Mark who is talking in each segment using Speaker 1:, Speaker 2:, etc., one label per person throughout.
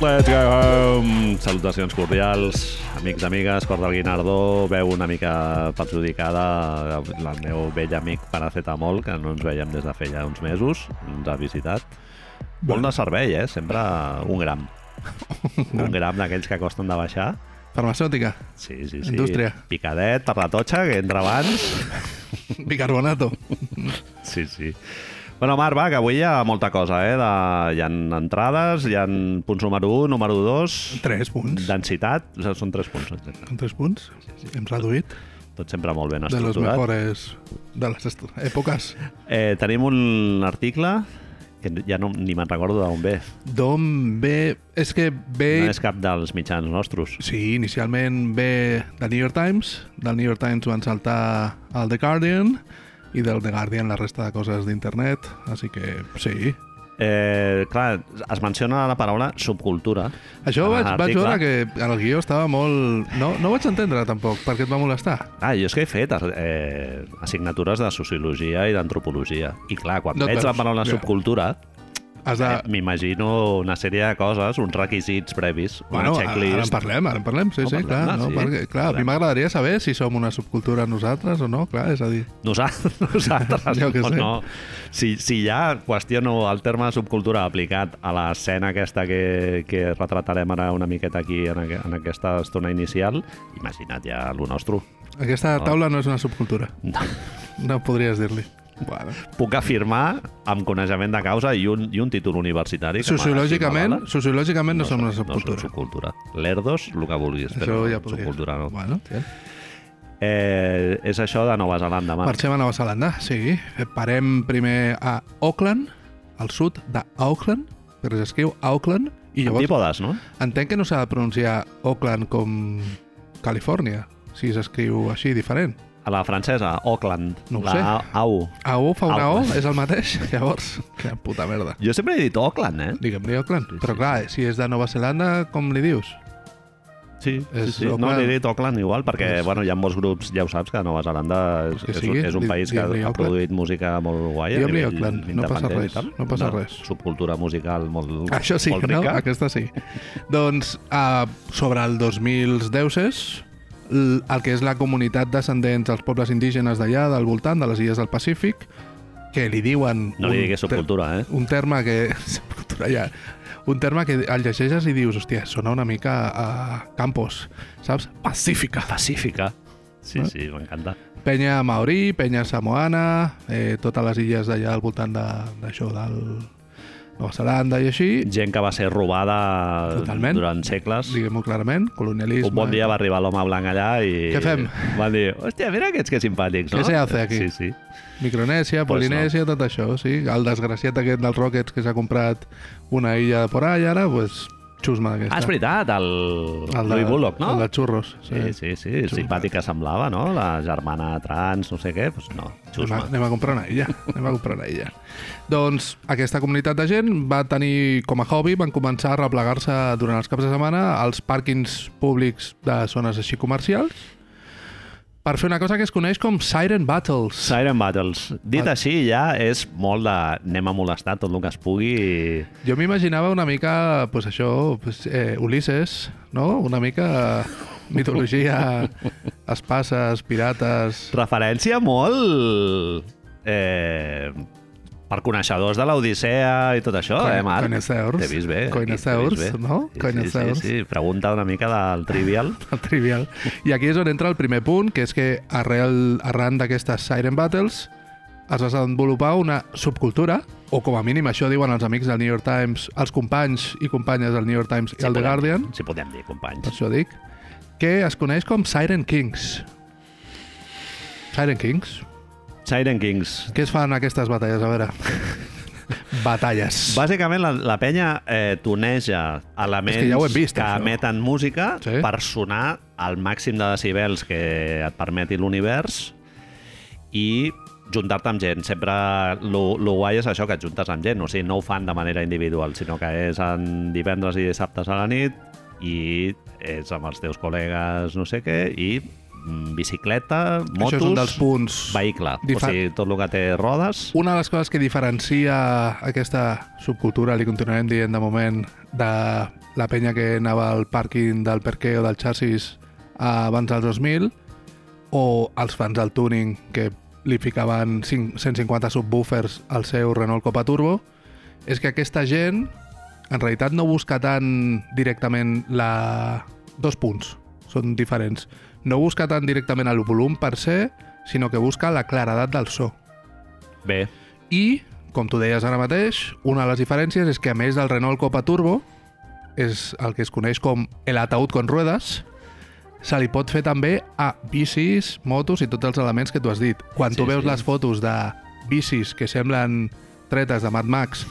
Speaker 1: Let's go home. Salutacions cordials, amics, amigues, cor del Guinardó, veu una mica perjudicada, el meu vell amic Paracetamol, que no ens veiem des de feia uns mesos, ens ha visitat. Bon de servei, eh? Sempre un gram. un gram d'aquells que costen de baixar.
Speaker 2: Farmacèutica,
Speaker 1: Sí, sí, sí.
Speaker 2: Indústria.
Speaker 1: Picadet, per la totxa, que entra abans.
Speaker 2: bicarbonato.
Speaker 1: Sí, sí. Bueno, Marc, va, que avui hi ha molta cosa, eh? De... Hi ha entrades, hi ha punts número 1, número 2...
Speaker 2: Tres punts.
Speaker 1: Densitat, o sigui, són 3 punts, exacte.
Speaker 2: Són tres punts. Hem reduït
Speaker 1: Tot sempre molt ben
Speaker 2: de les
Speaker 1: estructurat.
Speaker 2: mejores de les est- èpoques.
Speaker 1: Eh, tenim un article que ja no, ni me'n recordo d'on ve.
Speaker 2: D'on ve... És que ve...
Speaker 1: No és cap dels mitjans nostres.
Speaker 2: Sí, inicialment ve del New York Times, del New York Times van saltar al The Guardian i del The Guardian la resta de coses d'internet, així que sí.
Speaker 1: Eh, clar, es menciona la paraula subcultura.
Speaker 2: Això
Speaker 1: en
Speaker 2: vaig, vaig
Speaker 1: l'article.
Speaker 2: veure que el guió estava molt... No, no ho vaig entendre tampoc, perquè et va molestar.
Speaker 1: Ah, jo és que he fet eh, assignatures de sociologia i d'antropologia. I clar, quan
Speaker 2: No et
Speaker 1: veig la
Speaker 2: veus.
Speaker 1: paraula
Speaker 2: Ja.
Speaker 1: subcultura,
Speaker 2: Has de...
Speaker 1: Eh, M'imagino una sèrie de coses, uns requisits previs, una
Speaker 2: Bueno, ara ara en
Speaker 1: checklist.
Speaker 2: parlem, ara en parlem, sí,
Speaker 1: No,
Speaker 2: sí,
Speaker 1: parlem,
Speaker 2: clar.
Speaker 1: ah,
Speaker 2: no,
Speaker 1: sí.
Speaker 2: perquè, clar a mi
Speaker 1: Parlem.
Speaker 2: m'agradaria saber si som una subcultura nosaltres o no, clar, és a dir...
Speaker 1: Nosaltres, nosaltres
Speaker 2: Jo què
Speaker 1: no,
Speaker 2: sé.
Speaker 1: no. Si, si ja qüestiono el terme subcultura aplicat a l'escena aquesta que, que retratarem ara una miqueta aquí en, aqu en aquesta estona inicial, imagina't ja el nostre.
Speaker 2: Aquesta
Speaker 1: No.
Speaker 2: taula no és una subcultura,
Speaker 1: No.
Speaker 2: no podries dir-li. Bueno.
Speaker 1: Puc afirmar amb coneixement de causa i un, i un títol universitari. que
Speaker 2: Sociològicament,
Speaker 1: m'avala.
Speaker 2: sociològicament no, som una
Speaker 1: No som
Speaker 2: subcultura.
Speaker 1: subcultura. Lerdos, el que vulguis,
Speaker 2: Això
Speaker 1: però
Speaker 2: ja podria.
Speaker 1: subcultura no.
Speaker 2: Bueno, ja.
Speaker 1: Eh, és això de Nova Zelanda, Marc.
Speaker 2: Marxem a Nova Zelanda, sí. eh, Parem primer a Auckland, al sud d'Auckland, però s'escriu Auckland, i llavors
Speaker 1: Antípodes, no?
Speaker 2: entenc que no s'ha de pronunciar Auckland com Califòrnia, si s'escriu així diferent.
Speaker 1: A la francesa, Auckland.
Speaker 2: No ho
Speaker 1: la
Speaker 2: sé.
Speaker 1: A- AU.
Speaker 2: AU fa una O,
Speaker 1: Auckland.
Speaker 2: és el mateix, llavors. Que puta merda.
Speaker 1: Jo sempre he dit Auckland, eh?
Speaker 2: Diguem-li Auckland.
Speaker 1: Sí, sí,
Speaker 2: Però clar, si és de Nova Zelanda, com li dius?
Speaker 1: Sí,
Speaker 2: És
Speaker 1: sí, sí. No,
Speaker 2: Auckland.
Speaker 1: li he dit Auckland igual, perquè
Speaker 2: És-
Speaker 1: bueno, hi ha molts grups, ja ho saps, que Nova Zelanda és,
Speaker 2: Que
Speaker 1: és,
Speaker 2: sigui,
Speaker 1: és un
Speaker 2: di-
Speaker 1: país que
Speaker 2: diguem-li
Speaker 1: ha
Speaker 2: Auckland.
Speaker 1: produït música molt guai. a
Speaker 2: Diguem-li
Speaker 1: nivell
Speaker 2: Auckland, no passa
Speaker 1: independent i
Speaker 2: res,
Speaker 1: tal.
Speaker 2: no passa
Speaker 1: Una
Speaker 2: res.
Speaker 1: Subcultura musical molt,
Speaker 2: Això sí,
Speaker 1: molt
Speaker 2: no?
Speaker 1: rica.
Speaker 2: Aquesta sí. doncs, uh, sobre el 2010 l- el que és la comunitat descendents dels pobles indígenes d'allà, del voltant, de les illes del Pacífic, que li diuen...
Speaker 1: No li digués
Speaker 2: un ter-
Speaker 1: subcultura, eh?
Speaker 2: Un terme que... subcultura ja. Un terme que el llegeixes i dius, hòstia, sona una mica a Campos, saps? Pacífica. Eh?
Speaker 1: Pacífica. Sí, sí, m'encanta.
Speaker 2: Penya Maorí, Penya Samoana, eh, totes les illes d'allà al voltant de- d'això, de, del Nova Zelanda i així,
Speaker 1: Gent que va ser robada
Speaker 2: Totalment.
Speaker 1: durant segles.
Speaker 2: diguem-ho clarament, colonialisme...
Speaker 1: Un bon dia va arribar l'home blanc allà i...
Speaker 2: Què fem?
Speaker 1: Van dir, hòstia, mira aquests que simpàtics, no?
Speaker 2: Què se hace aquí?
Speaker 1: Sí, sí.
Speaker 2: Micronèsia,
Speaker 1: Pues
Speaker 2: Polinèsia, tot això, sí. El desgraciat aquest dels Rockets que s'ha comprat una illa de por ahí, ara, pues,
Speaker 1: Ah,
Speaker 2: xusma
Speaker 1: és
Speaker 2: d'aquesta.
Speaker 1: veritat, el, el Louis Bullock, no?
Speaker 2: El de Churros.
Speaker 1: Sí, sí, sí,
Speaker 2: Xusma.
Speaker 1: simpàtic que semblava, no? La germana trans, no sé què, doncs no,
Speaker 2: Anem a,
Speaker 1: xusma.
Speaker 2: anem a comprar una illa, anem a comprar una illa. Doncs aquesta comunitat de gent va tenir com a hobby, van començar a replegar-se durant els caps de setmana als pàrquings públics de zones així comercials per fer una cosa que es coneix com Siren Battles.
Speaker 1: Siren Battles. Dit
Speaker 2: Ah.
Speaker 1: així, ja és molt de anem a molestar tot el que es pugui. i-
Speaker 2: Jo m'imaginava una mica, pues això, pues, eh, Ulisses, no? Una mica mitologia, espases, pirates...
Speaker 1: Referència molt... Eh, per coneixedors de l'Odissea i tot això,
Speaker 2: Coin-
Speaker 1: eh, Marc?
Speaker 2: coneixeurs.
Speaker 1: T'he vist bé.
Speaker 2: Coneixeurs,
Speaker 1: t'he vist bé.
Speaker 2: no?
Speaker 1: Sí, sí, sí,
Speaker 2: Coneixeurs.
Speaker 1: sí, pregunta una mica del trivial.
Speaker 2: trivial. I aquí és on entra el primer punt, que és que arrel, arran d'aquestes Siren Battles es va desenvolupar una subcultura, o com a mínim això diuen els amics del New York Times, els companys i companyes del New York Times i el The
Speaker 1: podem-
Speaker 2: Guardian,
Speaker 1: Si podem dir, companys.
Speaker 2: per això dic, que es coneix com Siren Kings. Siren Kings?
Speaker 1: Siren Kings,
Speaker 2: Què es fan aquestes batalles? A veure... batalles.
Speaker 1: Bàsicament, la, la penya eh, tuneja elements
Speaker 2: És que ja ho hem vist,
Speaker 1: que
Speaker 2: això.
Speaker 1: emeten música
Speaker 2: Sí.
Speaker 1: per sonar al màxim de decibels que et permeti l'univers i juntar-te amb gent. Sempre el guai és això, que et juntes amb gent. O sigui, no ho fan de manera individual, sinó que és en divendres i dissabtes a la nit i és amb els teus col·legues no sé què i mm, bicicleta, motos,
Speaker 2: Això és un dels punts...
Speaker 1: vehicle. O
Speaker 2: difa-
Speaker 1: sigui, tot el que té rodes...
Speaker 2: Una de les coses que diferencia aquesta subcultura, li continuarem dient de moment, de la penya que anava al pàrquing del Perqué o del Chassis eh, abans del 2000 o els fans del tuning que li ficaven 5, 150 subwoofers al seu Renault Copa Turbo és que aquesta gent en realitat no busca tant directament la... dos punts, són diferents. No busca tant directament el volum per ser, sinó que busca la claredat del so.
Speaker 1: Bé,
Speaker 2: I, com tu deies ara mateix, una de les diferències és que a més del Renault Copa Turbo, és el que es coneix com el ataúd con ruedes, se li pot fer també a bicis, motos i tots els elements que tu has dit. Quan sí, tu
Speaker 1: Sí,
Speaker 2: veus
Speaker 1: sí.
Speaker 2: sí. les fotos de bicis que semblen tretes de Mad Max,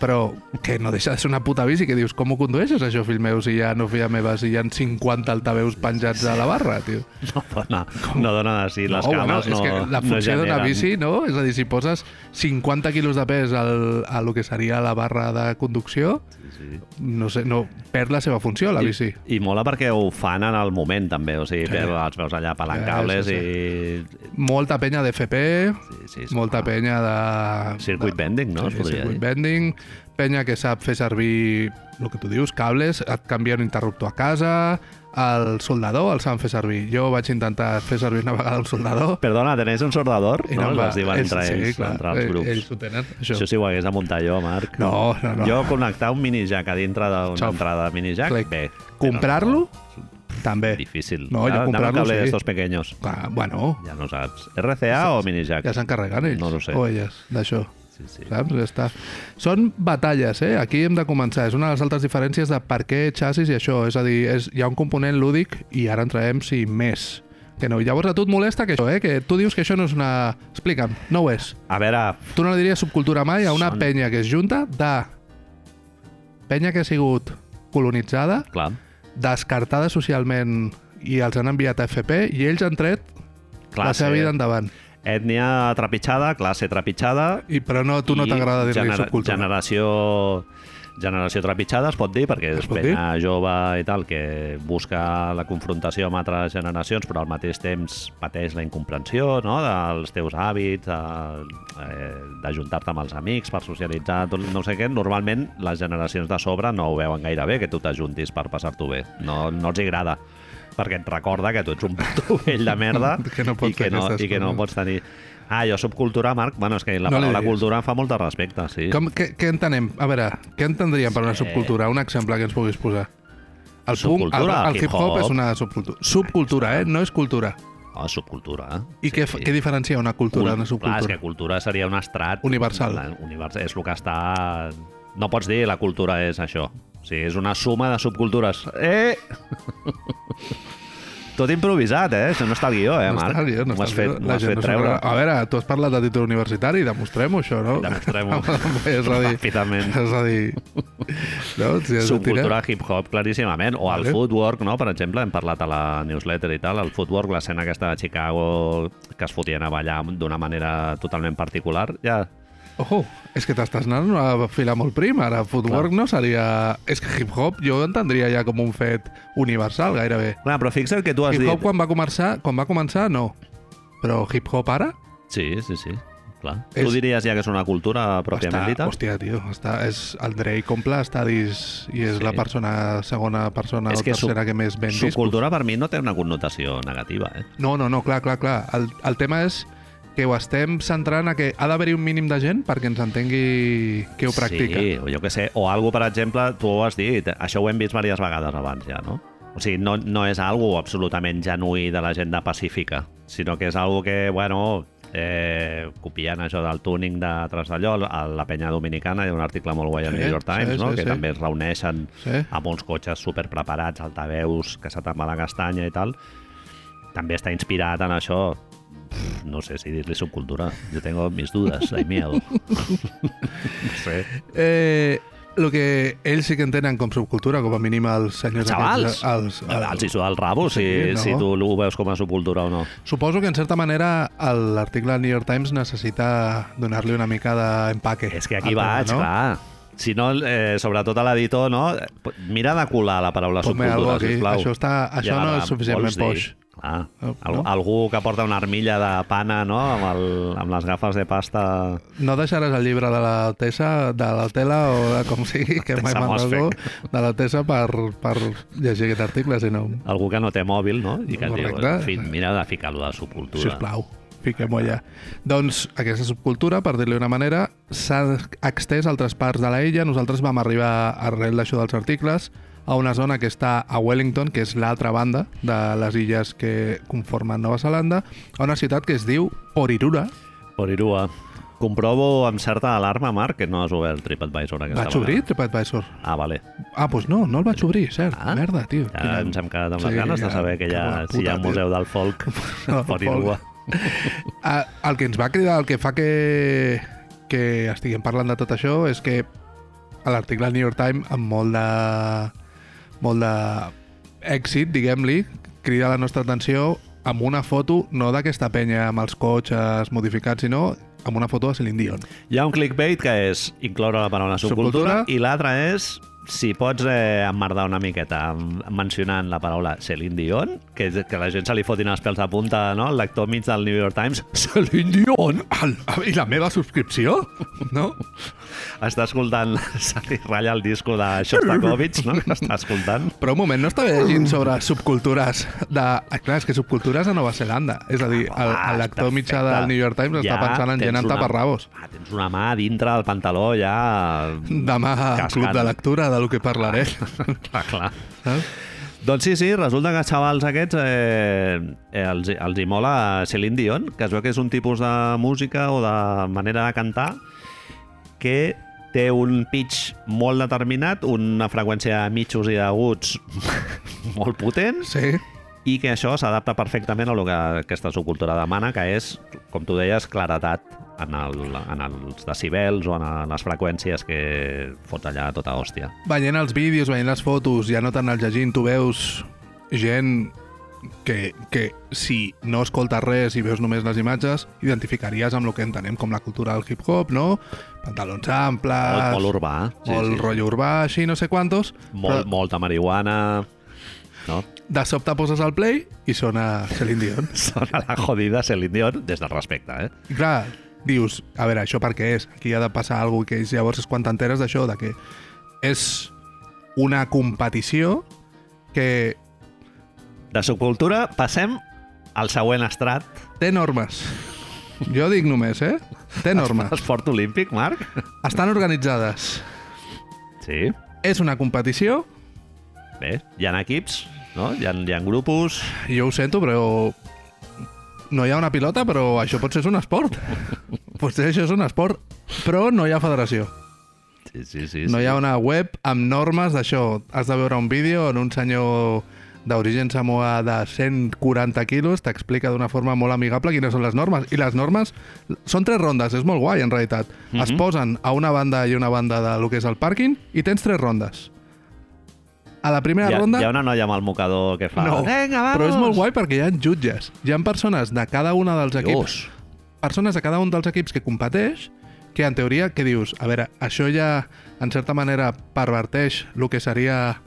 Speaker 2: però que no deixa de ser una puta bici, que dius, com ho condueixes això, fill meu, si ja no feia meva, si hi ha 50 altaveus penjats a la barra, tio?
Speaker 1: no dona, no dona de si les
Speaker 2: Oh,
Speaker 1: cames
Speaker 2: és
Speaker 1: no,
Speaker 2: que la
Speaker 1: no
Speaker 2: funció d'una
Speaker 1: generen.
Speaker 2: bici, no? És a dir, si poses 50 quilos de pes al, a lo que seria la barra de conducció,
Speaker 1: Sí, sí.
Speaker 2: no sé, no perd la seva funció, la bici.
Speaker 1: I, I mola perquè ho fan en el moment, també. O sigui,
Speaker 2: Sí.
Speaker 1: sí. els veus allà palancables
Speaker 2: Sí,
Speaker 1: sí,
Speaker 2: sí,
Speaker 1: sí, sí.
Speaker 2: Molta penya d'FP,
Speaker 1: i... Sí, sí,
Speaker 2: molta penya de...
Speaker 1: Circuit
Speaker 2: de,
Speaker 1: bending, no? Es
Speaker 2: Sí,
Speaker 1: podria dir.
Speaker 2: circuit bending, penya que sap fer servir el que tu dius, cables, et canvia un interruptor a casa, el soldador el saben fer servir. Jo vaig intentar fer servir una vegada el soldador
Speaker 1: Perdona, tenés un soldador?
Speaker 2: i
Speaker 1: no, no
Speaker 2: em va-
Speaker 1: es diuen entre
Speaker 2: sí,
Speaker 1: ells,
Speaker 2: clar,
Speaker 1: entre els
Speaker 2: eh,
Speaker 1: grups.
Speaker 2: Ells ho tenen, això.
Speaker 1: Això sí ho hagués de muntar jo, Marc.
Speaker 2: No, no, no.
Speaker 1: Jo connectar un minijack a dintre d'una
Speaker 2: Xof.
Speaker 1: entrada de minijack,
Speaker 2: Clic.
Speaker 1: bé. Eh,
Speaker 2: Comprar-lo, també.
Speaker 1: Difícil.
Speaker 2: No, jo
Speaker 1: Dame un
Speaker 2: comprar-lo,
Speaker 1: cable
Speaker 2: sí.
Speaker 1: d'estos pequeños.
Speaker 2: Clar, bueno,
Speaker 1: Ja no saps. RCA o minijack?
Speaker 2: ja s'encarreguen ells
Speaker 1: No ho sé.
Speaker 2: o elles d'això.
Speaker 1: Sí, sí.
Speaker 2: Saps? Ja està. Són batalles, eh? Aquí hem de començar. És una de les altres diferències de per què xassis i això. És a dir, és, hi ha un component lúdic i ara entrarem si més. Que no. Llavors a tu et molesta que això, eh? Que tu dius que això no és una... Explica'm, no ho és.
Speaker 1: A veure,
Speaker 2: Tu no li diries subcultura mai a una
Speaker 1: Són-
Speaker 2: penya que es junta de... Penya que ha sigut colonitzada,
Speaker 1: clar,
Speaker 2: descartada socialment i els han enviat a FP i ells han tret
Speaker 1: clar, eh.
Speaker 2: la seva vida endavant.
Speaker 1: ètnia trepitjada, classe trepitjada...
Speaker 2: I, però no, tu no
Speaker 1: i
Speaker 2: t'agrada dir-li
Speaker 1: genera-
Speaker 2: subcultura.
Speaker 1: Generació generació trepitjada, es pot dir, perquè
Speaker 2: Es
Speaker 1: és
Speaker 2: pot
Speaker 1: penya jove i tal, que busca la confrontació amb altres generacions, però al mateix temps pateix la incomprensió no? dels teus hàbits, de- eh, d'ajuntar-te amb els amics per socialitzar, tot, no sé què. Normalment les generacions de sobre no ho veuen gaire bé, que tu t'ajuntis per passar-t'ho bé. No, no els hi agrada perquè et recorda que tu ets un puto vell de merda
Speaker 2: Que no pots
Speaker 1: i, que
Speaker 2: fer
Speaker 1: no, i
Speaker 2: aquestes
Speaker 1: que no
Speaker 2: coses.
Speaker 1: pots tenir... Ah, jo subcultura, Marc, bueno, és que la no
Speaker 2: No li
Speaker 1: paraula
Speaker 2: diguis.
Speaker 1: cultura em fa molt de respecte, sí.
Speaker 2: Com, què, què entenem? A veure, què entendríem per una subcultura? Un exemple que ens puguis posar. El, punk, el,
Speaker 1: Subcultura,
Speaker 2: el
Speaker 1: el
Speaker 2: hip-hop
Speaker 1: hip-hop.
Speaker 2: és una subcultura. Subcultura, eh? No és cultura.
Speaker 1: Oh, subcultura. eh?
Speaker 2: I què, fa- què diferencia una cultura d'una
Speaker 1: Clar, és que
Speaker 2: subcultura?
Speaker 1: cultura seria un estrat...
Speaker 2: Universal.
Speaker 1: La- Univers... És el que està... No pots dir la cultura és això. O sigui, és una suma de subcultures. Eh! Tot improvisat, eh? Això no està al guió, eh,
Speaker 2: No
Speaker 1: Marc?
Speaker 2: està al guió, no
Speaker 1: M'ho
Speaker 2: està
Speaker 1: has
Speaker 2: al
Speaker 1: fet,
Speaker 2: guió.
Speaker 1: m'ho
Speaker 2: La
Speaker 1: has
Speaker 2: gent
Speaker 1: fet
Speaker 2: no Ah, s'ho
Speaker 1: treure.
Speaker 2: creu. A veure, tu has parlat de títol universitari, demostrem-ho, això, no?
Speaker 1: Demostrem-ho.
Speaker 2: és a dir...
Speaker 1: Ràpidament.
Speaker 2: És a dir... No? Si has de tirar...
Speaker 1: subcultura hip-hop, claríssimament. O el
Speaker 2: Vale.
Speaker 1: footwork, no? Per exemple, hem parlat a la newsletter i tal, el footwork, l'escena aquesta de Chicago, que es fotien a ballar d'una manera totalment particular, ja...
Speaker 2: Ojo, és que t'estàs anant a una fila molt prima. Ara, footwork no seria... És que hip-hop jo entendria ja com un fet universal, gairebé.
Speaker 1: Clar, però fixa't que tu has
Speaker 2: Hip-hop
Speaker 1: dit...
Speaker 2: quan va començar, quan va començar, no. Però hip-hop ara?
Speaker 1: Sí, sí, sí. Clar.
Speaker 2: És-
Speaker 1: Tu diries ja que és una cultura pròpiament dita?
Speaker 2: està, hòstia, tio, està, és el Drake Comple està dis, i és
Speaker 1: Sí.
Speaker 2: la persona, segona persona
Speaker 1: És
Speaker 2: o
Speaker 1: que su-
Speaker 2: tercera que més ven discos.
Speaker 1: Subcultura per mi no té una connotació negativa, eh?
Speaker 2: No, no, no, clar, clar, clar. El, el tema és que ho estem centrant a que ha d'haver-hi un mínim de gent perquè ens entengui que ho practica.
Speaker 1: Sí, o jo què sé, o algo, per exemple, tu ho has dit, això ho hem vist diverses vegades abans ja, no? O sigui, no, no és algo absolutament genuí de la gent de pacífica, sinó que és algo que, bueno, eh, copiant això del tuning de Trasdallò, a la penya dominicana hi ha un article molt guai al
Speaker 2: Sí,
Speaker 1: New York Times,
Speaker 2: sí,
Speaker 1: no?
Speaker 2: sí,
Speaker 1: que
Speaker 2: sí.
Speaker 1: també es reuneixen
Speaker 2: Sí.
Speaker 1: amb uns cotxes super preparats, altaveus, que se te'n va la castanya i tal. També està inspirat en això. Pff, no sé si dir-li subcultura. Jo tengo mis dudas, hay miedo. no sé.
Speaker 2: Eh, el que ells sí que entenen com subcultura, com a mínim els senyors...
Speaker 1: Xavals!
Speaker 2: aquests, eh, els,
Speaker 1: Els hi suda el rabo, si,
Speaker 2: Sí, no.
Speaker 1: si tu ho veus com a subcultura o no.
Speaker 2: Suposo que, en certa manera, el- l'article del New York Times necessita donar-li una mica d'empaque.
Speaker 1: És que aquí
Speaker 2: al tema,
Speaker 1: vaig, no? clar. Si no, eh, sobretot a l'editor, no? Mira de colar la paraula
Speaker 2: Ponme
Speaker 1: subcultura,
Speaker 2: algo aquí.
Speaker 1: sisplau.
Speaker 2: Això, està, això
Speaker 1: Ja,
Speaker 2: no és
Speaker 1: vols
Speaker 2: suficientment
Speaker 1: dir?
Speaker 2: poix.
Speaker 1: Clar.
Speaker 2: No?
Speaker 1: Al, algú que porta una armilla de pana, no?, amb, el, amb les gafes de pasta...
Speaker 2: No deixaràs el llibre de la Tessa, de la tela o de com sigui, que mai
Speaker 1: Tessa
Speaker 2: me'n
Speaker 1: Mosfeg.
Speaker 2: recordo, de la Tessa per, per llegir aquest article, si no,
Speaker 1: Algú que no té mòbil, no? I que diu,
Speaker 2: Correcte.
Speaker 1: "Fi, mira de ficar-lo de sepultura.
Speaker 2: sisplau, fiquem-ho allà. Doncs aquesta subcultura, per dir-li una manera, s'ha extès a altres parts de la illa. Nosaltres vam arribar, arrel d'això dels articles, a una zona que està a Wellington, que és l'altra banda de les illes que conformen Nova Zelanda, a una ciutat que es diu Porirura.
Speaker 1: Porirua. Comprovo amb certa alarma, Marc, que no has obert TripAdvisor aquesta
Speaker 2: Vaig obrir TripAdvisor?
Speaker 1: Ah, vale.
Speaker 2: Ah, doncs no, no el vaig obrir, cert.
Speaker 1: Ah.
Speaker 2: Merda, tio.
Speaker 1: Ja
Speaker 2: Quina-
Speaker 1: ens hem quedat amb les
Speaker 2: Sí,
Speaker 1: ganes de
Speaker 2: ja,
Speaker 1: saber que hi ha,
Speaker 2: cago en
Speaker 1: si hi ha
Speaker 2: puta,
Speaker 1: Museu del Folk
Speaker 2: No,
Speaker 1: a Porirua.
Speaker 2: Ah, el que ens va cridar, el que fa que, que estiguem parlant de tot això és que a l'article del New York Times amb molt de molt d'èxit, diguem-li, crida la nostra atenció amb una foto no d'aquesta penya amb els cotxes modificats, sinó amb una foto de Celine Dion.
Speaker 1: Hi ha un clickbait que és incloure la paraula subcultura,
Speaker 2: Subcultura.
Speaker 1: i l'altre és si pots eh, emmerdar una miqueta em- mencionant la paraula Celine Dion, que, que la gent se li fotin els pèls de punta, no? El lector mig del New York Times
Speaker 2: Celine Dion? El, I la meva subscripció? No?
Speaker 1: està escoltant, se li ratlla el disco de Shostakovich, no? Que està escoltant.
Speaker 2: Però un moment, no estava llegint sobre subcultures de... Ah, clar, és que subcultures a Nova Zelanda. Ah, És a dir, el,
Speaker 1: Ah,
Speaker 2: el lector mitjà del New York Times està pensant en gent amb taparrabos.
Speaker 1: Ah, tens una mà dintre del pantaló ja...
Speaker 2: Demà al
Speaker 1: Cascant.
Speaker 2: club de lectura de lo que parlaré.
Speaker 1: Clar, clar.
Speaker 2: Saps?
Speaker 1: Doncs sí, sí, resulta que els xavals aquests eh, eh, els, els hi mola Celine Dion, que es veu que és un tipus de música o de manera de cantar que té un pitch molt determinat, una freqüència de mitjos i d'aguts molt potent
Speaker 2: Sí.
Speaker 1: i que això s'adapta perfectament a lo que aquesta subcultura demana, que és, com tu deies, claretat en, el, en els decibels o en les freqüències que fot allà tota hòstia.
Speaker 2: Veient els vídeos, veient les fotos, ja no tant el llegint, tu veus gent que, que si no escoltes res i veus només les imatges, identificaries amb el que entenem com la cultura del hip-hop, no? Pantalons amples...
Speaker 1: Molt, molt urbà. eh?
Speaker 2: Sí, o el sí. rotllo urbà, així, no sé quantos.
Speaker 1: Molt, molta marihuana... No?
Speaker 2: De sobte poses al play i sona Celine Dion.
Speaker 1: Sona la jodida Celine Dion des del respecte, eh?
Speaker 2: I clar, dius, a veure, això per què és? Aquí ha de passar alguna cosa que és, llavors és quan t'enteres d'això, de que és una competició que
Speaker 1: De subcultura passem al següent estrat.
Speaker 2: té normes. Jo dic només, eh? Té normes.
Speaker 1: Esport olímpic, Marc?
Speaker 2: Estan organitzades.
Speaker 1: Sí.
Speaker 2: És una competició,
Speaker 1: Bé, hi ha equips, no? Hi ha, hi ha grupos...
Speaker 2: jo ho sento, però no hi ha una pilota, però això potser és un esport. potser això és un esport, però no hi ha federació.
Speaker 1: Sí, sí, sí.
Speaker 2: No
Speaker 1: sí.
Speaker 2: hi ha una web amb normes d'això. Has de veure un vídeo on un senyor d'origen samoà de 140 quilos t'explica d'una forma molt amigable quines són les normes. I les normes són tres rondes, és molt guai en realitat.
Speaker 1: Mhm.
Speaker 2: Mm -hmm. Es posen a una banda i una banda de lo que és el pàrquing i tens tres rondes. A la primera
Speaker 1: hi ha,
Speaker 2: ronda...
Speaker 1: hi ha una noia amb el mocador que fa...
Speaker 2: No,
Speaker 1: Venga, vamos!
Speaker 2: però és molt guai perquè hi ha jutges. Hi ha persones de cada un dels equips
Speaker 1: Dios.
Speaker 2: persones de cada un dels equips que competeix que en teoria, que dius, a veure, això ja en certa manera perverteix el que seria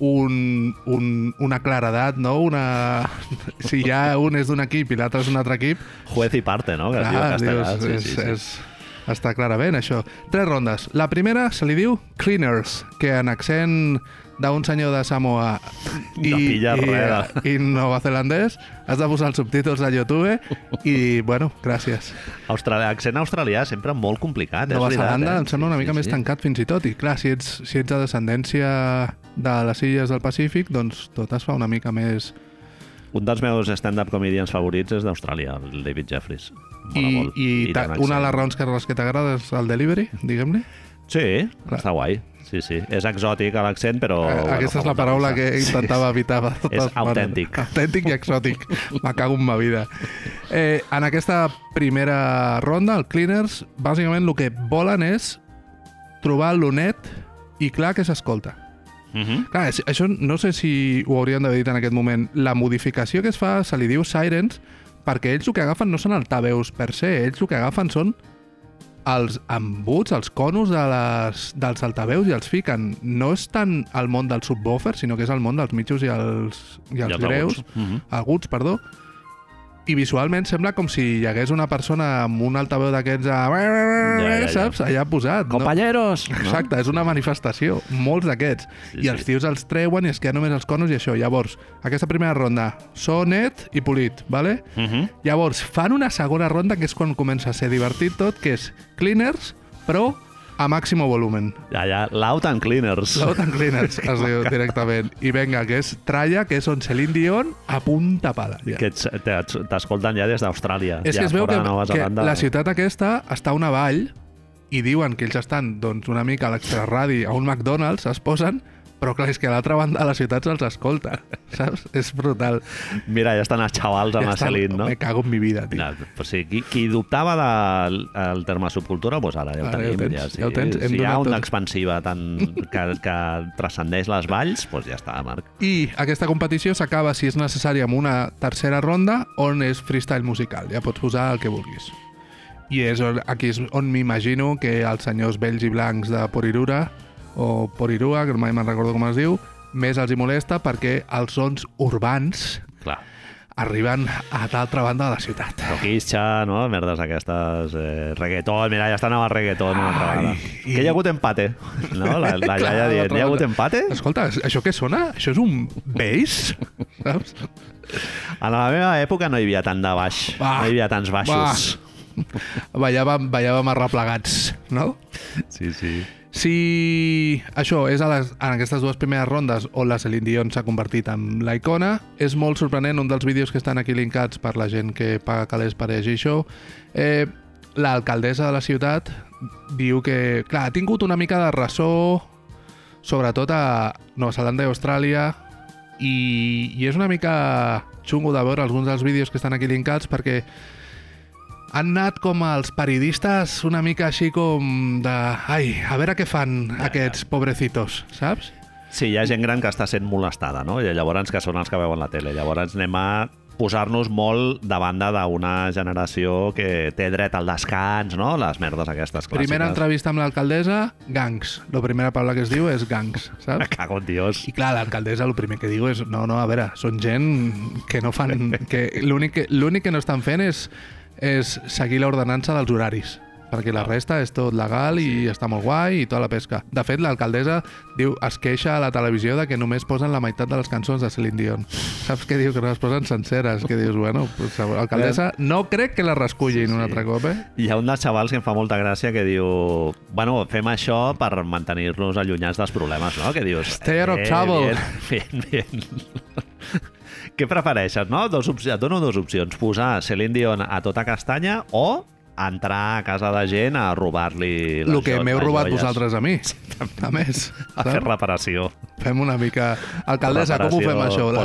Speaker 2: un, un, una claredat, no? Una... Si ja un és d'un equip i l'altre és d'un altre equip,
Speaker 1: Juez i parte, no? Que es diu en
Speaker 2: clar,
Speaker 1: castellà.
Speaker 2: dius,
Speaker 1: Sí,
Speaker 2: és,
Speaker 1: sí, sí.
Speaker 2: és, està clarament això. Tres rondes. La primera se li diu Cleaners, que en accent d'un senyor de Samoa i,
Speaker 1: No pilla
Speaker 2: i,
Speaker 1: res
Speaker 2: i nova zelandès has de posar els subtítols a YouTube i, bueno, gràcies.
Speaker 1: Australià, accent australià sempre molt complicat.
Speaker 2: Nova
Speaker 1: és veritat,
Speaker 2: Zelanda
Speaker 1: eh?
Speaker 2: em sembla una
Speaker 1: Sí,
Speaker 2: mica
Speaker 1: sí,
Speaker 2: més
Speaker 1: sí.
Speaker 2: tancat fins i tot i clar, si ets, si ets de descendència de les illes del Pacífic doncs tot es fa una mica més
Speaker 1: Un dels meus stand-up comedians favorits és d'Austràlia, el David Jeffries. Mola
Speaker 2: i,
Speaker 1: molt.
Speaker 2: i, ta,
Speaker 1: tant
Speaker 2: una de
Speaker 1: accent.
Speaker 2: les raons que, les que t'agrada és el delivery, diguem-li
Speaker 1: Sí,
Speaker 2: Clar.
Speaker 1: està guai. Sí, sí. És exòtic a l'accent, però...
Speaker 2: oh,
Speaker 1: bueno,
Speaker 2: aquesta és
Speaker 1: fa
Speaker 2: la
Speaker 1: molta
Speaker 2: paraula
Speaker 1: cosa.
Speaker 2: que intentava evitar de totes
Speaker 1: És autèntic.
Speaker 2: maneres. autèntic i exòtic, me cago en ma vida eh, en aquesta primera ronda, el Cleaners bàsicament el que volen és trobar l'onet i clar que s'escolta
Speaker 1: Sí. Mhm.
Speaker 2: Clar, és- això no sé si ho haurien d'haver dit en aquest moment. La modificació que es fa se li diu Sirens perquè ells el que agafen no són altaveus per se, ells el que agafen són els embuts, els conos de les, dels altaveus i els fiquen. No és tant el món dels subwoofers, sinó que és el món dels mitjos i els, i els
Speaker 1: els
Speaker 2: greus,
Speaker 1: aguts. Mhm.
Speaker 2: aguts, perdó, i visualment sembla com si hi hagués una persona amb un altaveu d'aquests a...
Speaker 1: ja, ja.
Speaker 2: saps? Allà posat. no?
Speaker 1: Compañeros! No?
Speaker 2: Exacte, és una manifestació, molts d'aquests.
Speaker 1: Sí,
Speaker 2: I els
Speaker 1: sí.
Speaker 2: tios els treuen i es queden només els conos i això. Llavors, aquesta primera ronda, so net i polit, ¿vale?
Speaker 1: Mhm.
Speaker 2: Llavors, fan una segona ronda que és quan comença a ser divertit tot, que és cleaners, però a màximo volumen.
Speaker 1: Allà, Loud and Cleaners.
Speaker 2: Loud and cleaners, es diu directament. I venga, que és tralla, que és on Celine Dion apunta pala. Ja.
Speaker 1: que ets- t'es- t'escolten ja des d'Austràlia.
Speaker 2: És
Speaker 1: ja
Speaker 2: que es veu
Speaker 1: fora
Speaker 2: que,
Speaker 1: de Nova
Speaker 2: que
Speaker 1: Zelanda.
Speaker 2: la ciutat aquesta està a una vall i diuen que ells estan doncs, una mica a l'extraradi, a un McDonald's, es posen, però clar, és que a l'altra banda de la ciutat se'ls escolta, saps? És brutal.
Speaker 1: Mira, ja estan els xavals amb ja
Speaker 2: estan-
Speaker 1: Celine, no?
Speaker 2: Me cago en mi vida, tio.
Speaker 1: No, però sí, qui, qui dubtava del el terme subcultura, doncs ara ja ho
Speaker 2: Ara ja ho
Speaker 1: tenim.
Speaker 2: tens,
Speaker 1: ja, sí,
Speaker 2: ja ho tens. Hem
Speaker 1: Si hi ha
Speaker 2: donat
Speaker 1: una
Speaker 2: tot.
Speaker 1: expansiva tan, que, que transcendeix les valls, doncs ja està, Marc.
Speaker 2: I aquesta competició s'acaba, si és necessària, amb una tercera ronda on és freestyle musical. Ja pots posar el que vulguis. I és on, aquí és on m'imagino que els senyors vells i blancs de Porirura, o Porirua, que mai me'n recordo com es diu, més els hi molesta perquè els sons urbans
Speaker 1: Clar.
Speaker 2: arriben a l'altra banda de la ciutat.
Speaker 1: Toquisxa, no? Merdes aquestes... Eh, reggaeton, mira, ja estan amb el reggaeton una altra
Speaker 2: Ai,
Speaker 1: vegada.
Speaker 2: i-
Speaker 1: Que hi ha hagut empate, no? La, la
Speaker 2: Clar,
Speaker 1: iaia dient,
Speaker 2: l'altra
Speaker 1: hi ha hagut
Speaker 2: banda.
Speaker 1: empate?
Speaker 2: Escolta, això què sona? Això és un bass? Saps?
Speaker 1: En la meva època no hi havia tant de baix,
Speaker 2: Va,
Speaker 1: no hi havia tants baixos.
Speaker 2: Ballàvem, ballàvem arreplegats, no?
Speaker 1: Sí, sí.
Speaker 2: Si això és a les, en aquestes dues primeres rondes on la Celine Dion s'ha convertit en la icona, és molt sorprenent un dels vídeos que estan aquí linkats per la gent que paga calés per llegir això. Eh, L'alcaldessa de la ciutat diu que, clar, ha tingut una mica de ressò, sobretot a Nova Zelanda i Austràlia, i, i és una mica xungo de veure alguns dels vídeos que estan aquí linkats perquè han anat com els periodistes una mica així com de... Ai, a veure què fan aquests pobrecitos, saps?
Speaker 1: Sí, hi ha gent gran que està sent molestada, no? I llavors que són els que veuen la tele. Llavors anem a posar-nos molt de banda d'una generació que té dret al descans, no? Les merdes aquestes clàssiques.
Speaker 2: Primera entrevista amb l'alcaldessa, gangs. La primera paraula que es diu és gangs,
Speaker 1: Me
Speaker 2: saps?
Speaker 1: cago en Dios.
Speaker 2: I clar, l'alcaldessa el primer que diu és no, no, a veure, són gent que no fan... que l'únic que, l'únic que no estan fent és, és seguir l'ordenança dels horaris perquè la resta és tot legal i està molt guai i tota la pesca. De fet, l'alcaldessa diu es queixa a la televisió de que només posen la meitat de les cançons de Celine Dion. Saps què diu? Que no les posen senceres. Que dius, bueno, pues, alcaldessa, no crec que la rascullin sí, sí. un altre cop, eh?
Speaker 1: Hi ha un dels xavals que em fa molta gràcia que diu... Bueno, fem això per mantenir-nos allunyats dels problemes, no? Que dius... "Eh,
Speaker 2: Stay out of trouble."
Speaker 1: Bien, bien, bien. Què prefereixes, no? Dos opci- Et dono dues opcions. Posar Celine Dion a tota castanya o entrar a casa de gent a robar-li les
Speaker 2: El que
Speaker 1: jo-
Speaker 2: m'heu
Speaker 1: les
Speaker 2: robat
Speaker 1: joies.
Speaker 2: vosaltres a mi. A més.
Speaker 1: A fer
Speaker 2: saps?
Speaker 1: reparació.
Speaker 2: Fem una mica... Alcaldessa, com ho fem
Speaker 1: Reparació
Speaker 2: això? L'alcaldessa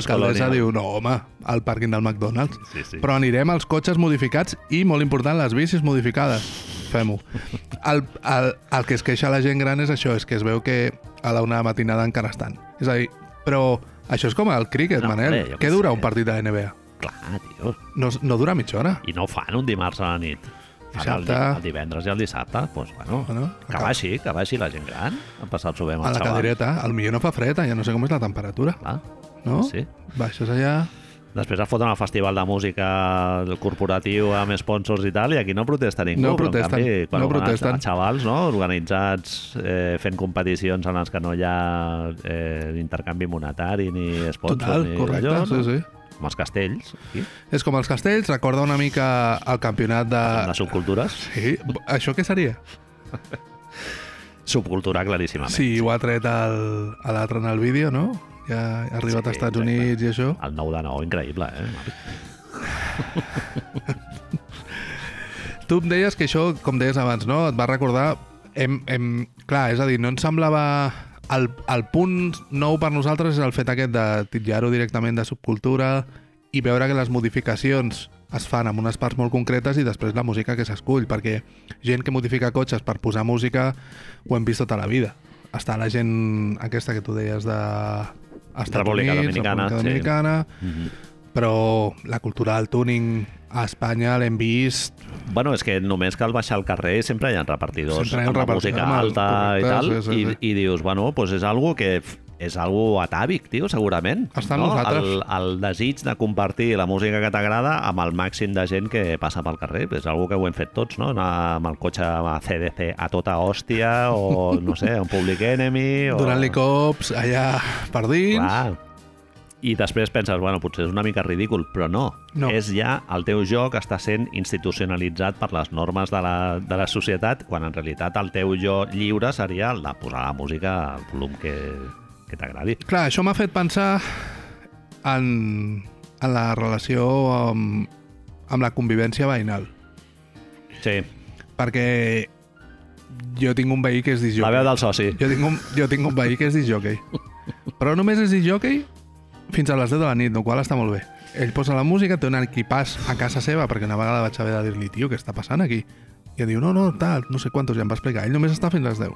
Speaker 1: postcolonial.
Speaker 2: diu, no, home, al pàrquing del McDonald's.
Speaker 1: Sí, sí.
Speaker 2: Però anirem als cotxes modificats i, molt important, les bicis modificades. Fem-ho. El, el, el que es queixa la gent gran és això, és que es veu que a la una matinada encara estan. És a dir, però això és com el críquet,
Speaker 1: No,
Speaker 2: no, Manel.
Speaker 1: home, jo
Speaker 2: Què
Speaker 1: què
Speaker 2: dura
Speaker 1: sé.
Speaker 2: un partit de NBA?
Speaker 1: Clar, tio.
Speaker 2: No, no dura mitja hora.
Speaker 1: I no ho fan un dimarts a la nit. Fan el, di-
Speaker 2: Dissabte.
Speaker 1: el divendres i el dissabte, doncs, pues, bueno,
Speaker 2: Bueno,
Speaker 1: que
Speaker 2: acaba.
Speaker 1: baixi, que baixi la gent gran a passar-s'ho bé amb
Speaker 2: A
Speaker 1: el
Speaker 2: la
Speaker 1: xaval.
Speaker 2: cadireta. Al millor no fa freda, ja no sé com és la temperatura.
Speaker 1: Clar.
Speaker 2: No?
Speaker 1: Sí.
Speaker 2: Baixes allà...
Speaker 1: Després es foten al festival de música corporatiu amb sponsors i tal, i aquí no protesta ningú.
Speaker 2: No
Speaker 1: però, en
Speaker 2: protesten,
Speaker 1: canvi, quan
Speaker 2: no
Speaker 1: van els-
Speaker 2: protesten.
Speaker 1: Els xavals, no?, organitzats eh, fent competicions en les que no hi ha eh, intercanvi monetari ni sponsors
Speaker 2: Total,
Speaker 1: ni
Speaker 2: correcte,
Speaker 1: allò, no?
Speaker 2: sí, sí.
Speaker 1: Com els castells, aquí,
Speaker 2: És com els castells, recorda una mica el campionat de...
Speaker 1: amb les subcultures.
Speaker 2: Sí, això què seria?
Speaker 1: Subcultura, claríssimament.
Speaker 2: Sí, ho ha tret el- a l'altre en el vídeo, no? Ja ha arribat
Speaker 1: Sí,
Speaker 2: als Estats
Speaker 1: exacte.
Speaker 2: Units i això.
Speaker 1: El 9 de 9, increïble, eh? Marc?
Speaker 2: Tu em deies que això, com deies abans, no? Et va recordar... Hem, hem... Clar, és a dir, no ens semblava... El, el punt nou per nosaltres és el fet aquest de titllar-ho directament de subcultura i veure que les modificacions es fan amb unes parts molt concretes i després la música que s'escull, perquè gent que modifica cotxes per posar música ho hem vist tota la vida. Està la gent aquesta que tu deies de... Estats
Speaker 1: República Dominicana,
Speaker 2: República
Speaker 1: sí.
Speaker 2: Dominicana,
Speaker 1: Mhm.
Speaker 2: però la cultura del tuning a Espanya l'hem vist
Speaker 1: Bueno, és que només cal baixar al carrer i sempre hi ha repartidors
Speaker 2: Sempre hi ha
Speaker 1: amb la
Speaker 2: repartidors,
Speaker 1: música
Speaker 2: amb el-
Speaker 1: alta i
Speaker 2: correcte,
Speaker 1: tal,
Speaker 2: sí, sí, sí.
Speaker 1: I, i dius, bueno, doncs és algo que f- és algo atàvic, tio, segurament.
Speaker 2: Està en
Speaker 1: no?
Speaker 2: nosaltres.
Speaker 1: El, el desig de compartir la música que t'agrada amb el màxim de gent que passa pel carrer. És algo que ho hem fet tots, no? Anar amb el cotxe a CDC a tota hòstia o, no sé, a un Public Enemy... O...
Speaker 2: Donant-li cops allà per dins.
Speaker 1: Clar. I després penses, bueno, potser és una mica ridícul, però no.
Speaker 2: No.
Speaker 1: És ja, el teu joc està sent institucionalitzat per les normes de la, de la societat, quan en realitat el teu joc lliure seria el de posar la música al volum que, que t'agradi.
Speaker 2: Clar, això m'ha fet pensar en, en la relació amb, amb la convivència veïnal.
Speaker 1: Sí,
Speaker 2: Perquè jo tinc un veí que és disjockey.
Speaker 1: la veu del soci.
Speaker 2: Jo tinc, un, jo tinc un veí que és disjockey. Però només és disjockey fins a les 10 de la nit, el qual està molt bé. Ell posa la música, té un equipàs a casa seva, perquè una vegada vaig haver de dir-li, tio, què està passant aquí? I em diu, no, no, tal, no sé quantos, ja em va explicar. Ell només està fins a les 10.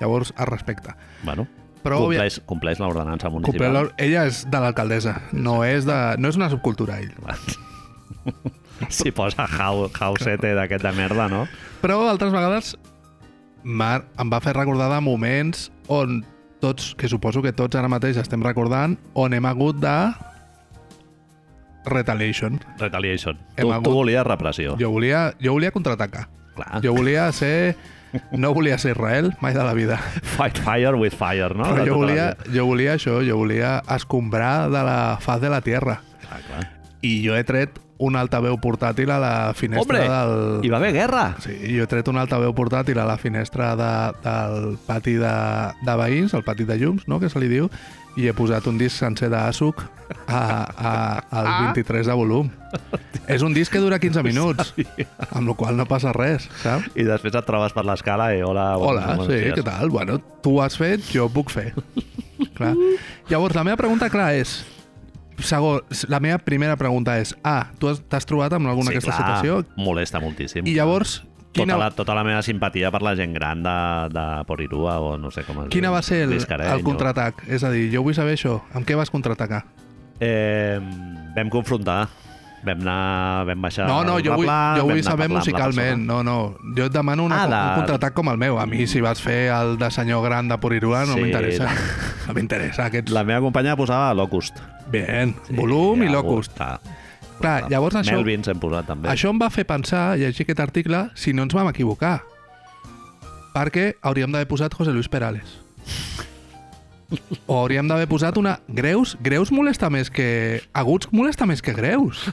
Speaker 2: Llavors, es respecta.
Speaker 1: Bueno,
Speaker 2: Però, òbvia-
Speaker 1: compleix, compleix l'ordenança
Speaker 2: Compleu
Speaker 1: municipal.
Speaker 2: l'or- Ella és de l'alcaldessa, no, és de... no és una subcultura, ell.
Speaker 1: Si posa hau- hausete d'aquest de merda, no?
Speaker 2: Però altres vegades Mar em va fer recordar de moments on tots, que suposo que tots ara mateix estem recordant, on hem hagut de retaliation.
Speaker 1: Retaliation.
Speaker 2: Hem
Speaker 1: Tu,
Speaker 2: hagut-
Speaker 1: tu volies repressió.
Speaker 2: Jo volia, jo volia contraatacar.
Speaker 1: Clar.
Speaker 2: Jo volia ser... No volia ser Israel mai de la vida.
Speaker 1: Fight fire with fire, no? De
Speaker 2: Però jo
Speaker 1: tota la
Speaker 2: volia,
Speaker 1: vida.
Speaker 2: jo volia això, jo volia escombrar de la faz de la Tierra.
Speaker 1: Clar, clar.
Speaker 2: I jo he tret un altaveu portàtil a la finestra
Speaker 1: Hombre,
Speaker 2: del...
Speaker 1: hi va haver guerra.
Speaker 2: Sí, jo he tret un altaveu portàtil a la finestra de, del pati de, de veïns, el pati de llums, no?, que se li diu, i he posat un disc sencer d'Àsuc a, a, al 23 de volum. És un disc que dura 15 minuts, amb la qual no passa res, saps?
Speaker 1: I després et trobes per l'escala i hola...
Speaker 2: Hola,
Speaker 1: bons
Speaker 2: sí,
Speaker 1: dies.
Speaker 2: què tal? Bueno, tu ho has fet, jo ho puc fer. Clar. Llavors, la meva pregunta, clar, és... Segon, la meva primera pregunta és A, tu has- t'has trobat amb alguna
Speaker 1: sí,
Speaker 2: aquesta
Speaker 1: clar,
Speaker 2: situació?
Speaker 1: Molesta moltíssim.
Speaker 2: I llavors,
Speaker 1: Tota, la, tota la meva simpatia per la gent gran de, de Porirua o no sé com es
Speaker 2: Quina
Speaker 1: diu.
Speaker 2: va ser el,
Speaker 1: Lluís Carey,
Speaker 2: el contraatac? És a dir, jo vull saber això. Amb què vas contraatacar?
Speaker 1: o- Eh, vam confrontar. Vam anar... Vam baixar...
Speaker 2: no, no,
Speaker 1: al
Speaker 2: jo vull,
Speaker 1: Rambla,
Speaker 2: jo
Speaker 1: vam anar
Speaker 2: vull
Speaker 1: a
Speaker 2: saber
Speaker 1: parlar amb la
Speaker 2: musicalment.
Speaker 1: persona.
Speaker 2: No, no. Jo et demano una,
Speaker 1: Ah, de-
Speaker 2: un contraatac com el meu. A mi, si vas fer el de senyor gran de Porirua, no
Speaker 1: Sí.
Speaker 2: m'interessa. No m'interessa. Aquests...
Speaker 1: La meva companya posava Locust.
Speaker 2: Bien. eh? Volum i
Speaker 1: ja,
Speaker 2: locust.
Speaker 1: Clar,
Speaker 2: Clar, llavors això,
Speaker 1: Melvins hem posat també.
Speaker 2: això em va fer pensar, llegir aquest article, si no ens vam equivocar. Perquè hauríem d'haver posat José Luis Perales. O hauríem d'haver posat una... Greus, greus molesta més que... Aguts molesta més que greus.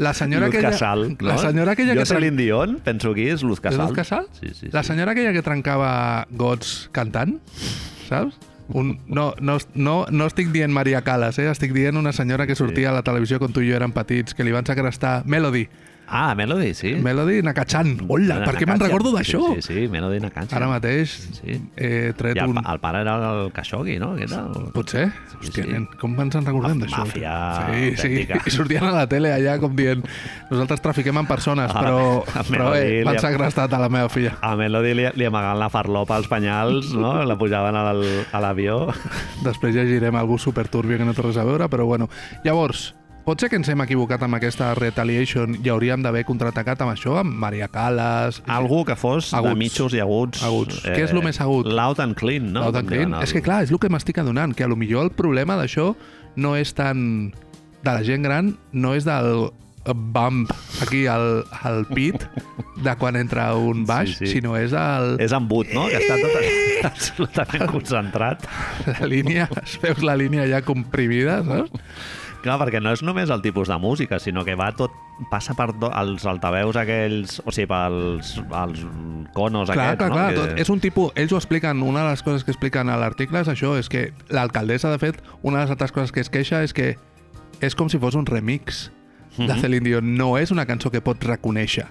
Speaker 2: La senyora
Speaker 1: Luz
Speaker 2: aquella...
Speaker 1: Casal, no?
Speaker 2: La senyora aquella
Speaker 1: jo
Speaker 2: que... tran-
Speaker 1: Celine Dion, penso que és Luz Casal.
Speaker 2: Luz Casal?
Speaker 1: Sí, sí, sí.
Speaker 2: La senyora aquella que trencava gots cantant, saps? Un, no, no, no, no estic dient Maria Calas, eh? estic dient una senyora que sortia a la televisió quan tu i jo érem petits, que li van segrestar Melody.
Speaker 1: Ah, Melody, sí.
Speaker 2: Melody Nakachan. Hola, per què me'n
Speaker 1: Nakatsia.
Speaker 2: recordo d'això?
Speaker 1: Sí, sí, sí, Melody Nakatsia.
Speaker 2: Ara mateix
Speaker 1: Sí.
Speaker 2: he tret
Speaker 1: I el,
Speaker 2: un...
Speaker 1: pa- el pare era el Khashoggi, no? Aquest era el...
Speaker 2: Potser?
Speaker 1: Sí,
Speaker 2: Hòstia,
Speaker 1: sí.
Speaker 2: nen, com ens en recordem d'això?
Speaker 1: Màfia
Speaker 2: Sí, sí.
Speaker 1: autèntica.
Speaker 2: I sortien a la tele allà com dient nosaltres trafiquem en persones,
Speaker 1: Ah,
Speaker 2: però,
Speaker 1: a
Speaker 2: però eh,
Speaker 1: Melody li
Speaker 2: m'han
Speaker 1: ha-
Speaker 2: segrestat a la meva filla.
Speaker 1: A Melody li, li amagaven la farlopa als penyals, no? La pujaven al, a l'avió.
Speaker 2: Després llegirem algú superturbio que no té res a veure, però bueno. Llavors, pot ser que ens hem equivocat amb aquesta retaliation i hauríem d'haver contraatacat amb això, amb Maria Calas...
Speaker 1: Algú que fos aguts.
Speaker 2: Aguts.
Speaker 1: de mitjos i aguts. Eh,
Speaker 2: Aguts. Què és lo més agut?
Speaker 1: Loud and clean, no?
Speaker 2: No, no,
Speaker 1: Com diuen
Speaker 2: És que clar, és el que m'estic adonant, que a lo millor el problema d'això no és tan... de la gent gran, no és del bump aquí al, al pit de quan entra un baix,
Speaker 1: Sí,
Speaker 2: sí,
Speaker 1: sí.
Speaker 2: sí. sinó és el,
Speaker 1: És embut, no? Que està tot absolutament concentrat.
Speaker 2: la línia, veus la línia ja comprimida, saps?
Speaker 1: Clar, perquè no és només el tipus de música, sinó que va tot... Passa per do, els altaveus aquells... O sigui, pels els conos
Speaker 2: clar,
Speaker 1: aquests,
Speaker 2: clar,
Speaker 1: no?
Speaker 2: clar,
Speaker 1: Que-
Speaker 2: tot, és un tipus, ells ho expliquen, una de les coses que expliquen a l'article és això, és que l'alcaldessa, de fet, una de les altres coses que es queixa és que és com si fos un remix de
Speaker 1: Mhm.
Speaker 2: Celine Dion. No és una cançó que pots reconèixer.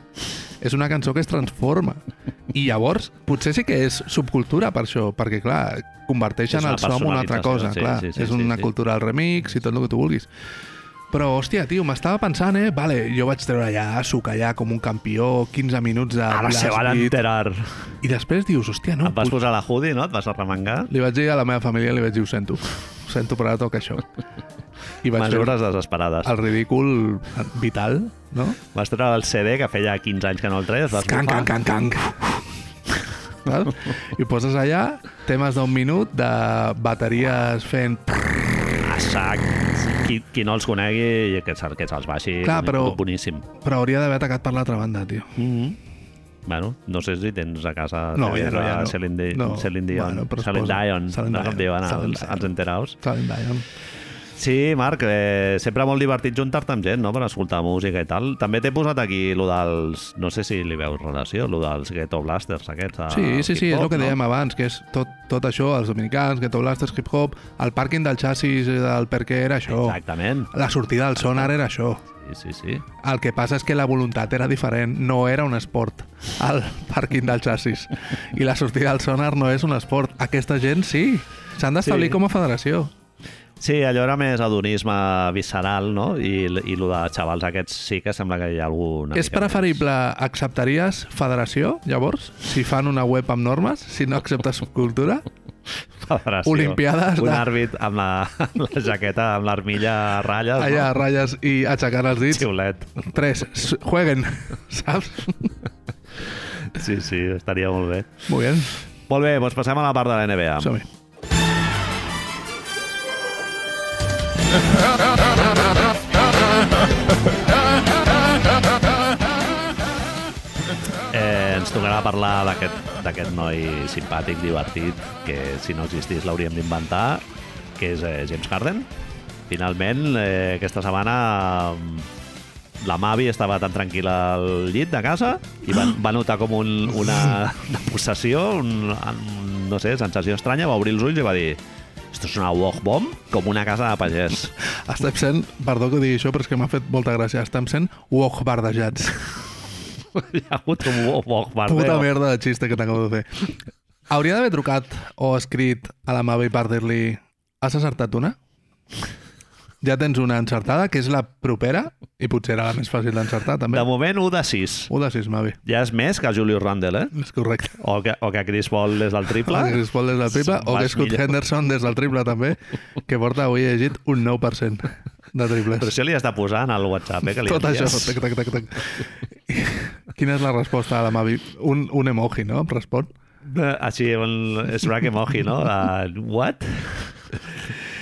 Speaker 2: És una cançó que es transforma. I llavors, potser sí que és subcultura per això, perquè, clar,
Speaker 1: És
Speaker 2: converteixen
Speaker 1: una
Speaker 2: el so en una altra cosa.
Speaker 1: personalització, sí,
Speaker 2: clar.
Speaker 1: sí, sí,
Speaker 2: és
Speaker 1: sí,
Speaker 2: una
Speaker 1: sí.
Speaker 2: cultura del remix i tot el que tu vulguis. Però, hòstia, tio, m'estava pensant, eh? Vale, jo vaig treure allà, suc allà com un campió, 15 minuts de...
Speaker 1: Ara se
Speaker 2: blast
Speaker 1: van
Speaker 2: beat.
Speaker 1: enterar.
Speaker 2: I després dius, hòstia, no,
Speaker 1: Et vas posar la hoodie, no? Et vas arremangar?
Speaker 2: Li vaig dir a la meva família, li vaig dir, ho sento. Ho sento, però ara toca això. I vaig
Speaker 1: Mesures desesperades.
Speaker 2: el ridícul vital, no?
Speaker 1: Vas treure el CD que feia 15 anys que no el treies, vas
Speaker 2: Canc,
Speaker 1: bufar.
Speaker 2: canc, canc, canc. Val? I ho poses allà, temes d'un minut de bateries fent...
Speaker 1: a sac. Qui, qui no els conegui, que, se, que se'ls baixi.
Speaker 2: Clar,
Speaker 1: bonic-
Speaker 2: però-
Speaker 1: Boníssim.
Speaker 2: Però hauria d'haver atacat per l'altra banda, tio.
Speaker 1: Mm -hmm. Bueno, no sé si tens a casa
Speaker 2: No, ja no, ja no.
Speaker 1: Celine, Di-
Speaker 2: No.
Speaker 1: Celine Dion,
Speaker 2: Bueno, però es
Speaker 1: Celine
Speaker 2: posa-
Speaker 1: Dion,
Speaker 2: Celine
Speaker 1: no com
Speaker 2: Dion,
Speaker 1: diuen
Speaker 2: Celine
Speaker 1: els,
Speaker 2: Dion.
Speaker 1: els enteraus.
Speaker 2: Silent Dion.
Speaker 1: Sí, Marc, eh, sempre molt divertit juntar-te amb gent, no?, per escoltar música i tal. També t'he posat aquí lo dels... No sé si li veus relació, lo dels Ghetto Blasters aquests. a
Speaker 2: Sí, sí, sí, és el
Speaker 1: hip-hop,
Speaker 2: que
Speaker 1: Ah, no?
Speaker 2: dèiem abans, que és tot, tot això, els dominicans, que blasters, hip-hop, el pàrquing del xassis, eh, del per què era això,
Speaker 1: Exactament.
Speaker 2: la sortida del sonar era això.
Speaker 1: Sí, sí, sí.
Speaker 2: El que passa és que la voluntat era diferent, no era un esport, el pàrquing del xassis. I la sortida del sonar no és un esport. Aquesta gent sí, s'han d'establir
Speaker 1: Sí.
Speaker 2: com a federació.
Speaker 1: Sí, allò era més adonisme visceral, no? I, i lo de xavals aquests sí que sembla que hi ha algun...
Speaker 2: és preferible, acceptaries federació, llavors, si fan una web amb normes, si no acceptes subcultura?
Speaker 1: Federació.
Speaker 2: Olimpiades
Speaker 1: Un
Speaker 2: de-
Speaker 1: àrbit amb la, amb la jaqueta, amb l'armilla a ratlles,
Speaker 2: Allà,
Speaker 1: no?
Speaker 2: ratlles i aixecant els dits.
Speaker 1: Xiulet.
Speaker 2: Tres, s- jueguen, saps?
Speaker 1: Sí, sí, estaria molt bé.
Speaker 2: Molt bé,
Speaker 1: Molt bé, doncs passem a la part de la NBA.
Speaker 2: som-hi.
Speaker 1: Eh, ens tocarà parlar d'aquest d'aquest noi simpàtic, divertit, que si no existís l'hauríem d'inventar, que és eh, James Harden. Finalment, eh, aquesta setmana mm, la Mavi estava tan tranquil·la al llit de casa i va, va notar com un, una, una possessió, un, un, no sé, sensació estranya, va obrir els ulls i va dir «Esto és una walk bomb com una casa de pagès».
Speaker 2: Estem sent, perdó que ho digui això, però és que m'ha fet molta gràcia, estem sent uoc bardejats.
Speaker 1: Hi ha hagut un walk bomb.
Speaker 2: Puta merda de xiste que t'acabo de fer. Hauria d'haver trucat o escrit a la Mavi per dir-li has acertat una? Ja tens una encertada, que és la propera, i potser era la més fàcil d'encertar, també.
Speaker 1: De moment, 1 de 6.
Speaker 2: Ho de sis, Mavi.
Speaker 1: Ja és més que Julius Randle, eh?
Speaker 2: És correcte.
Speaker 1: O que, o que Chris Paul des del triple.
Speaker 2: Clar. O que Chris Paul des del triple, o que
Speaker 1: Vas
Speaker 2: Scott
Speaker 1: millor.
Speaker 2: Henderson des del triple, també, que porta, avui he llegit, un 9% de
Speaker 1: Però
Speaker 2: triples.
Speaker 1: això li has de posar en el WhatsApp, eh, que li
Speaker 2: Tot això.
Speaker 1: envies.
Speaker 2: Tac, tac, tac, tac. Quina és la resposta a la Mavi? Un, un emoji, no? Respon.
Speaker 1: Eh, Així, un Shrek emoji, no? De, what?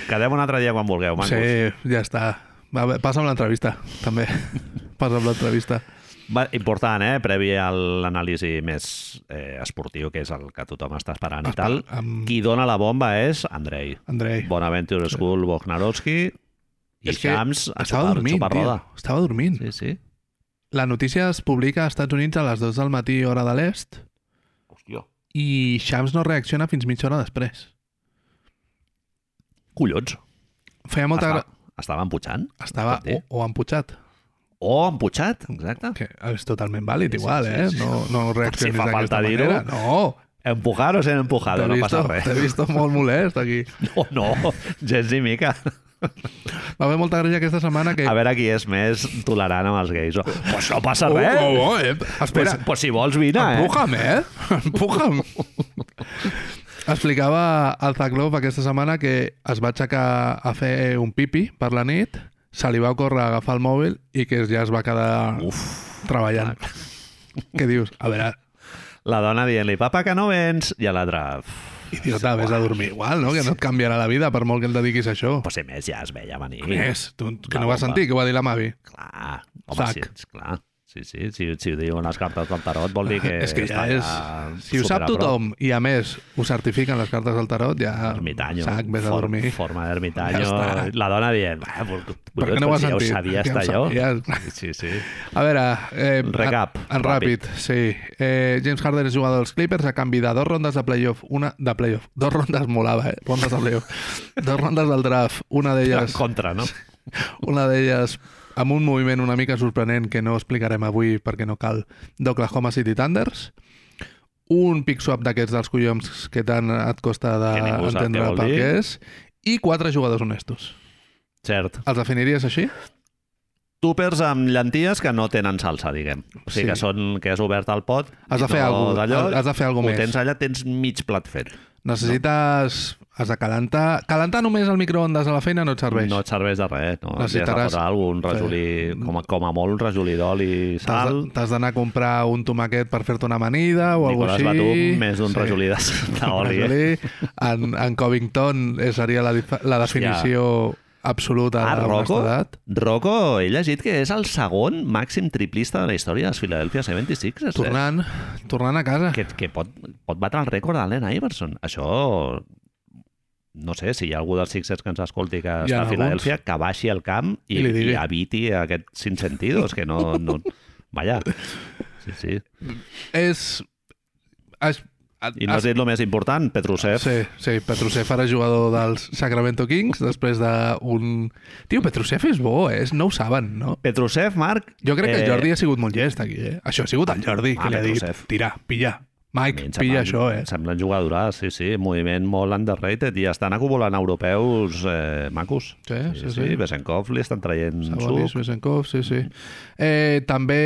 Speaker 1: Quedem un altre dia quan vulgueu, mancos.
Speaker 2: Sí, ja està. Va, bé, passa'm l'entrevista, també. Passa'm l'entrevista.
Speaker 1: Va, important, eh? Previ a l'anàlisi més eh, esportiu, que és el que tothom està esperant i tal.
Speaker 2: Amb
Speaker 1: Qui dona la bomba és Andrei.
Speaker 2: Andrei.
Speaker 1: Bonaventure School, Bognarovski i
Speaker 2: És que
Speaker 1: Shams a
Speaker 2: Estava
Speaker 1: xupar,
Speaker 2: dormint,
Speaker 1: xupar
Speaker 2: tio.
Speaker 1: roda.
Speaker 2: Estava dormint.
Speaker 1: Sí, sí.
Speaker 2: La notícia es publica als Estats Units a les 2 del matí, hora de l'est,
Speaker 1: Hòstia.
Speaker 2: i Shams no reacciona fins mitja hora després.
Speaker 1: Collons.
Speaker 2: Feia molta...
Speaker 1: Estava,
Speaker 2: Gra...
Speaker 1: estava emputxant?
Speaker 2: Estava
Speaker 1: Pot dir.
Speaker 2: o, o emputxat,
Speaker 1: O emputxat, exacte.
Speaker 2: que és totalment vàlid,
Speaker 1: Sí, sí,
Speaker 2: igual,
Speaker 1: sí,
Speaker 2: eh?
Speaker 1: sí.
Speaker 2: No, no
Speaker 1: Si
Speaker 2: reaccionis
Speaker 1: fa
Speaker 2: d'aquesta
Speaker 1: falta dir-ho,
Speaker 2: manera. No,
Speaker 1: Empujar o ser empujado,
Speaker 2: t'he
Speaker 1: no
Speaker 2: visto,
Speaker 1: passa res.
Speaker 2: t'he visto molt molest aquí.
Speaker 1: No, no, gens ni mica.
Speaker 2: Va haver molta gràcia aquesta setmana que...
Speaker 1: A veure qui és més tolerant amb els gais. Pues no passa
Speaker 2: Oh,
Speaker 1: res.
Speaker 2: oh, oh, eh?
Speaker 1: pues,
Speaker 2: Espera,
Speaker 1: pues si vols vine, eh?
Speaker 2: Empuja'm, eh? Empuja'm. Explicava el Zaglov aquesta setmana que es va aixecar a fer un pipi per la nit, se li va ocórrer agafar el mòbil i que ja es va quedar Uf, treballant. Què dius? A veure,
Speaker 1: La dona dient-li, papa, que no vens, i a l'altre,
Speaker 2: idiota, vés a dormir igual, no? Que no et canviarà la vida per molt que el dediquis a això.
Speaker 1: pues si més ja es veia venir.
Speaker 2: Més, tu, que
Speaker 1: La
Speaker 2: no vas
Speaker 1: bomba.
Speaker 2: sentir, que ho va dir la Mavi.
Speaker 1: Clar, home,
Speaker 2: Eh. Sac.
Speaker 1: sí, és clar. Sí, sí, si, si ho diuen les cartes del tarot vol dir que...
Speaker 2: Ah, és que ja
Speaker 1: està
Speaker 2: és... Si ho sap
Speaker 1: superapro.
Speaker 2: tothom i, a més, ho certifiquen les cartes del tarot, ja...
Speaker 1: Ermitaño.
Speaker 2: Sac, vés a
Speaker 1: For-
Speaker 2: dormir.
Speaker 1: Forma d'ermitaño.
Speaker 2: Ja està.
Speaker 1: la dona dient, "Va, vol-
Speaker 2: Per què
Speaker 1: collons,
Speaker 2: no ho has
Speaker 1: si ja ho
Speaker 2: sentit?
Speaker 1: sabia,
Speaker 2: Ja ho
Speaker 1: està allò.
Speaker 2: sabies.
Speaker 1: Sí, sí.
Speaker 2: A veure... Eh,
Speaker 1: Recap,
Speaker 2: En, en ràpid, sí. Eh, James Harden és jugador dels Clippers a canvi de dos rondes de playoff, una de playoff, dos rondes molava, eh? Rondes de playoff. dos rondes del draft, una
Speaker 1: En
Speaker 2: d'elles
Speaker 1: contra, no?
Speaker 2: una d'elles amb un moviment una mica sorprenent que no explicarem avui perquè no cal, d'Oklahoma City Thunders, un pick swap d'aquests dels collons que tant et costa
Speaker 1: Que ningú sap què
Speaker 2: d'entendre
Speaker 1: vol
Speaker 2: per
Speaker 1: dir.
Speaker 2: què és, i quatre jugadors honestos.
Speaker 1: Cert.
Speaker 2: Els definiries així?
Speaker 1: Túpers amb llenties que no tenen salsa, diguem. O sigui,
Speaker 2: Sí.
Speaker 1: sí. que, són, que és obert al pot.
Speaker 2: Has de
Speaker 1: i
Speaker 2: fer
Speaker 1: no
Speaker 2: algú-
Speaker 1: d'allò.
Speaker 2: has de fer algú
Speaker 1: Ho
Speaker 2: més.
Speaker 1: tens allà, tens mig plat fet.
Speaker 2: Necessites... Has de calentar... Calentar només el microondes a la feina no et serveix.
Speaker 1: No et serveix de res. No?
Speaker 2: Necessitaràs-
Speaker 1: Necessitaràs... Has de posar algun rajolí, com, a, com a molt, un rajolí d'oli i
Speaker 2: T'has
Speaker 1: sal.
Speaker 2: de- T'has d'anar a comprar un tomaquet per fer-te una amanida o alguna
Speaker 1: Nicolás
Speaker 2: cosa així.
Speaker 1: Batum, més d'un sí. rajolí de d'oli. eh?
Speaker 2: Rajolí. En, en Covington eh, seria la, dif- la definició absoluta
Speaker 1: Ah,
Speaker 2: de
Speaker 1: Rocco?
Speaker 2: honestedat.
Speaker 1: Rocco, he llegit que és el segon màxim triplista de la història dels Philadelphia eh? 76ers.
Speaker 2: Tornant, tornant a casa.
Speaker 1: Eh? Que, que pot, pot batre el rècord d'Allen Iverson. Això... No sé, si hi ha algú dels Sixers que ens escolti que
Speaker 2: Hi ha
Speaker 1: està a
Speaker 2: alguns.
Speaker 1: Filadèlfia, que baixi al camp i,
Speaker 2: I li
Speaker 1: I, i
Speaker 2: digui.
Speaker 1: eviti aquests sinsentidos, que no... no... Vaja. Sí, sí.
Speaker 2: És... és
Speaker 1: I no has dit el més important, Petrusev. Sí.
Speaker 2: Ah, Sí, sí, Petrusev ara jugador dels Sacramento Kings després d'un... Tio, Petrusev és bo, eh? no ho saben, no?
Speaker 1: Petrusev, Marc...
Speaker 2: Jo crec que el
Speaker 1: eh,
Speaker 2: Jordi ha sigut molt llest aquí, eh? Això ha sigut el Jordi,
Speaker 1: Ah,
Speaker 2: que li ha dit,
Speaker 1: Petrusev.
Speaker 2: tira, pilla.
Speaker 1: A mi
Speaker 2: Mike,
Speaker 1: em semblen-
Speaker 2: pilla això, eh?
Speaker 1: em Semblen jugadoràs, sí, sí, moviment molt underrated i estan acumulant europeus eh, macos.
Speaker 2: Sí, sí, sí.
Speaker 1: Besenkov li estan traient
Speaker 2: Sabonis,
Speaker 1: suc.
Speaker 2: Vesenkov, sí, sí. Eh, també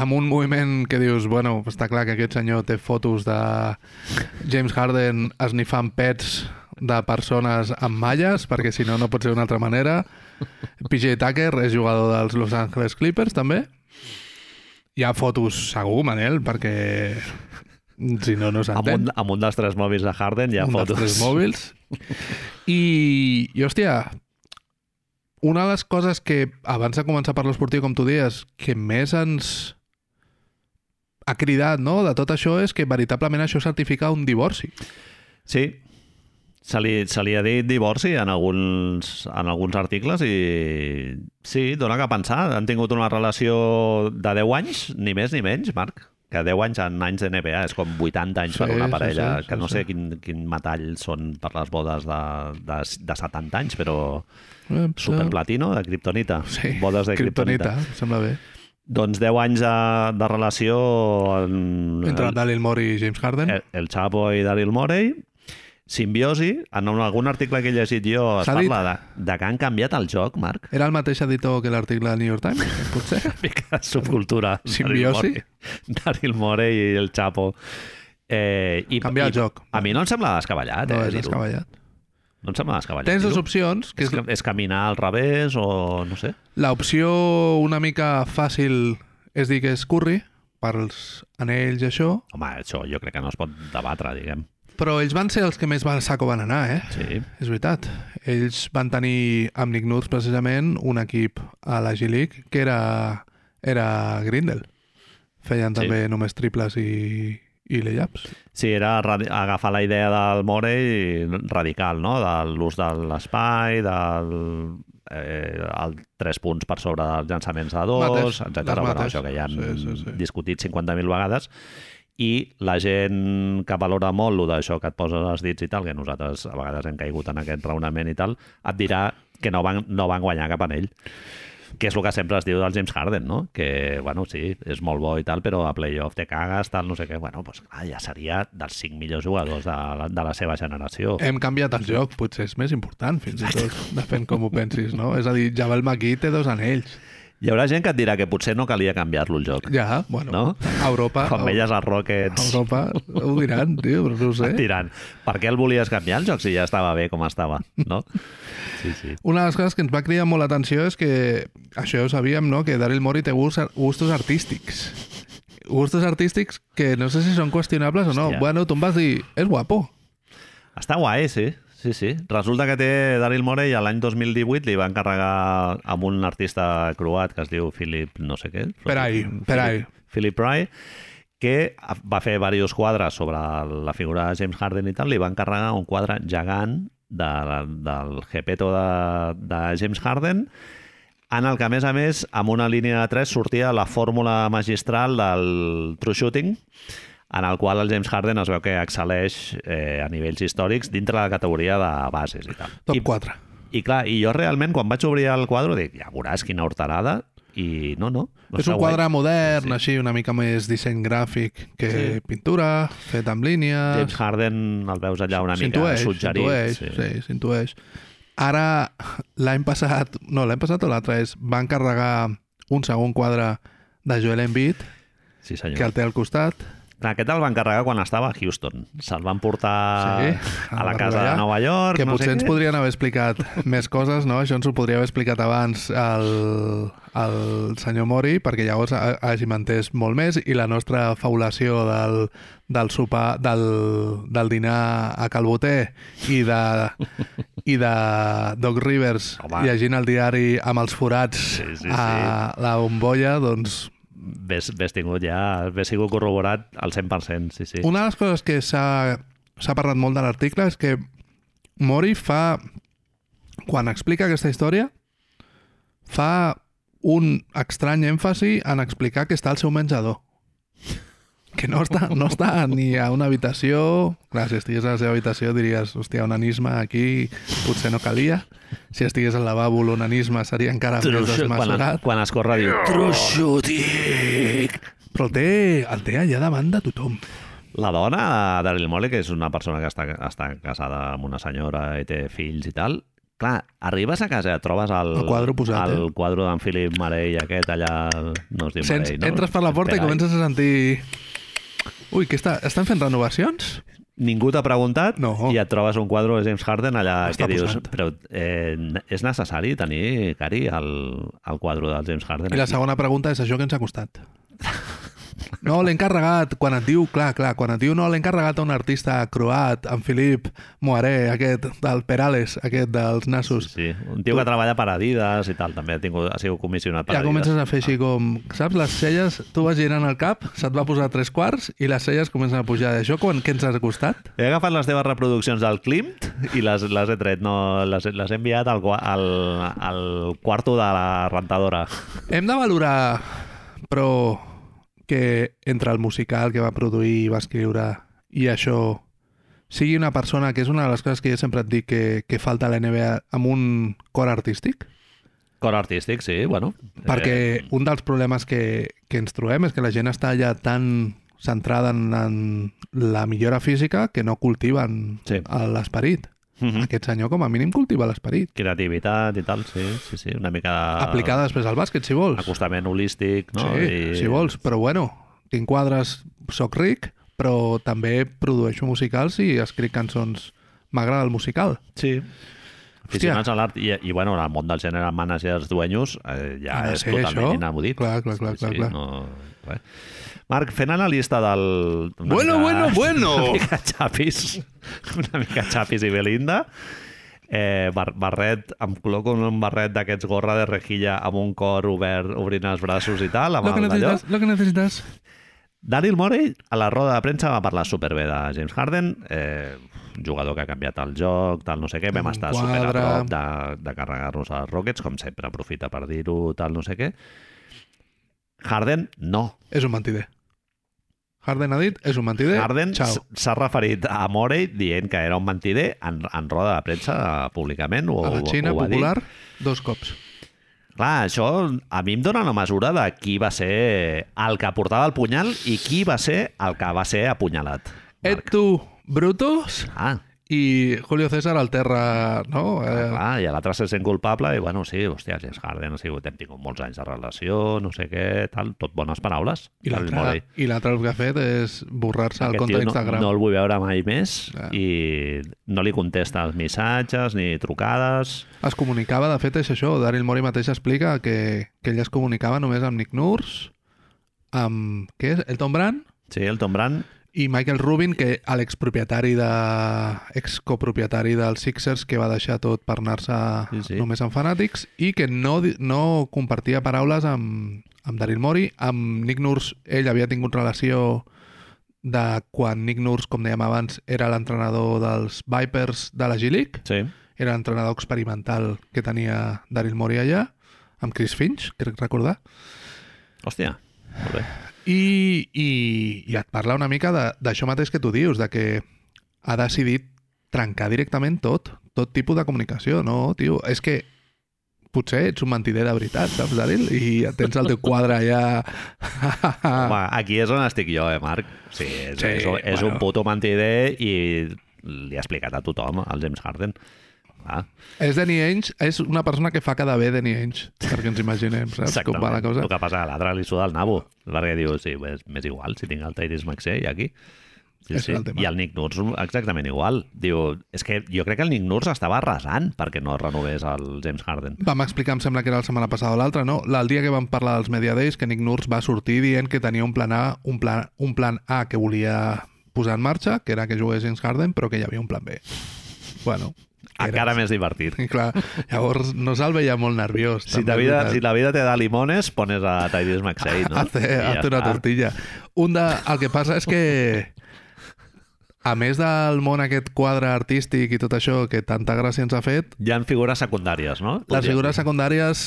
Speaker 2: amb un moviment que dius, bueno, està clar que aquest senyor té fotos de James Harden esnifant pets de persones amb malles, perquè si no, no pot ser d'una altra manera. PJ Tucker és jugador dels Los Angeles Clippers, també. Hi ha fotos, segur, Manel, perquè si no, no
Speaker 1: Amb
Speaker 2: s'entén
Speaker 1: un, amb un dels tres mòbils de Harden hi ha
Speaker 2: un
Speaker 1: fotos.
Speaker 2: dels tres mòbils. I, i, hòstia, una de les coses que, abans de començar per l'esportiu, com tu deies, que més ens ha cridat, no?, de tot això és que veritablement això certifica un divorci.
Speaker 1: Sí, se li, se li ha dit divorci en alguns, en alguns articles i sí, dona que pensar. Han tingut una relació de 10 anys, ni més ni menys, Marc. Que 10 anys en anys de NBA és com 80 anys
Speaker 2: Sí,
Speaker 1: per una
Speaker 2: sí,
Speaker 1: parella,
Speaker 2: sí, sí,
Speaker 1: que no
Speaker 2: sí.
Speaker 1: sé quin, quin metall són per les bodes de, de, de 70 anys, però
Speaker 2: Eh,
Speaker 1: superplatino de kriptonita.
Speaker 2: Sí,
Speaker 1: bodes de
Speaker 2: Kryptonita,
Speaker 1: kriptonita.
Speaker 2: em sembla bé.
Speaker 1: Doncs 10 anys de, de relació en,
Speaker 2: Entre el Daryl Morey i James Harden.
Speaker 1: el, el Chapo i Daryl Morey, simbiosi, en un- algun article que he llegit jo es
Speaker 2: S'ha dit-
Speaker 1: parla de, de que han canviat el joc, Marc.
Speaker 2: Era el mateix editor que l'article del New York Times, potser?
Speaker 1: Mica de subcultura. Daryl
Speaker 2: Simbiosi?
Speaker 1: Morey. Daryl Morey i el Chapo. Eh, i,
Speaker 2: Canviar el
Speaker 1: i-
Speaker 2: joc.
Speaker 1: A mi no em sembla descabellat,
Speaker 2: No,
Speaker 1: eh,
Speaker 2: és
Speaker 1: dir-ho.
Speaker 2: descabellat.
Speaker 1: No em sembla descabellat.
Speaker 2: Tens dues
Speaker 1: dir-ho.
Speaker 2: opcions, que
Speaker 1: és,
Speaker 2: és
Speaker 1: que- és caminar al revés o no sé.
Speaker 2: L'opció una mica fàcil és dir que és Curry, pels anells i això,
Speaker 1: Home, això jo crec que no es pot debatre, diguem.
Speaker 2: però ells van ser els que més van saco van anar, eh?
Speaker 1: Sí.
Speaker 2: És veritat. Ells van tenir amb Nick Nurse, precisament, un equip a la G-League que era, era Grindel. Feien
Speaker 1: Sí.
Speaker 2: també només triples i, i layups.
Speaker 1: Sí, era radi- agafar la idea del Morey radical, no? De l'ús de l'espai, del eh, el tres punts per sobre dels llançaments de
Speaker 2: Mates,
Speaker 1: dos,
Speaker 2: les
Speaker 1: etcètera. Bueno,
Speaker 2: mates.
Speaker 1: això que ja han
Speaker 2: Sí, sí, sí.
Speaker 1: discutit 50.000 vegades. I la gent que valora molt lo d'això que et poses als dits i tal, que nosaltres a vegades hem caigut en aquest raonament i tal, et dirà que no van, no van guanyar cap anell que és el que sempre es diu del James Harden, no? Que, bueno, sí, és molt bo i tal, però a playoff te cagues, tal, no sé què. Bueno, doncs clar, ja seria dels cinc millors jugadors de, la- de la seva generació.
Speaker 2: Hem canviat el joc, potser és més important, fins i tot, depèn com ho pensis, no? És a dir, Javel McGee té dos anells.
Speaker 1: Hi haurà gent que et dirà que potser no calia canviar-lo el joc.
Speaker 2: Ja, bueno,
Speaker 1: No?
Speaker 2: a Europa...
Speaker 1: Quan veies els
Speaker 2: A
Speaker 1: Rockets
Speaker 2: Europa ho diran, tio, però no ho sé.
Speaker 1: tirant. Per què el volies canviar el joc si ja estava bé com estava, no? Sí, sí.
Speaker 2: Una de les coses que ens va cridar molt l'atenció és que, això ja ho sabíem, no?, que Daryl Morey té gust, gustos artístics. Gustos artístics que no sé si són qüestionables o no.
Speaker 1: Hòstia.
Speaker 2: Bueno, tu em vas dir, és guapo.
Speaker 1: Està guai, sí. Sí, sí. Resulta que té Daryl Morey a l'any 2018 li va encarregar amb un artista croat que es diu Philip no sé què.
Speaker 2: Perai, Perai.
Speaker 1: Philip Pry, que va fer diversos quadres sobre la figura de James Harden i tal, li va encarregar un quadre gegant de, del Gepetto de, de James Harden, en el que, a més a més, amb una línia de 3 sortia la fórmula magistral del true shooting, en el qual el James Harden es veu que excel·leix eh, a nivells històrics dintre la categoria de bases i tal.
Speaker 2: Top
Speaker 1: I,
Speaker 2: 4.
Speaker 1: I clar, i jo realment, quan vaig obrir el quadre, dic, ja veuràs quina horterada, i no, no. no
Speaker 2: és
Speaker 1: està
Speaker 2: un
Speaker 1: guai.
Speaker 2: quadre modern,
Speaker 1: Sí, sí.
Speaker 2: així, una mica més disseny gràfic que
Speaker 1: Sí.
Speaker 2: pintura, fet amb línies...
Speaker 1: James Harden el veus allà una mica
Speaker 2: S'intueix,
Speaker 1: suggerit.
Speaker 2: s'intueix, sí, s'intueix. Ara, l'any passat, no, l'any passat o l'altre és, van carregar un segon quadre de Joel Embiid,
Speaker 1: Sí,
Speaker 2: que
Speaker 1: senyor.
Speaker 2: el té al costat.
Speaker 1: Que... Aquest el van carregar quan estava a Houston. Se'l van portar sí,
Speaker 2: Sí,
Speaker 1: a
Speaker 2: el
Speaker 1: la
Speaker 2: van
Speaker 1: casa de
Speaker 2: rotllar,
Speaker 1: Nova York.
Speaker 2: Que
Speaker 1: no
Speaker 2: potser
Speaker 1: sé
Speaker 2: ens
Speaker 1: què.
Speaker 2: podrien haver explicat més coses, no? Això ens ho podria haver explicat abans el, el senyor Mori, perquè llavors ha- hàgim entès molt més i la nostra faulació del, del sopar, del, del dinar a Calboter i de, i de Doc Rivers
Speaker 1: Home.
Speaker 2: llegint el diari amb els forats
Speaker 1: Sí, sí,
Speaker 2: a la bombolla, doncs
Speaker 1: Ves, ves tingut ja, ves sigut corroborat al 100%, sí, sí.
Speaker 2: Una de les coses que s'ha s'ha parlat molt de l'article és que Mori fa... Quan explica aquesta història, fa un estrany èmfasi en explicar que està al seu menjador. Que no està, no està ni a una habitació... Clar, si estigués a la seva habitació diries, hòstia, onanisme aquí potser no calia. Si estigués al lavabo, l'onanisme seria encara més
Speaker 1: Truixo- quan,
Speaker 2: desmesurat.
Speaker 1: quan es corre diu Truixotic!
Speaker 2: Però el té, el té allà davant de tothom.
Speaker 1: La dona d'Ariel Mole, que és una persona que està, està casada amb una senyora i té fills i tal, clar, arribes a casa, trobes el,
Speaker 2: El quadro posat,
Speaker 1: el eh? quadro d'en Philip Marell aquest allà, no es diu
Speaker 2: Sents,
Speaker 1: Marell, no?
Speaker 2: Entres per la porta i
Speaker 1: Espera, eh?
Speaker 2: comences a sentir... Ui, que està, estan fent renovacions?
Speaker 1: Ningú t'ha preguntat
Speaker 2: No.
Speaker 1: i et trobes un quadre de James Harden allà
Speaker 2: Està
Speaker 1: que dius,
Speaker 2: posat.
Speaker 1: però eh, és necessari tenir, Cari, el, el quadre del James Harden
Speaker 2: I la
Speaker 1: aquí?"
Speaker 2: segona pregunta és això que ens ha costat. No, l'he encarregat, quan et diu, clar, clar, quan et diu no, l'he encarregat a un artista croat, en Filip Moaré, aquest, del Perales, aquest dels nassos.
Speaker 1: Sí, un tio que treballa per Adidas i tal, també ha, tingut, ha sigut comissionat per
Speaker 2: Ja
Speaker 1: Adidas.
Speaker 2: comences a fer així com, saps, les celles, tu vas girant el cap, se't va posar tres quarts i les celles comencen a pujar. Això quan, què ens has costat?
Speaker 1: He agafat les teves reproduccions del Klimt i les, les he tret, no, les, les he enviat al, gua- al, al quarto de la rentadora.
Speaker 2: Hem de valorar, però, que entre el musical que va produir i va escriure i això sigui una persona que és una de les coses que jo sempre et dic que, que falta a la NBA amb un cor artístic,
Speaker 1: Cor artístic, sí, bueno.
Speaker 2: perquè
Speaker 1: Eh,
Speaker 2: un dels problemes que, que ens trobem és que la gent està ja tan centrada en, en la millora física que no cultiven
Speaker 1: Sí.
Speaker 2: l'esperit.
Speaker 1: mhm.
Speaker 2: Aquest senyor com a mínim cultiva l'esperit.
Speaker 1: Creativitat i tal, sí, sí, sí, una mica... de-
Speaker 2: Aplicada després al bàsquet, si vols.
Speaker 1: Acostament holístic, no?
Speaker 2: Sí, I... si vols, però bueno, tinc quadres, sóc ric, però també produeixo musicals i escric cançons. M'agrada el musical.
Speaker 1: Sí. Aficionats a l'art i, i, bueno, en el món del gènere managers duenyos eh, ja
Speaker 2: Ha de
Speaker 1: és
Speaker 2: ser
Speaker 1: totalment
Speaker 2: Ah, això.
Speaker 1: inaudit.
Speaker 2: Clar, clar, clar, clar, clar.
Speaker 1: No, res. Marc, fent analista del... una
Speaker 2: Bueno, bueno, bueno.
Speaker 1: Una mica xapis, una mica xapis i Belinda, eh, bar barret, em col·loco en un barret d'aquests gorra de rejilla amb un cor obert, obrint els braços i tal, amb
Speaker 2: Lo que
Speaker 1: el d'allò.
Speaker 2: necessites, lo que necessites.
Speaker 1: Daryl Morey a la roda de premsa va parlar superbé de James Harden, eh, un jugador que ha canviat el joc, tal no sé què, vam
Speaker 2: Un
Speaker 1: estar
Speaker 2: quadre.
Speaker 1: super a prop de, de carregar-nos a les Rockets, com sempre aprofita per dir-ho, tal no sé què. Harden, no.
Speaker 2: És un mentider. Harden ha dit, és un mentider.
Speaker 1: Harden s-
Speaker 2: Ciao.
Speaker 1: s'ha referit a Morey dient que era un mentider en, en roda de premsa públicament. O,
Speaker 2: A la Xina
Speaker 1: ho va dir.
Speaker 2: popular, dos cops.
Speaker 1: Clar, això a mi em dona una mesura de qui va ser el que portava el punyal i qui va ser el que va ser apunyalat.
Speaker 2: Et tu, Brutus,
Speaker 1: Ah,
Speaker 2: i Julio César al terra, no?
Speaker 1: Eh...
Speaker 2: Eh,
Speaker 1: Clar, i l'altre se sent culpable i, bueno, sí, hòstia, James Harden ha sigut, hem tingut molts anys de relació, no sé què, tal, tot bones paraules.
Speaker 2: I
Speaker 1: Daryl Morey.
Speaker 2: l'altre i l'altre el que ha fet és borrar-se el
Speaker 1: Aquest
Speaker 2: compte
Speaker 1: tio
Speaker 2: d'Instagram. Ah.
Speaker 1: No, no el vull veure mai més
Speaker 2: Clar.
Speaker 1: i no li contesta els missatges ni trucades.
Speaker 2: Es comunicava, de fet, és això. Daryl Mori mateix explica que, que ell es comunicava només amb Nick Nurse, amb, què és? Elton Brand
Speaker 1: Sí, el Tom Brand,
Speaker 2: i Michael Rubin, que a l'expropietari de... excopropietari dels Sixers, que va deixar tot per anar-se
Speaker 1: Sí, sí.
Speaker 2: només amb fanàtics, i que no, di- no compartia paraules amb, amb Daryl Mori. Amb Nick Nurse, ell havia tingut relació de quan Nick Nurse, com dèiem abans, era l'entrenador dels Vipers de la G-League,
Speaker 1: sí.
Speaker 2: era l'entrenador experimental que tenia Daryl Morey allà, amb Chris Finch, crec recordar,
Speaker 1: Hòstia, molt bé.
Speaker 2: i, i, i et parla una mica de- d'això mateix que tu dius, de que ha decidit trencar directament tot, tot tipus de comunicació, no, tio? És que potser ets un mentider de veritat, saps, Daryl? I tens el teu quadre allà...
Speaker 1: Home, aquí és on estic jo, eh, Marc? Sí, és,
Speaker 2: Ah. Sí,
Speaker 1: sí, és, és bueno.
Speaker 2: bueno.
Speaker 1: un puto mentider i li ha explicat a tothom, al James Harden. Ah,
Speaker 2: És Danny Ainge, és una persona que fa cada bé Danny Ainge, perquè ens imaginem, saps com va la cosa?
Speaker 1: El que passa, l'altre li suda el nabo, perquè diu, sí, bé, és- m'és igual, si tinc el Tyrese Maxey aquí. Sí,
Speaker 2: És
Speaker 1: sí.
Speaker 2: el tema.
Speaker 1: I el Nick Nurse exactament igual. Diu, és que jo crec que el Nick Nurse estava arrasant perquè no renovés el James Harden.
Speaker 2: Vam explicar, em sembla que era la setmana passada o l'altra, no? El dia que vam parlar dels Media Days, que Nick Nurse va sortir dient que tenia un plan A, un plan, un plan A que volia posar en marxa, que era que jugués James Harden, però que hi havia un plan B. Bueno, que
Speaker 1: Encara més divertit.
Speaker 2: I clar, llavors no se'l veia molt nerviós.
Speaker 1: Si
Speaker 2: també,
Speaker 1: la,
Speaker 2: és
Speaker 1: vida,
Speaker 2: veritat.
Speaker 1: si la vida te da limones, pones a Tyrese Maxey, no? I
Speaker 2: Hace, hace una
Speaker 1: està.
Speaker 2: tortilla. Un de, el que passa és que a més del món aquest quadre artístic i tot això que tanta gràcia ens ha fet,
Speaker 1: Hi ha figures secundàries, no?
Speaker 2: les
Speaker 1: Podríem
Speaker 2: figures secundàries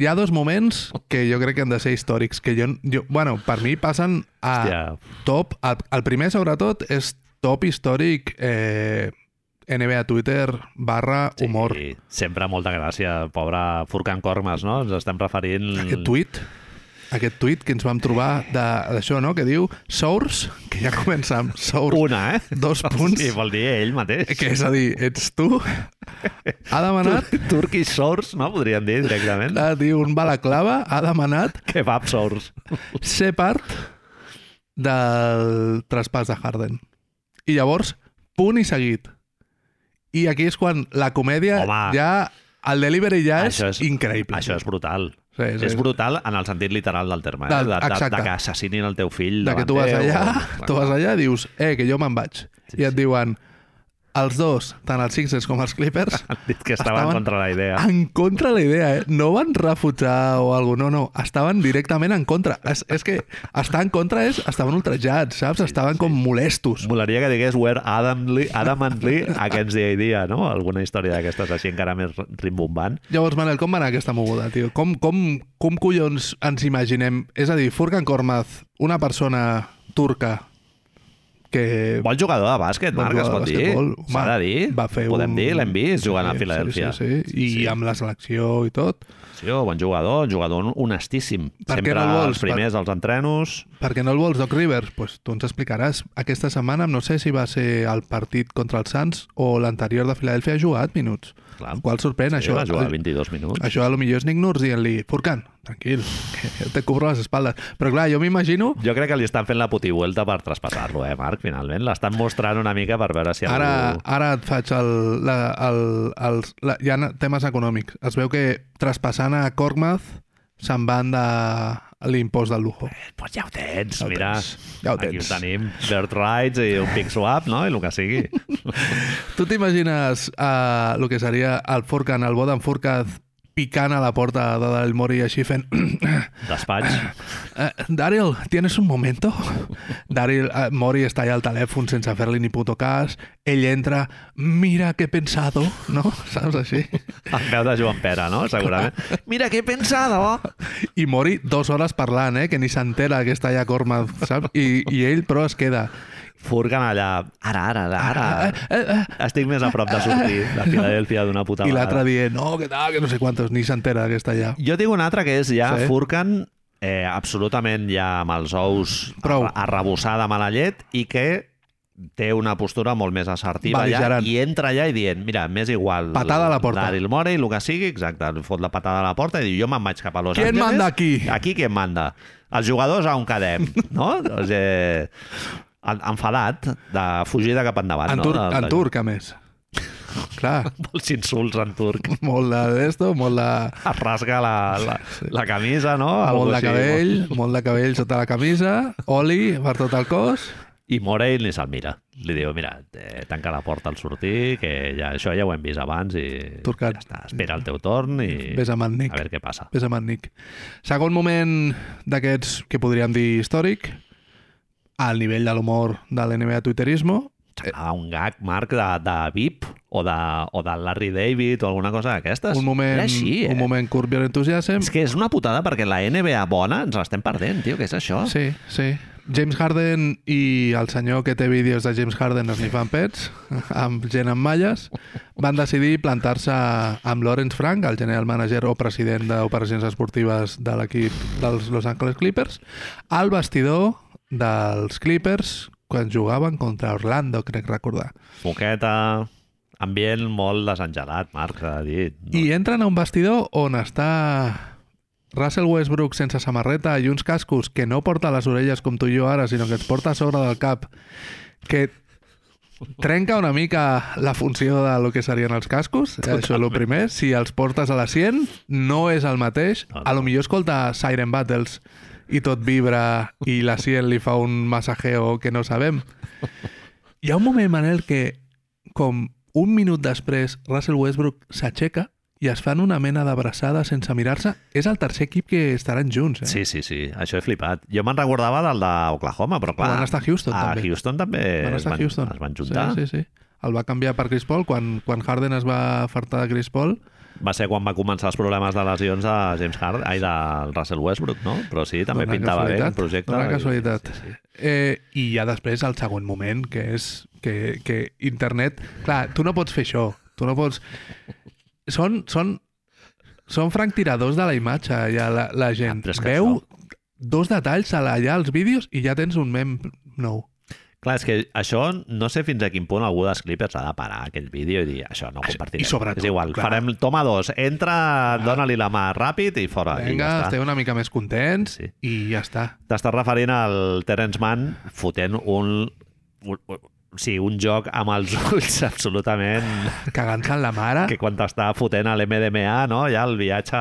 Speaker 2: hi ha dos moments que jo crec que han de ser històrics, que jo, jo bueno, per mi passen a
Speaker 1: Hòstia.
Speaker 2: top, a, el primer sobretot és top històric eh, NBA Twitter barra
Speaker 1: Sí,
Speaker 2: humor.
Speaker 1: sí. sempre molta gràcia, pobre Furkan Cormes, no? Ens estem referint...
Speaker 2: aquest tuit aquest tuit que ens vam trobar de- d'això, no?, que diu Sours, que ja comença amb Sours,
Speaker 1: Una, eh?
Speaker 2: dos punts,
Speaker 1: Sí, vol dir ell mateix.
Speaker 2: que és a dir, ets tu, ha demanat,
Speaker 1: Tur- Turkish Source, no? Podríem dir directament.
Speaker 2: ha dit un balaclava, ha demanat
Speaker 1: Kebab Source.
Speaker 2: ser part del traspàs de Harden. I llavors, punt i seguit. I aquí és quan la comèdia
Speaker 1: Home.
Speaker 2: ja... El delivery ja és,
Speaker 1: Això és-
Speaker 2: increïble.
Speaker 1: Això és brutal.
Speaker 2: Sí, sí,
Speaker 1: És
Speaker 2: sí.
Speaker 1: brutal en el sentit literal del terme, eh?
Speaker 2: Del-
Speaker 1: De, de,
Speaker 2: exacte.
Speaker 1: de que assassinin el teu fill
Speaker 2: de que
Speaker 1: davant
Speaker 2: tu vas
Speaker 1: teu,
Speaker 2: allà,
Speaker 1: o-
Speaker 2: tu vas allà i dius, eh, que jo me'n vaig.
Speaker 1: Sí,
Speaker 2: I et
Speaker 1: sí.
Speaker 2: diuen, els dos, tant els Sixers com els Clippers,
Speaker 1: Han dit que estaven,
Speaker 2: Estaven- Ah.
Speaker 1: contra la idea.
Speaker 2: en contra de la idea, eh? No van refutjar o alguna no, no, estaven directament en contra. És, és que estar en contra és, estaven ultrajats, saps? Estaven com molestos.
Speaker 1: Molaria que digués Where Adam, Lee, Adam and Lee Against the Idea, no? Alguna història d'aquestes així encara més rimbombant.
Speaker 2: Llavors, Manel, com va anar aquesta moguda, tio? Com, com, com collons ens imaginem? És a dir, Furkan Kormaz, una persona turca que
Speaker 1: Bon jugador de bàsquet,
Speaker 2: Bon
Speaker 1: Marc, es
Speaker 2: jugador
Speaker 1: pot
Speaker 2: de
Speaker 1: dir.
Speaker 2: basquetbol.
Speaker 1: S'ha
Speaker 2: Va-
Speaker 1: de dir.
Speaker 2: va fer
Speaker 1: Podem
Speaker 2: un-
Speaker 1: dir, l'hem vist jugant
Speaker 2: Sí,
Speaker 1: a Filadèlfia.
Speaker 2: Sí, sí, sí. I
Speaker 1: Sí.
Speaker 2: amb la selecció i tot.
Speaker 1: Sí, oh, bon jugador, un jugador honestíssim.
Speaker 2: Per què
Speaker 1: Sempre
Speaker 2: no el vols?
Speaker 1: els primers, els entrenos...
Speaker 2: Per què no el vols, Doc Rivers? Pues tu ens explicaràs. Aquesta setmana, no sé si va ser el partit contra els Suns o l'anterior de Filadèlfia, ha jugat minuts.
Speaker 1: Clar.
Speaker 2: El qual sorprèn.
Speaker 1: Sí,
Speaker 2: això, eh,
Speaker 1: va jugar 22 minuts.
Speaker 2: això a lo millor és Nick Nurse dient-li Furcan, tranquil, que jo te cobro les espaldes. Però clar, jo m'imagino...
Speaker 1: Jo crec que li estan fent la putivuelta per traspassar-lo, eh, Marc, finalment. L'estan mostrant una mica per veure si
Speaker 2: Ara,
Speaker 1: algú...
Speaker 2: ara et faig el, la, el, els, la, hi ha temes econòmics. Es veu que traspassant a Cormaz se'n van de l'impost del lujo.
Speaker 1: Pues ja ho tens,
Speaker 2: Ja ho
Speaker 1: mira.
Speaker 2: tens. Ja ho
Speaker 1: Aquí
Speaker 2: tens.
Speaker 1: ho tenim, Bird Rights i un pick swap, no? I el que sigui.
Speaker 2: Tu t'imagines uh, el que seria el Furkan, el Bodan Furkan picant a la porta de Daryl Mori i així fent
Speaker 1: Despatx.
Speaker 2: "Eh, Daryl, ¿tienes un momento? Daryl eh, Mori està allà al telèfon sense fer-li ni puto cas ell entra, mira que he pensado no? Saps així?
Speaker 1: El veu de Joan Pera, no? Segurament. Mira, què he oh? pensado!
Speaker 2: I Mori dues hores parlant, eh? Que ni s'entera que està allà Corma, saps? I, I ell, però, es queda. "Eh,
Speaker 1: Furgan allà. Ara, ara,
Speaker 2: Ah,
Speaker 1: ara. ara. Estic més a prop de sortir de Filadèlfia d'una puta
Speaker 2: I l'altre
Speaker 1: vegada.
Speaker 2: dient, no, que tal, que no sé quantos, ni s'entera que està allà.
Speaker 1: Jo tinc un altre que és ja
Speaker 2: Sí.
Speaker 1: sí. Furkan eh, absolutament ja amb els ous
Speaker 2: Prou.
Speaker 1: arra- arrebossada a mala llet i que té una postura molt més assertiva allà,
Speaker 2: Beligerant.
Speaker 1: i entra allà i dient, mira, m'és igual
Speaker 2: Patada a la porta.
Speaker 1: Daryl Morey, el que sigui, exacte, li fot la patada a la porta i diu, jo me'n vaig cap a Los
Speaker 2: Qui en
Speaker 1: Angeles
Speaker 2: manda aquí?
Speaker 1: aquí qui em manda? Els jugadors a on quedem, no? o sigui, en- enfadat de fugir de cap endavant
Speaker 2: En,
Speaker 1: Ah, no?
Speaker 2: tur
Speaker 1: De-
Speaker 2: en
Speaker 1: de-
Speaker 2: turc, a més. Clar,
Speaker 1: els insults en turc
Speaker 2: molt de d'esto, molt de...
Speaker 1: es rasga la, la, la camisa no? Algo
Speaker 2: molt de
Speaker 1: així,
Speaker 2: cabell, molt de cabell sota la camisa, oli per tot el cos.
Speaker 1: I Morey ni se'l mira. Li diu, mira, eh, tanca la porta al sortir, que ja, això ja ho hem vist abans i
Speaker 2: Turcat.
Speaker 1: ja està, espera el teu torn i
Speaker 2: Ves amb en
Speaker 1: a
Speaker 2: Nick.
Speaker 1: veure què passa.
Speaker 2: Ves amb en Nick. Segon moment d'aquests que podríem dir històric, al nivell de l'humor de l'NBA Twitterismo,
Speaker 1: A un gag, Marc, de, de VIP o de, o de Larry David o alguna cosa d'aquestes.
Speaker 2: un moment,
Speaker 1: Era així, eh?
Speaker 2: un moment Curb Your Enthusiasm.
Speaker 1: És que és una putada perquè la NBA bona ens l'estem perdent, tio, que és això.
Speaker 2: Sí, sí. James Harden i el senyor que té vídeos de James Harden esnifant pets, amb gent amb malles, van decidir plantar-se amb Lawrence Frank, el general manager o president d'operacions esportives de l'equip dels Los Angeles Clippers, al vestidor dels Clippers quan jugaven contra Orlando, crec recordar.
Speaker 1: Moqueta, ambient molt desengelat, Marc, s'ha dit. No?
Speaker 2: I eh? entren a un vestidor on està Russell Westbrook sense samarreta i uns cascos que no porta a les orelles com tu i jo ara, sinó que et porta a sobre del cap, que trenca una mica la funció de lo que serien els cascos. Totalment. Això és el primer. Si els portes a la 100, no és el mateix.
Speaker 1: No, no.
Speaker 2: A lo millor escolta Siren Battles i tot vibra i la 100 li fa un massajeo que no sabem. Hi ha un moment, Manel, que com un minut després Russell Westbrook s'aixeca i es fan una mena d'abraçada sense mirar-se. És el tercer equip que estaran junts, eh?
Speaker 1: Sí, sí, sí, això he flipat. Jo me'n recordava del d'Oklahoma, però clar...
Speaker 2: Van estar a Houston,
Speaker 1: a
Speaker 2: també.
Speaker 1: Houston també
Speaker 2: van
Speaker 1: eh, es,
Speaker 2: estar a
Speaker 1: van,
Speaker 2: Houston.
Speaker 1: es van juntar.
Speaker 2: Sí, sí, sí. El va canviar per Chris Paul quan, quan Harden es va fartar de Chris Paul.
Speaker 1: Va ser quan va començar els problemes de lesions de James Harden, ai, del Russell Westbrook, no? Però sí, també
Speaker 2: Dona
Speaker 1: pintava bé el
Speaker 2: casualitat,
Speaker 1: projecte.
Speaker 2: Dona
Speaker 1: I-
Speaker 2: casualitat.
Speaker 1: Sí, sí.
Speaker 2: Eh, I ja després, el següent moment, que és que, que internet... Clar, tu no pots fer això. Tu no pots... Són, són, són franctiradors de la imatge, ja, la, la gent.
Speaker 1: Ah, però és que
Speaker 2: Veu dos detalls a la, allà als vídeos i ja tens un mem nou.
Speaker 1: Clar, és que això no sé fins a quin punt algú dels Clippers ha de parar aquell vídeo i dir això no ho
Speaker 2: Això-
Speaker 1: compartirem.
Speaker 2: Ah, i sobretot,
Speaker 1: és igual,
Speaker 2: clar.
Speaker 1: farem toma dos, entra, dona-li la mà ràpid i fora. Ah, i
Speaker 2: Vinga,
Speaker 1: ja està.
Speaker 2: esteu una mica més contents
Speaker 1: Sí.
Speaker 2: i ja està.
Speaker 1: T'estàs referint al Terence Mann fotent un... un, un sí, un joc amb els ulls absolutament...
Speaker 2: Cagant-se en la mare.
Speaker 1: Que quan t'està fotent a l'MDMA, no? Ja el viatge...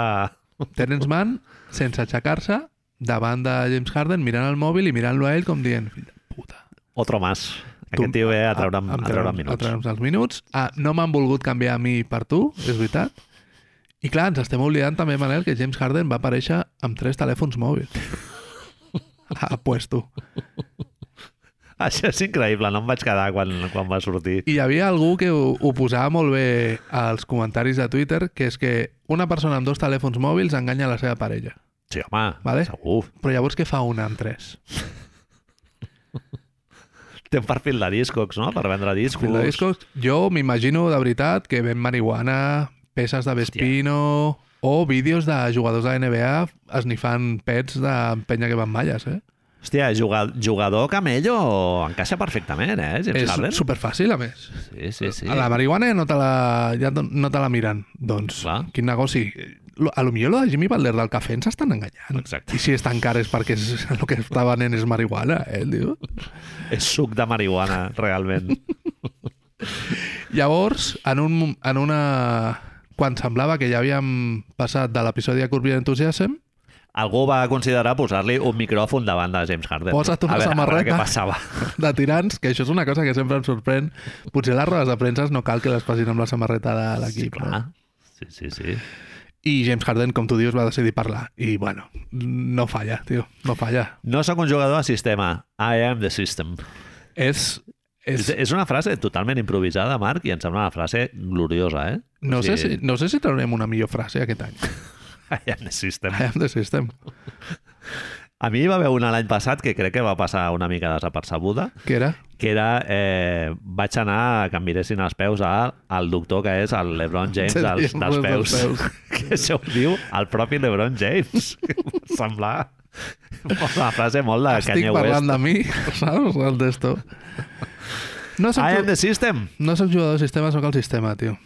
Speaker 2: Terence Mann, sense aixecar-se, davant de James Harden, mirant el mòbil i mirant-lo a ell com dient, fill de puta.
Speaker 1: Otro más.
Speaker 2: Tu-
Speaker 1: Aquest tio ve a treure'm,
Speaker 2: Em
Speaker 1: a treure'm minuts.
Speaker 2: A treure'm els minuts. Ah, no m'han volgut canviar a mi per tu, és veritat. I clar, ens estem oblidant també, Manel, que James Harden va aparèixer amb tres telèfons mòbils. Ah, puesto.
Speaker 1: Això és increïble, no em vaig quedar quan, quan va sortir.
Speaker 2: I hi havia algú que ho, ho posava molt bé als comentaris de Twitter, que és que una persona amb dos telèfons mòbils enganya la seva parella.
Speaker 1: Sí, home,
Speaker 2: Vale.
Speaker 1: segur.
Speaker 2: Però llavors què fa una amb tres?
Speaker 1: Té un perfil de discos, no? Per vendre discos.
Speaker 2: Fil de discos, jo m'imagino de veritat que ven marihuana, peces de Vespino o vídeos de jugadors de la NBA esnifant pets de penya que van malles, eh?
Speaker 1: Hòstia, jugador, jugador camello encaixa perfectament, eh, James
Speaker 2: És
Speaker 1: Harden?
Speaker 2: superfàcil, a més.
Speaker 1: Sí, sí, sí.
Speaker 2: A la marihuana ja no te la, ja no- no te la miren. Doncs,
Speaker 1: Clar.
Speaker 2: quin negoci. Lo- A lo millor lo de Jimmy Butler del cafè ens estan enganyant.
Speaker 1: Exacte.
Speaker 2: I si és tan car és perquè és, el que està venent és marihuana, eh, el tio?
Speaker 1: És suc de marihuana, realment.
Speaker 2: Llavors, en, un, en una... Quan semblava que ja havíem passat de l'episodi de Corbin Enthusiasm,
Speaker 1: Algú va considerar posar-li un micròfon davant de James Harden.
Speaker 2: Posa't una
Speaker 1: a veure, A veure
Speaker 2: samarreta.
Speaker 1: què passava.
Speaker 2: de tirants, que això és una cosa que sempre em sorprèn. Potser les rodes de premsa no cal que les facin amb la samarreta de
Speaker 1: Sí,
Speaker 2: l'equip.
Speaker 1: clar.
Speaker 2: no?
Speaker 1: Sí, sí, sí.
Speaker 2: I James Harden, com tu dius, va decidir parlar. I, bueno, no falla, tio, no falla.
Speaker 1: No sóc un jugador de sistema. I am the system.
Speaker 2: És...
Speaker 1: És,
Speaker 2: és
Speaker 1: és una frase totalment improvisada, Marc, i em sembla una frase gloriosa, eh?
Speaker 2: no,
Speaker 1: O
Speaker 2: sé si,
Speaker 1: sigui,
Speaker 2: no sé si traurem una millor frase aquest any.
Speaker 1: I am the system.
Speaker 2: I am the system.
Speaker 1: A mi hi va haver una l'any passat que crec que va passar una mica desapercebuda,
Speaker 2: Que era?
Speaker 1: que era eh, vaig anar que em miressin els peus a, al doctor que és el LeBron James
Speaker 2: Sí,
Speaker 1: dels,
Speaker 2: sí,
Speaker 1: dels
Speaker 2: dels
Speaker 1: peus.
Speaker 2: peus.
Speaker 1: que això ho diu el propi LeBron James. Em Semblar una frase molt de
Speaker 2: Estic
Speaker 1: Kanye West.
Speaker 2: parlant de mi, saps? El testo. No soc,
Speaker 1: I
Speaker 2: ju
Speaker 1: am the Ah, system.
Speaker 2: no soc jugador de sistema, sóc el sistema, tio.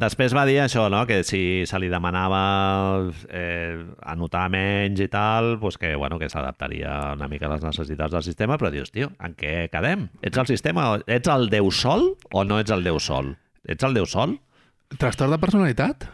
Speaker 1: Després va dir això, no? que si se li demanava eh, anotar menys i tal, doncs que, bueno, que s'adaptaria una mica a les necessitats del sistema, però dius, tio, en què quedem? Ets el sistema? Ets el Déu Sol o no ets el Déu Sol? Ets el Déu Sol?
Speaker 2: Trastorn de personalitat?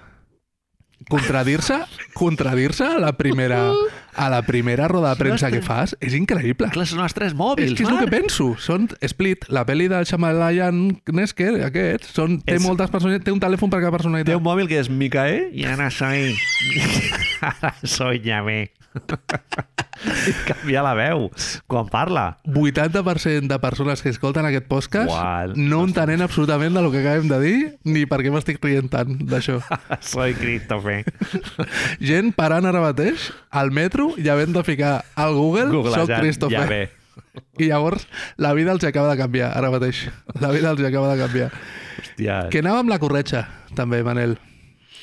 Speaker 2: Contradir-se contradir-se a la primera a la primera roda de premsa que fas és increïble.
Speaker 1: Clar, són els tres mòbils,
Speaker 2: És que és el
Speaker 1: Marc.
Speaker 2: que penso. Són Split, la pel·li del Shyamalan Nesker, aquest, són, té
Speaker 1: És-
Speaker 2: moltes personalitats, té un telèfon per cada
Speaker 1: Té
Speaker 2: personalitat.
Speaker 1: un mòbil que és Micael i ara soy... ara soy llamé. I canvia la veu quan parla.
Speaker 2: 80% de persones que escolten aquest podcast
Speaker 1: Uau.
Speaker 2: no entenent absolutament del que acabem de dir ni per què m'estic rient tant d'això.
Speaker 1: Soy Christopher.
Speaker 2: Gent parant ara mateix al metro i havent de ficar al Google, soc
Speaker 1: ja,
Speaker 2: Christopher.
Speaker 1: ja ve.
Speaker 2: I llavors la vida els hi acaba de canviar, ara mateix. La vida els hi acaba de canviar.
Speaker 1: Hòstia.
Speaker 2: Que anava amb la corretxa, també, Manel.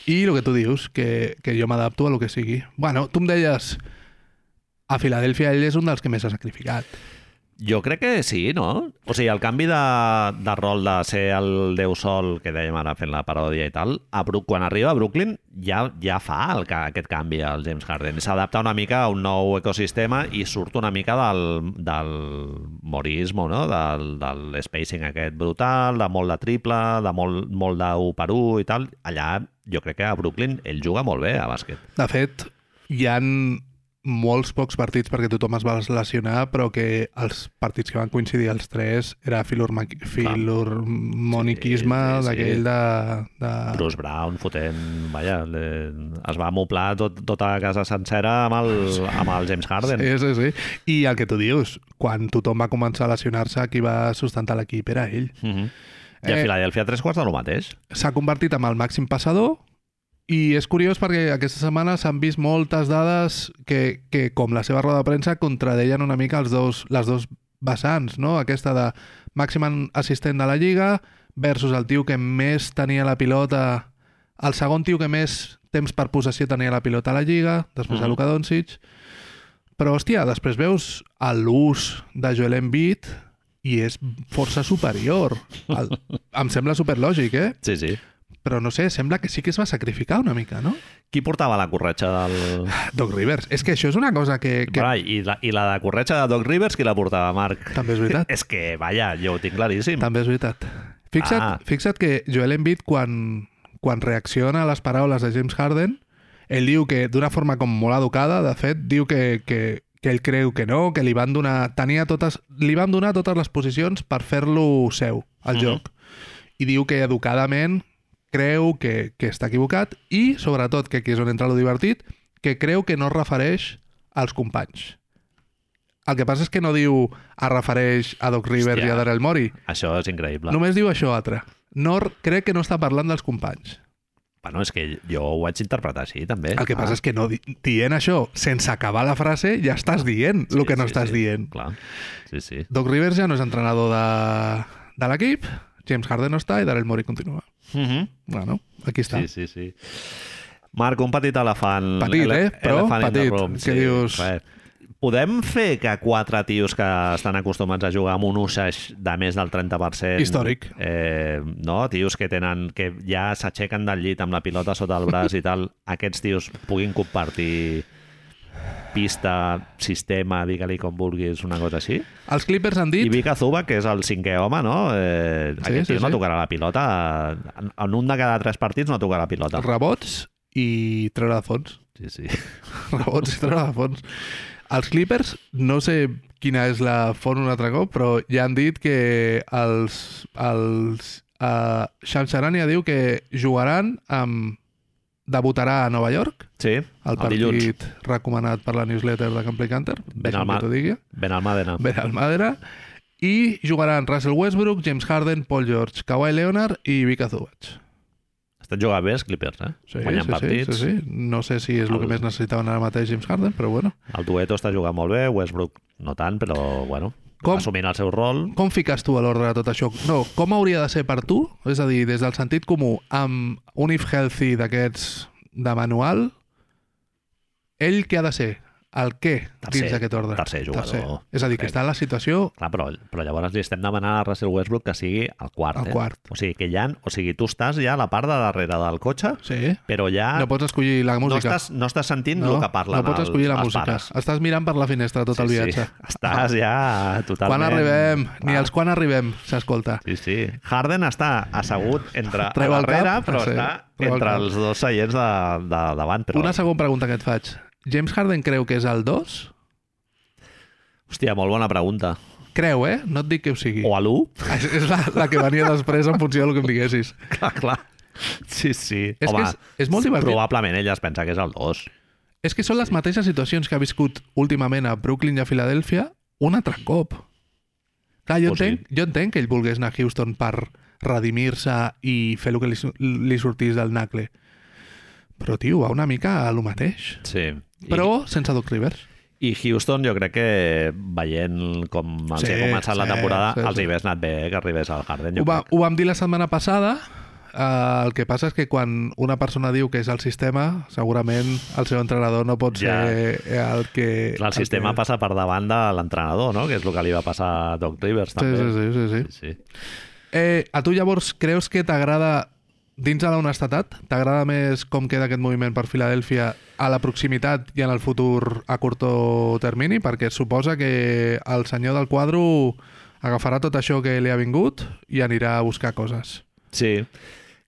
Speaker 2: I el que tu dius, que, que jo m'adapto a lo que sigui. Bueno, tu em deies... A Filadèlfia ell és un dels que més s'ha sacrificat.
Speaker 1: Jo crec que sí, no? O sigui, el canvi de, de rol de ser el Déu Sol, que dèiem ara fent la paròdia i tal, a Brook, quan arriba a Brooklyn ja ja fa el, ca- aquest canvi al James Harden. S'adapta una mica a un nou ecosistema i surt una mica del, del morismo, no? Del, del spacing aquest brutal, de molt de triple, de molt, molt d'1 per 1 i tal. Allà jo crec que a Brooklyn ell juga molt bé a bàsquet.
Speaker 2: De fet, hi han molts pocs partits perquè tothom es va lesionar, però que els partits que van coincidir els tres era filorma- filormoniquisme
Speaker 1: Sí, sí, sí.
Speaker 2: d'aquell de... de...
Speaker 1: Bruce Brown fotent... Vaja, le, es va amoblar tot, tota casa sencera amb el, amb el James Harden.
Speaker 2: Sí, sí, sí. I el que tu dius, quan tothom va començar a lesionar-se, qui va sustentar l'equip era ell.
Speaker 1: Mhm. I a
Speaker 2: Eh.
Speaker 1: Filadèlfia, tres quarts de lo mateix.
Speaker 2: S'ha convertit en el màxim passador i és curiós perquè aquesta setmana s'han vist moltes dades que, que com la seva roda de premsa, contradeien una mica els dos, les dos vessants, no? Aquesta de màxim en- assistent de la Lliga versus el tio que més tenia la pilota, el segon tio que més temps per possessió tenia la pilota a la Lliga,
Speaker 1: Mhm.
Speaker 2: després mm -hmm. Luka Doncic. Però, hòstia, després veus l'ús de Joel Embiid i és força superior. El, em sembla superlògic, eh?
Speaker 1: Sí, sí.
Speaker 2: Però no sé, sembla que sí que es va sacrificar una mica, no?
Speaker 1: Qui portava la corretxa del...
Speaker 2: Doc Rivers. És que això és una cosa que... que...
Speaker 1: Carai, i, la, I la de corretxa de Doc Rivers, qui la portava, Marc?
Speaker 2: També és veritat.
Speaker 1: És que, vaja, jo ho tinc claríssim.
Speaker 2: També és veritat. Fixa't,
Speaker 1: Ah.
Speaker 2: ah. fixa't que Joel Embiid, quan, quan reacciona a les paraules de James Harden, ell diu que, d'una forma com molt educada, de fet, diu que, que, que ell creu que no, que li van donar... Tenia totes... Li van donar totes les posicions per fer-lo seu, al
Speaker 1: Mhm.
Speaker 2: joc. I diu que educadament creu que, que està equivocat i, sobretot, que aquí és on entra lo divertit, que creu que no es refereix als companys. El que passa és que no diu es refereix a Doc Rivers
Speaker 1: Hòstia.
Speaker 2: i a Daryl Morey,
Speaker 1: Això és increïble. No...
Speaker 2: Només diu això altre. No, r- crec que no està parlant dels companys.
Speaker 1: Bueno, és que jo ho vaig interpretar així, també. Ah,
Speaker 2: El que passa és que no di dient això, sense acabar la frase, ja estàs dient el que no estàs dient.
Speaker 1: Clar, sí, sí.
Speaker 2: Doc Rivers ja no és entrenador de, de l'equip, James Harden no està i Daryl Morey continua.
Speaker 1: Mm -hmm.
Speaker 2: Bueno, aquí està.
Speaker 1: Sí, sí, sí. Marc, un petit elefant.
Speaker 2: Petit,
Speaker 1: ele-
Speaker 2: eh? Però
Speaker 1: elephant in the
Speaker 2: petit.
Speaker 1: room,
Speaker 2: Què dius?
Speaker 1: res. Podem fer que quatre tios que estan acostumats a jugar amb un usage de més del 30%...
Speaker 2: Històric.
Speaker 1: Eh, no? Tios que tenen que ja s'aixequen del llit amb la pilota sota el braç i tal. Aquests tios puguin compartir pista, sistema, digue-li com vulguis, una cosa així.
Speaker 2: Els Clippers han
Speaker 1: I
Speaker 2: dit...
Speaker 1: Vika Zuba, que és el cinquè home, no? Eh,
Speaker 2: Sí,
Speaker 1: aquest
Speaker 2: sí,
Speaker 1: tio no
Speaker 2: sí.
Speaker 1: tocarà la pilota. En, en un de cada tres partits no tocarà la pilota.
Speaker 2: Rebots i treure de fons.
Speaker 1: Sí, sí.
Speaker 2: Rebots i treure de fons. Els Clippers, no sé quina és la font un altre cop, però ja han dit que els... els uh, Shamsarania diu que jugaran amb... debutarà a Nova York,
Speaker 1: Sí,
Speaker 2: el partit recomanat per la newsletter de Camp Play Canter, deixa'm
Speaker 1: Benalma-
Speaker 2: que t'ho digui,
Speaker 1: Ben Almadena.
Speaker 2: ben al Madera, i jugaran Russell Westbrook, James Harden, Paul George, Kawhi Leonard i Vika Zubac.
Speaker 1: Estan jugant bé els Clippers, eh? Guanyant partits.
Speaker 2: sí, sí. No sé si és el,
Speaker 1: El-
Speaker 2: que més necessitaven ara mateix James Harden, però bueno.
Speaker 1: El Dueto està jugant molt bé, Westbrook no tant, però bueno,
Speaker 2: Com?
Speaker 1: assumint el seu rol.
Speaker 2: Com fiques tu a l'ordre de tot això? No, com hauria de ser per tu? És a dir, des del sentit comú, amb un if healthy d'aquests de manual, ell què ha de ser? El què
Speaker 1: Tercer.
Speaker 2: dins d'aquest ordre?
Speaker 1: Tercer jugador.
Speaker 2: És a dir, que està en la situació...
Speaker 1: Clar, però, però llavors li estem demanant a Russell Westbrook que sigui el quart.
Speaker 2: El
Speaker 1: eh?
Speaker 2: quart.
Speaker 1: O sigui, que ja, o sigui, tu estàs ja a la part de darrere del cotxe,
Speaker 2: Sí.
Speaker 1: però ja
Speaker 2: No pots escollir la
Speaker 1: Ah, no,
Speaker 2: música.
Speaker 1: estàs, no estàs sentint el que parlen
Speaker 2: no pots
Speaker 1: els,
Speaker 2: escollir la
Speaker 1: els
Speaker 2: música.
Speaker 1: pares.
Speaker 2: Estàs mirant per la finestra tot el viatge.
Speaker 1: Sí. Estàs ja totalment...
Speaker 2: Quan arribem? Ni
Speaker 1: Clar.
Speaker 2: els quan arribem s'escolta.
Speaker 1: Sí, sí. Harden està assegut entre a
Speaker 2: Treu el
Speaker 1: darrere,
Speaker 2: cap,
Speaker 1: però
Speaker 2: sí,
Speaker 1: està
Speaker 2: treu el
Speaker 1: entre
Speaker 2: cap.
Speaker 1: els dos seients de, de davant. Però...
Speaker 2: Una segona pregunta que et faig. James Harden creu que és el 2?
Speaker 1: Hòstia, molt bona pregunta.
Speaker 2: Creu, eh? No et dic que ho sigui.
Speaker 1: O a l'1?
Speaker 2: És, és la, la que venia després en funció del que em diguessis.
Speaker 1: Clar, clar. Sí, sí.
Speaker 2: És que és, és molt divertit.
Speaker 1: probablement ell es pensa que és el 2.
Speaker 2: És que són les mateixes situacions que ha viscut últimament a Brooklyn i a Filadèlfia un altre cop. Clar, jo,
Speaker 1: Oh, sí.
Speaker 2: entenc, jo entenc que ell volgués anar a Houston per redimir-se i fer el que li, su- li sortís del nacle. Però, tio, va una mica a lo mateix.
Speaker 1: Sí.
Speaker 2: Però sense Doc Rivers.
Speaker 1: I, I Houston, jo crec que veient com els sí,
Speaker 2: Sí,
Speaker 1: ha començat la
Speaker 2: sí,
Speaker 1: temporada,
Speaker 2: sí,
Speaker 1: els
Speaker 2: sí.
Speaker 1: hi hagués anat bé que eh, arribés al Harden.
Speaker 2: Ho,
Speaker 1: Jo
Speaker 2: va,
Speaker 1: crec.
Speaker 2: ho vam dir la setmana passada, Uh, el que passa és que quan una persona diu que és el sistema, segurament el seu entrenador no pot
Speaker 1: Ja.
Speaker 2: ser el que...
Speaker 1: Clar, el sistema
Speaker 2: el que...
Speaker 1: passa per davant de l'entrenador, no? Que és el que li va passar a Doc Rivers, també.
Speaker 2: Sí, sí, sí, sí, sí.
Speaker 1: sí. sí.
Speaker 2: Eh, a tu llavors creus que t'agrada dins de l'honestetat? T'agrada més com queda aquest moviment per Filadèlfia a la proximitat i en el futur a curt termini? Perquè suposa que el senyor del quadro agafarà tot això que li ha vingut i anirà a buscar coses.
Speaker 1: Sí.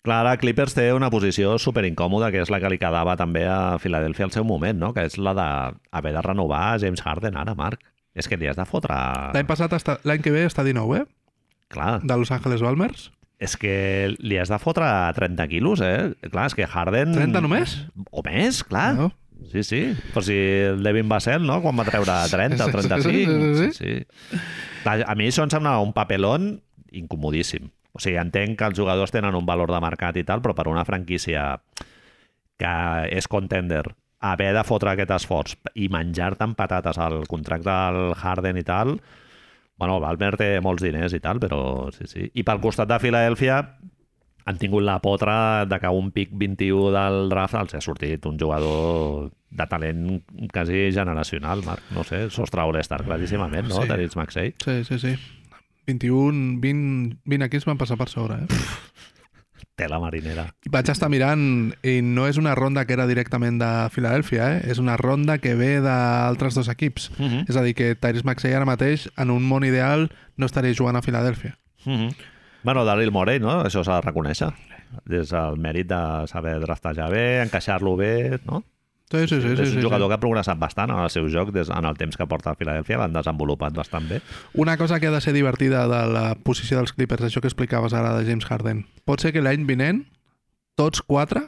Speaker 1: Clar, ara Clippers té una posició super incòmoda, que és la que li quedava també a Filadèlfia al seu moment, no? que és la d'haver de renovar James Harden ara, Marc. És que li has de fotre...
Speaker 2: L'any passat, està- l'any que ve, està 19, eh?
Speaker 1: Clar,
Speaker 2: De Los Angeles Balmers.
Speaker 1: és que li has de fotre 30 quilos, eh? Clar, és que Harden...
Speaker 2: 30 només?
Speaker 1: O més, clar.
Speaker 2: No?
Speaker 1: Sí, sí. Però si el Devin Vassell, no? Quan va treure 30 o
Speaker 2: Sí, sí,
Speaker 1: 35.
Speaker 2: sí,
Speaker 1: Sí, sí. Clar, a mi això em sembla un papelón incomodíssim. O sigui, entenc que els jugadors tenen un valor de mercat i tal, però per una franquícia que és contender, haver de fotre aquest esforç i menjar tan patates al contracte del Harden i tal, bueno, Balmer té molts diners i tal, però sí, sí. I pel costat de Filadèlfia han tingut la potra de que un pic 21 del draft els ha sortit un jugador de talent quasi generacional, Marc. No sé, sostre All-Star, claríssimament, no?
Speaker 2: Sí.
Speaker 1: Sí. Terence Maxey.
Speaker 2: Sí, sí, sí. 21, 20, 20 aquí es van passar per sobre, eh?
Speaker 1: Té la marinera.
Speaker 2: Vaig estar mirant i no és una ronda que era directament de Filadèlfia, eh? és una ronda que ve d'altres dos equips.
Speaker 1: Mm -hmm.
Speaker 2: És a dir, que Tyrese Maxey ara mateix, en un món ideal, no estaria jugant a Filadèlfia.
Speaker 1: Mm -hmm. Bueno, Daryl Morey, no? Això s'ha de reconèixer. És el mèrit de saber draftejar bé, encaixar-lo bé, no?
Speaker 2: Sí, sí, sí. sí,
Speaker 1: és
Speaker 2: sí,
Speaker 1: un jugador
Speaker 2: sí.
Speaker 1: que ha progressat bastant en el seu joc, des, en el temps que porta a Filadèlfia, l'han desenvolupat bastant bé.
Speaker 2: Una cosa que ha de ser divertida de la posició dels Clippers, això que explicaves ara de James Harden. Pot ser que l'any vinent, tots quatre,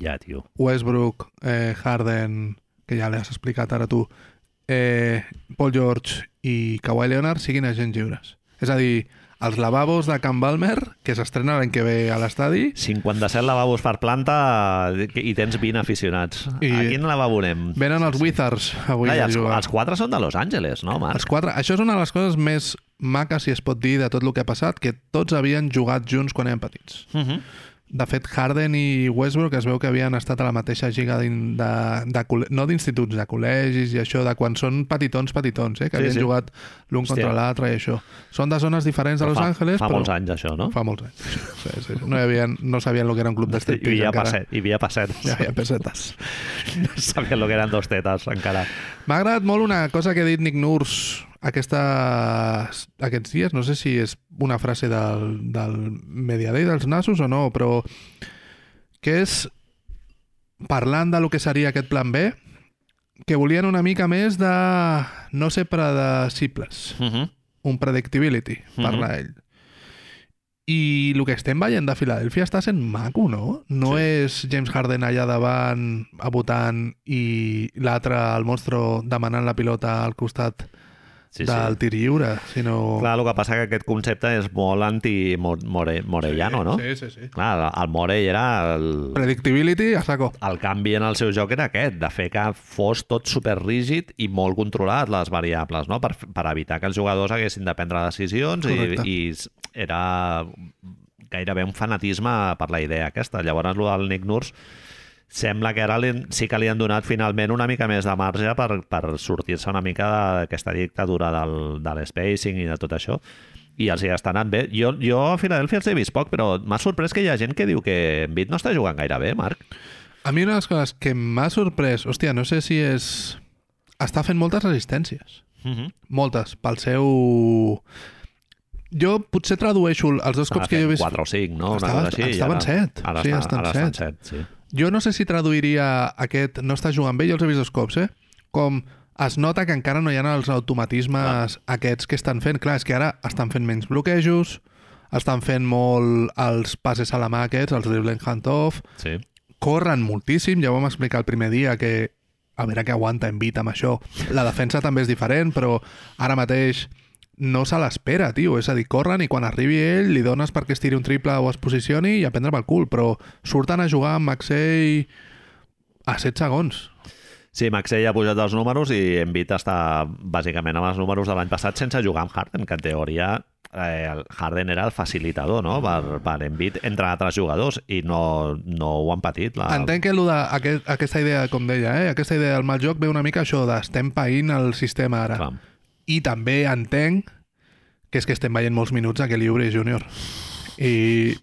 Speaker 1: Ja, tio.
Speaker 2: Westbrook, eh, Harden, que ja l'has explicat ara tu, eh, Paul George i Kawhi Leonard siguin agents lliures. És a dir, els lavabos de Can Balmer, que s'estrena l'any que ve a l'estadi,
Speaker 1: 57 lavabos per planta i tens 20 aficionats. I...
Speaker 2: I-
Speaker 1: A quin lavabo anem?
Speaker 2: venen els Wizards avui
Speaker 1: Ai,
Speaker 2: a
Speaker 1: els,
Speaker 2: jugar.
Speaker 1: els quatre són de Los Angeles, no, Marc?
Speaker 2: Els quatre. Això és una de les coses més maques, si es pot dir, de tot el que ha passat, que tots havien jugat junts quan eren petits.
Speaker 1: Uh -huh.
Speaker 2: De fet, Harden i Westbrook es veu que havien estat a la mateixa lliga d'in- de, de, col·le- no d'instituts, de col·legis i això, de quan són petitons, petitons, eh? que
Speaker 1: Sí,
Speaker 2: havien
Speaker 1: sí.
Speaker 2: jugat l'un
Speaker 1: Hòstia.
Speaker 2: contra l'altre i això. Són de zones diferents de Los
Speaker 1: fa,
Speaker 2: Angeles,
Speaker 1: fa
Speaker 2: però...
Speaker 1: molts anys, això, no?
Speaker 2: Fa molts anys. Sí, sí. No, hi havia, no sabien el que era un club
Speaker 1: Hi
Speaker 2: d'estriptease
Speaker 1: havia,
Speaker 2: encara.
Speaker 1: passet, hi havia passet.
Speaker 2: Hi havia pessetes.
Speaker 1: No sabia el que eren dos tetes, encara.
Speaker 2: M'ha agradat molt una cosa que ha dit Nick Nurse aquesta, aquests dies, no sé si és una frase del, del Media Day dels nassos o no, però que és, parlant de lo que seria aquest plan B, que volien una mica més de no ser predecibles,
Speaker 1: Uh -huh.
Speaker 2: un predictability, parla ell. I el que estem veient de Filadèlfia està sent maco, no? No sí. és James Harden allà davant, abotant, i l'altre, el monstro, demanant la pilota al costat
Speaker 1: Sí,
Speaker 2: del
Speaker 1: sí.
Speaker 2: tir lliure, sinó...
Speaker 1: Clar, el que passa que aquest concepte és molt anti-morellano, Eh, no?
Speaker 2: Sí, sí, sí.
Speaker 1: Clar, el Morell era el,
Speaker 2: Predictability a saco.
Speaker 1: el canvi en el seu joc era aquest, de fer que fos tot superrígid i molt controlat les variables, no? per, per evitar que els jugadors haguessin de prendre decisions i,
Speaker 2: Correcte.
Speaker 1: i s- era gairebé un fanatisme per la idea aquesta. Llavors, el del Nick Nurse sembla que ara li, sí que li han donat finalment una mica més de marge per, per sortir-se una mica d'aquesta dictadura del, de l'espacing i de tot això i els hi està anant bé. Jo, jo a Filadèlfia els he vist poc, però m'ha sorprès que hi ha gent que diu que Embiid no està jugant gaire bé, Marc.
Speaker 2: A mi una de les coses que m'ha sorprès, hòstia, no sé si és... Està fent moltes resistències.
Speaker 1: Mm -hmm.
Speaker 2: Moltes, pel seu... Jo potser tradueixo els
Speaker 1: Ah,
Speaker 2: dos cops que jo he vist...
Speaker 1: 4 o 5, no?
Speaker 2: Estava-
Speaker 1: Una cosa així, i
Speaker 2: estaven
Speaker 1: ara-
Speaker 2: set.
Speaker 1: Ara,
Speaker 2: Sí,
Speaker 1: estan-
Speaker 2: estan
Speaker 1: ara estan 7. sí.
Speaker 2: Jo no sé si traduiria aquest no està jugant bé, jo els he vist dos cops, eh? Com es nota que encara no hi ha els automatismes aquests que estan fent. Clar, és que ara estan fent menys bloquejos, estan fent molt els passes a la mà aquests, els dribbling handoff,
Speaker 1: sí.
Speaker 2: corren moltíssim, ja ho vam explicar el primer dia que a veure què aguanta en Vita amb això. La defensa també és diferent, però ara mateix no se l'espera, tio. És a dir, corren i quan arribi ell li dones perquè es tiri un triple o es posicioni i a prendre pel cul, però surten a jugar amb Maxey a 7 segons.
Speaker 1: Sí, Maxey ha pujat els números i Embiid està bàsicament amb els números de l'any passat sense jugar amb Harden, que en teoria eh, el Harden era el facilitador no? per, per Embiid entre altres jugadors i no, no ho han patit. La...
Speaker 2: Entenc que allò de, aquest, aquesta idea, com deia, eh? aquesta idea del mal joc ve una mica això d'estem païnt el sistema ara.
Speaker 1: Clar.
Speaker 2: I també entenc que és que estem veient molts minuts a que Libre Júnior. I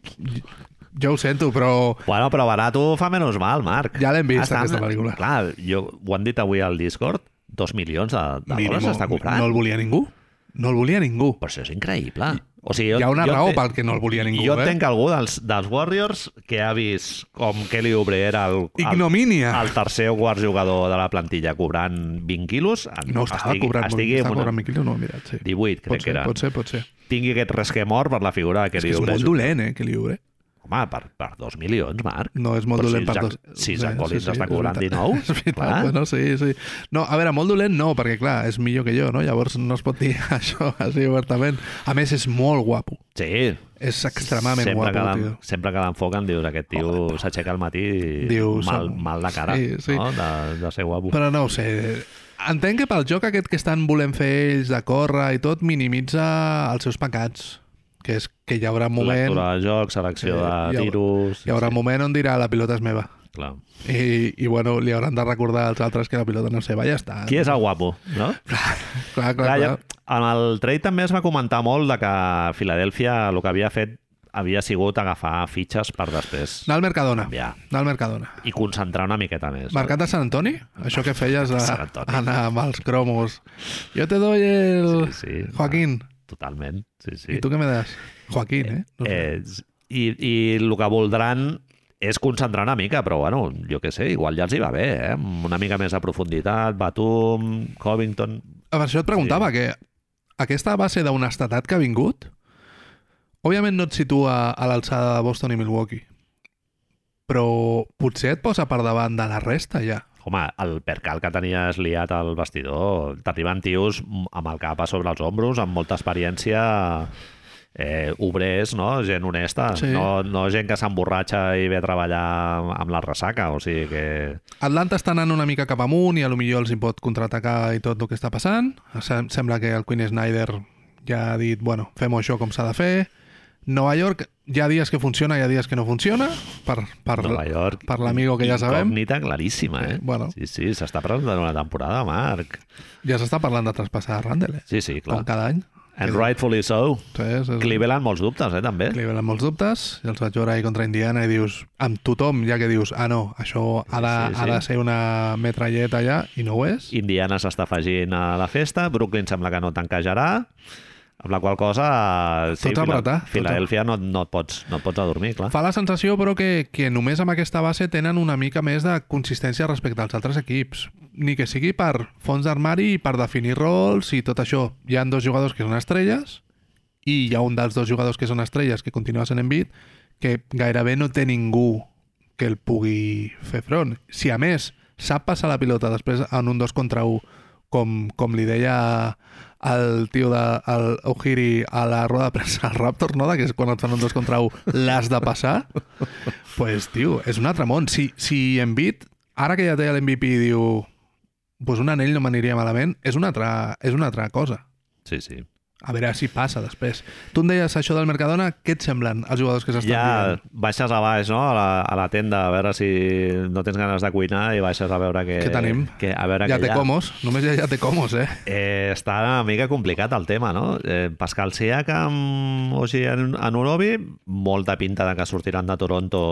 Speaker 2: jo ho sento, però
Speaker 1: Bueno, però barato fa menys mal, Marc.
Speaker 2: Ja l'hem vist,
Speaker 1: Estan-
Speaker 2: aquesta pel·lícula.
Speaker 1: Clar, jo, ho han dit avui al Discord, dos milions de, de dòlars s'està comprant.
Speaker 2: no el
Speaker 1: No...
Speaker 2: volia ningú. No el volia ningú.
Speaker 1: Però això és increïble. O sigui,
Speaker 2: Hi ha una raó
Speaker 1: te-
Speaker 2: pel que no el volia ningú,
Speaker 1: jo
Speaker 2: eh?
Speaker 1: entenc que algú dels, dels Warriors que ha vist com Kelly Oubre era el, el,
Speaker 2: Ignomínia.
Speaker 1: el tercer o quart jugador de la plantilla cobrant 20 quilos, en-
Speaker 2: No estava cobrant molt,
Speaker 1: estigui
Speaker 2: estava
Speaker 1: amb
Speaker 2: cobrant miquilos, no ho he mirat, sí.
Speaker 1: 18, crec
Speaker 2: Pot
Speaker 1: que
Speaker 2: ser,
Speaker 1: era.
Speaker 2: pot ser, pot ser.
Speaker 1: Tingui aquest resquemor per la figura de
Speaker 2: És
Speaker 1: Kelly
Speaker 2: que és
Speaker 1: Oubre.
Speaker 2: molt dolent, eh, que Libre.
Speaker 1: Home, per, per dos milions, Marc.
Speaker 2: No, és molt
Speaker 1: Però
Speaker 2: dolent
Speaker 1: si
Speaker 2: per
Speaker 1: Zach-
Speaker 2: dos.
Speaker 1: si Zach
Speaker 2: Eh,
Speaker 1: Collins està
Speaker 2: és
Speaker 1: cobrant
Speaker 2: veritat.
Speaker 1: 19,
Speaker 2: És veritat,
Speaker 1: clar.
Speaker 2: bueno, sí, sí. No, a veure, molt dolent no, perquè clar, és millor que jo, no? Llavors no es pot dir això així obertament. A més, és molt guapo.
Speaker 1: Sí,
Speaker 2: És extremadament
Speaker 1: sempre
Speaker 2: guapo,
Speaker 1: que
Speaker 2: tio.
Speaker 1: l'en- Sempre que l'enfoquen dius aquest tio s'aixeca al matí i
Speaker 2: Dius,
Speaker 1: mal,
Speaker 2: som-
Speaker 1: mal de cara,
Speaker 2: sí, sí.
Speaker 1: no? De, de ser guapo.
Speaker 2: Però no ho sé. Entenc que pel joc aquest que estan volent fer ells de córrer i tot, minimitza els seus pecats. Que és que hi haurà un moment...
Speaker 1: Lectura de jocs, selecció
Speaker 2: Eh, hi
Speaker 1: de
Speaker 2: haurà-
Speaker 1: tiros...
Speaker 2: Hi haurà un moment on dirà la pilota és meva.
Speaker 1: Clar.
Speaker 2: I, i bueno, li hauran de recordar als altres que la pilota no és seva. Ja està.
Speaker 1: Qui és el guapo, no?
Speaker 2: Clar, clar, clar.
Speaker 1: Clar, ja- en el trade també es va comentar molt de que Filadèlfia el que havia fet havia sigut agafar fitxes per després
Speaker 2: Anar al Mercadona.
Speaker 1: canviar
Speaker 2: Anar al Mercadona.
Speaker 1: i concentrar una miqueta més.
Speaker 2: Mercat de Sant Antoni? Això que feies de
Speaker 1: Sant Antoni.
Speaker 2: anar amb els cromos. Jo te doy el...
Speaker 1: Sí, sí.
Speaker 2: Joaquín.
Speaker 1: Totalment, sí, sí.
Speaker 2: I tu què me das? Joaquín, eh? No sé.
Speaker 1: Eh, i, I el que voldran és concentrar una mica, però bueno, jo que sé, igual ja els hi va bé, eh? Amb Una mica més de profunditat, Batum, Covington...
Speaker 2: Per això et preguntava que aquesta base d'honestedat que ha vingut òbviament no et situa a l'alçada de Boston i Milwaukee però potser et posa per davant de la resta ja
Speaker 1: Home, el percal que tenies liat al vestidor, t'arriben tios amb el cap a sobre els ombros, amb molta experiència, eh, obrers, no? gent honesta,
Speaker 2: Sí.
Speaker 1: no, no gent que s'emborratxa i ve a treballar amb la ressaca, o sigui que...
Speaker 2: Atlanta està anant una mica cap amunt i a lo millor els hi pot contraatacar i tot el que està passant. Sem sembla que el Queen Snyder ja ha dit, bueno, fem això com s'ha de fer. Nova York, hi ha dies que funciona, hi ha dies que no funciona, per, per,
Speaker 1: Nova York...
Speaker 2: per l'amigo que ja sabem.
Speaker 1: Incògnita claríssima, eh?
Speaker 2: Eh, bueno.
Speaker 1: Sí, sí, s'està presentant una temporada, Marc.
Speaker 2: Ja s'està parlant de traspassar a Randall, eh?
Speaker 1: Sí, sí, clar.
Speaker 2: com cada any.
Speaker 1: And rightfully so.
Speaker 2: Sí, sí, sí.
Speaker 1: Cleveland, molts dubtes, eh, també.
Speaker 2: Cleveland amb molts dubtes, i els vaig veure ahir contra Indiana i dius, amb tothom, ja que dius, ah no, això ha de,
Speaker 1: Sí, sí.
Speaker 2: ha de ser una metralleta allà, i no ho és.
Speaker 1: Indiana s'està afegint a la festa, Brooklyn sembla que no tanquejarà, amb la qual cosa...
Speaker 2: Tot apretar, tot a-
Speaker 1: Filadèlfia no, no, et pots, no et pots adormir, clar.
Speaker 2: Fa la sensació, però, que, que només amb aquesta base tenen una mica més de consistència respecte als altres equips. Ni que sigui per fons d'armari i per definir rols i tot això. Hi han dos jugadors que són estrelles i hi ha un dels dos jugadors que són estrelles que continua sent Embiid que gairebé no té ningú que el pugui fer front. Si a més sap passar la pilota després en un dos contra un com, com li deia el tio de el Ohiri a la roda de premsa al Raptors, no? De que és quan et fan un dos contra un l'has de passar pues, tio, és un altre món. Si, si Embiid, ara que ja té l'MVP i diu pues un anell no m'aniria malament, és una, altra, és una altra cosa.
Speaker 1: Sí, sí.
Speaker 2: A veure si passa després. Tu em deies això del Mercadona, què et semblen els jugadors que s'estan
Speaker 1: Ja
Speaker 2: dient?
Speaker 1: baixes a baix, no?, a la, a la tenda, a veure si no tens ganes de cuinar i baixes a veure què...
Speaker 2: Què tenim?
Speaker 1: Que, a veure
Speaker 2: Ja
Speaker 1: què
Speaker 2: té
Speaker 1: hi ha.
Speaker 2: comos, només ja, ja té comos, eh?
Speaker 1: Eh, està una mica complicat el tema, no? Eh, Pascal Siakam, o sigui, en, en Urobi, molta pinta de que sortiran de Toronto.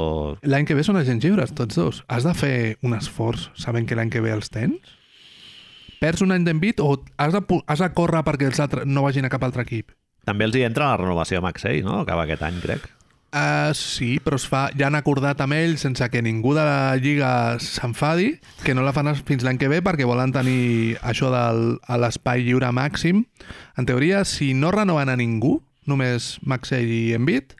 Speaker 2: L'any que ve són agents lliures, tots dos. Has de fer un esforç sabent que l'any que ve els tens? Perds un any d'envit o has de, pu- has de córrer perquè els altres no vagin a cap altre equip?
Speaker 1: També els hi entra la renovació a Maxey, no? Acaba aquest any, crec.
Speaker 2: Uh, sí, però es fa, ja han acordat amb ell sense que ningú de la Lliga s'enfadi, que no la fan fins l'any que ve perquè volen tenir això de l'espai lliure màxim. En teoria, si no renoven a ningú, només Maxell i Envit,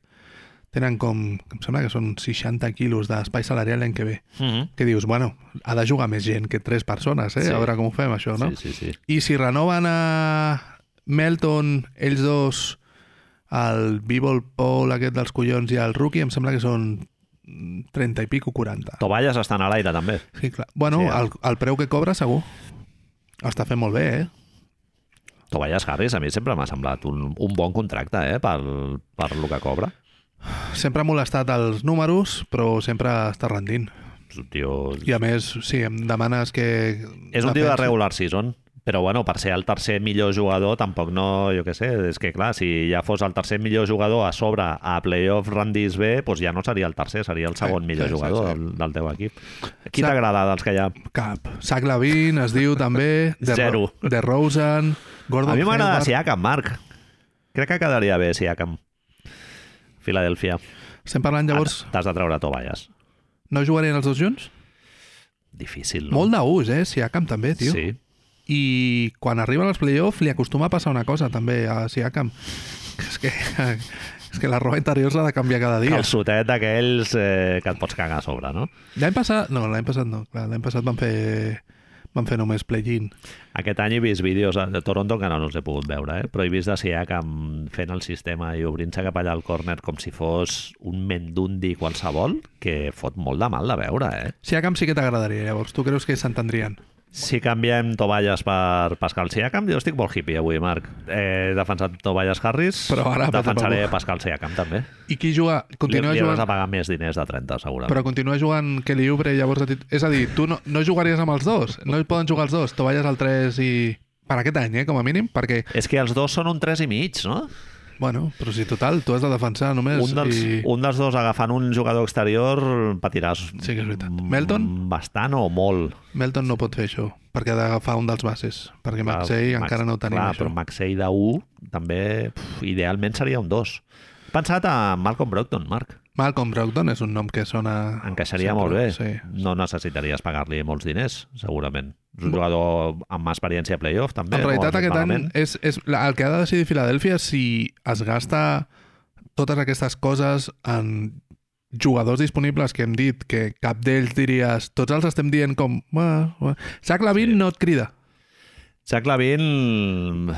Speaker 2: tenen com, em sembla que són 60 quilos d'espai salarial l'any que ve.
Speaker 1: Mm -hmm.
Speaker 2: Que dius, bueno, ha de jugar més gent que tres persones, eh?
Speaker 1: Sí.
Speaker 2: Sí. A veure com ho fem, això, no?
Speaker 1: Sí, sí, sí.
Speaker 2: I si renoven a Melton, ells dos, el Bivol Paul aquest dels collons i el Rookie, em sembla que són 30 i pico, 40.
Speaker 1: Tovalles estan a l'aire, també.
Speaker 2: Sí, clar. Bueno,
Speaker 1: Sí,
Speaker 2: sí,
Speaker 1: eh?
Speaker 2: el, el preu que cobra segur. Està fent molt bé, eh?
Speaker 1: Tobias Harris a mi sempre m'ha semblat un, un bon contracte eh, pel, per lo que cobra.
Speaker 2: Sempre ha molestat els números, però sempre està rendint.
Speaker 1: És un tio...
Speaker 2: I a més, sí, em demanes que...
Speaker 1: És un tio de regular season, però bueno, per ser el tercer millor jugador tampoc no, jo què sé, és que clar, si ja fos el tercer millor jugador a sobre a playoff rendís bé, doncs ja no seria el tercer, seria el segon
Speaker 2: Sí,
Speaker 1: millor
Speaker 2: sí,
Speaker 1: jugador
Speaker 2: sí, sí.
Speaker 1: Del, del teu equip. Qui
Speaker 2: Eh, Sa-
Speaker 1: t'agrada dels que hi ha?
Speaker 2: Cap. Zach Lavin es diu també. De
Speaker 1: Zero.
Speaker 2: De Rosen. Gordon
Speaker 1: A mi m'agrada
Speaker 2: Hayward.
Speaker 1: Siakam, Marc. Crec que quedaria bé Siakam. Filadèlfia.
Speaker 2: Estem parlant llavors...
Speaker 1: Ara T'has de treure tovalles.
Speaker 2: No jugarien els dos junts?
Speaker 1: Difícil,
Speaker 2: No.
Speaker 1: no?
Speaker 2: Molt d'ús, eh? Siakam també, tio.
Speaker 1: Sí.
Speaker 2: I quan arriben els play-offs li acostuma a passar una cosa també a Siakam. Que és que, és que la roba interior s'ha de canviar cada dia.
Speaker 1: Calçotet d'aquells eh, que et pots cagar a sobre, no?
Speaker 2: L'any passat... No, l'any passat no. clar, L'any passat van fer van fer només play-in.
Speaker 1: Aquest any he vist vídeos de Toronto, que no, no els he pogut veure, eh? però he vist de Siakam fent el sistema i obrint-se cap allà al córner com si fos un mendundi qualsevol, que fot molt de mal de veure, eh?
Speaker 2: Siakam sí que t'agradaria, llavors. Tu creus que s'entendrien?
Speaker 1: Si canviem Tovalles per Pascal Siakam, jo estic molt hippie avui, Marc. He defensat Tovalles Harris,
Speaker 2: Però ara,
Speaker 1: defensaré
Speaker 2: papa,
Speaker 1: Pascal Siakam també.
Speaker 2: I qui juga... Continua
Speaker 1: li, li hauràs
Speaker 2: jugant...
Speaker 1: de pagar més diners de 30, segurament.
Speaker 2: Però continua jugant Kelly Oubre i llavors... a tit- És a dir, tu no, no jugaries amb els dos. No hi poden jugar els dos. Tovalles al 3 i... Per aquest any, eh, com a mínim, perquè,
Speaker 1: És que els dos són un 3 i mig, no?
Speaker 2: bueno, però si total, tu has de defensar només
Speaker 1: Un dels,
Speaker 2: i...
Speaker 1: un dels dos agafant un jugador exterior patiràs
Speaker 2: Sí que és veritat.
Speaker 1: mm,
Speaker 2: Melton?
Speaker 1: bastant o molt.
Speaker 2: Melton no pot fer això, perquè ha d'agafar un dels bases, perquè Maxey
Speaker 1: Clar,
Speaker 2: encara no tenia
Speaker 1: clar,
Speaker 2: això.
Speaker 1: Però Maxey de 1 també pf, idealment seria un 2. He pensat a Malcolm Brogdon, Marc.
Speaker 2: Malcolm Brogdon és un nom que sona...
Speaker 1: Encaixaria
Speaker 2: sempre,
Speaker 1: molt bé.
Speaker 2: Sí.
Speaker 1: No necessitaries pagar-li molts diners, segurament. És un jugador amb experiència a playoff, també.
Speaker 2: En
Speaker 1: no ha
Speaker 2: realitat
Speaker 1: fet
Speaker 2: aquest any
Speaker 1: doncs, malament.
Speaker 2: és, és la- el que ha de decidir Filadèlfia és si es gasta totes aquestes coses en jugadors disponibles que hem dit que cap d'ells diries tots els estem dient com "Buah, buah". Zach Lavin no et crida
Speaker 1: Zach Lavin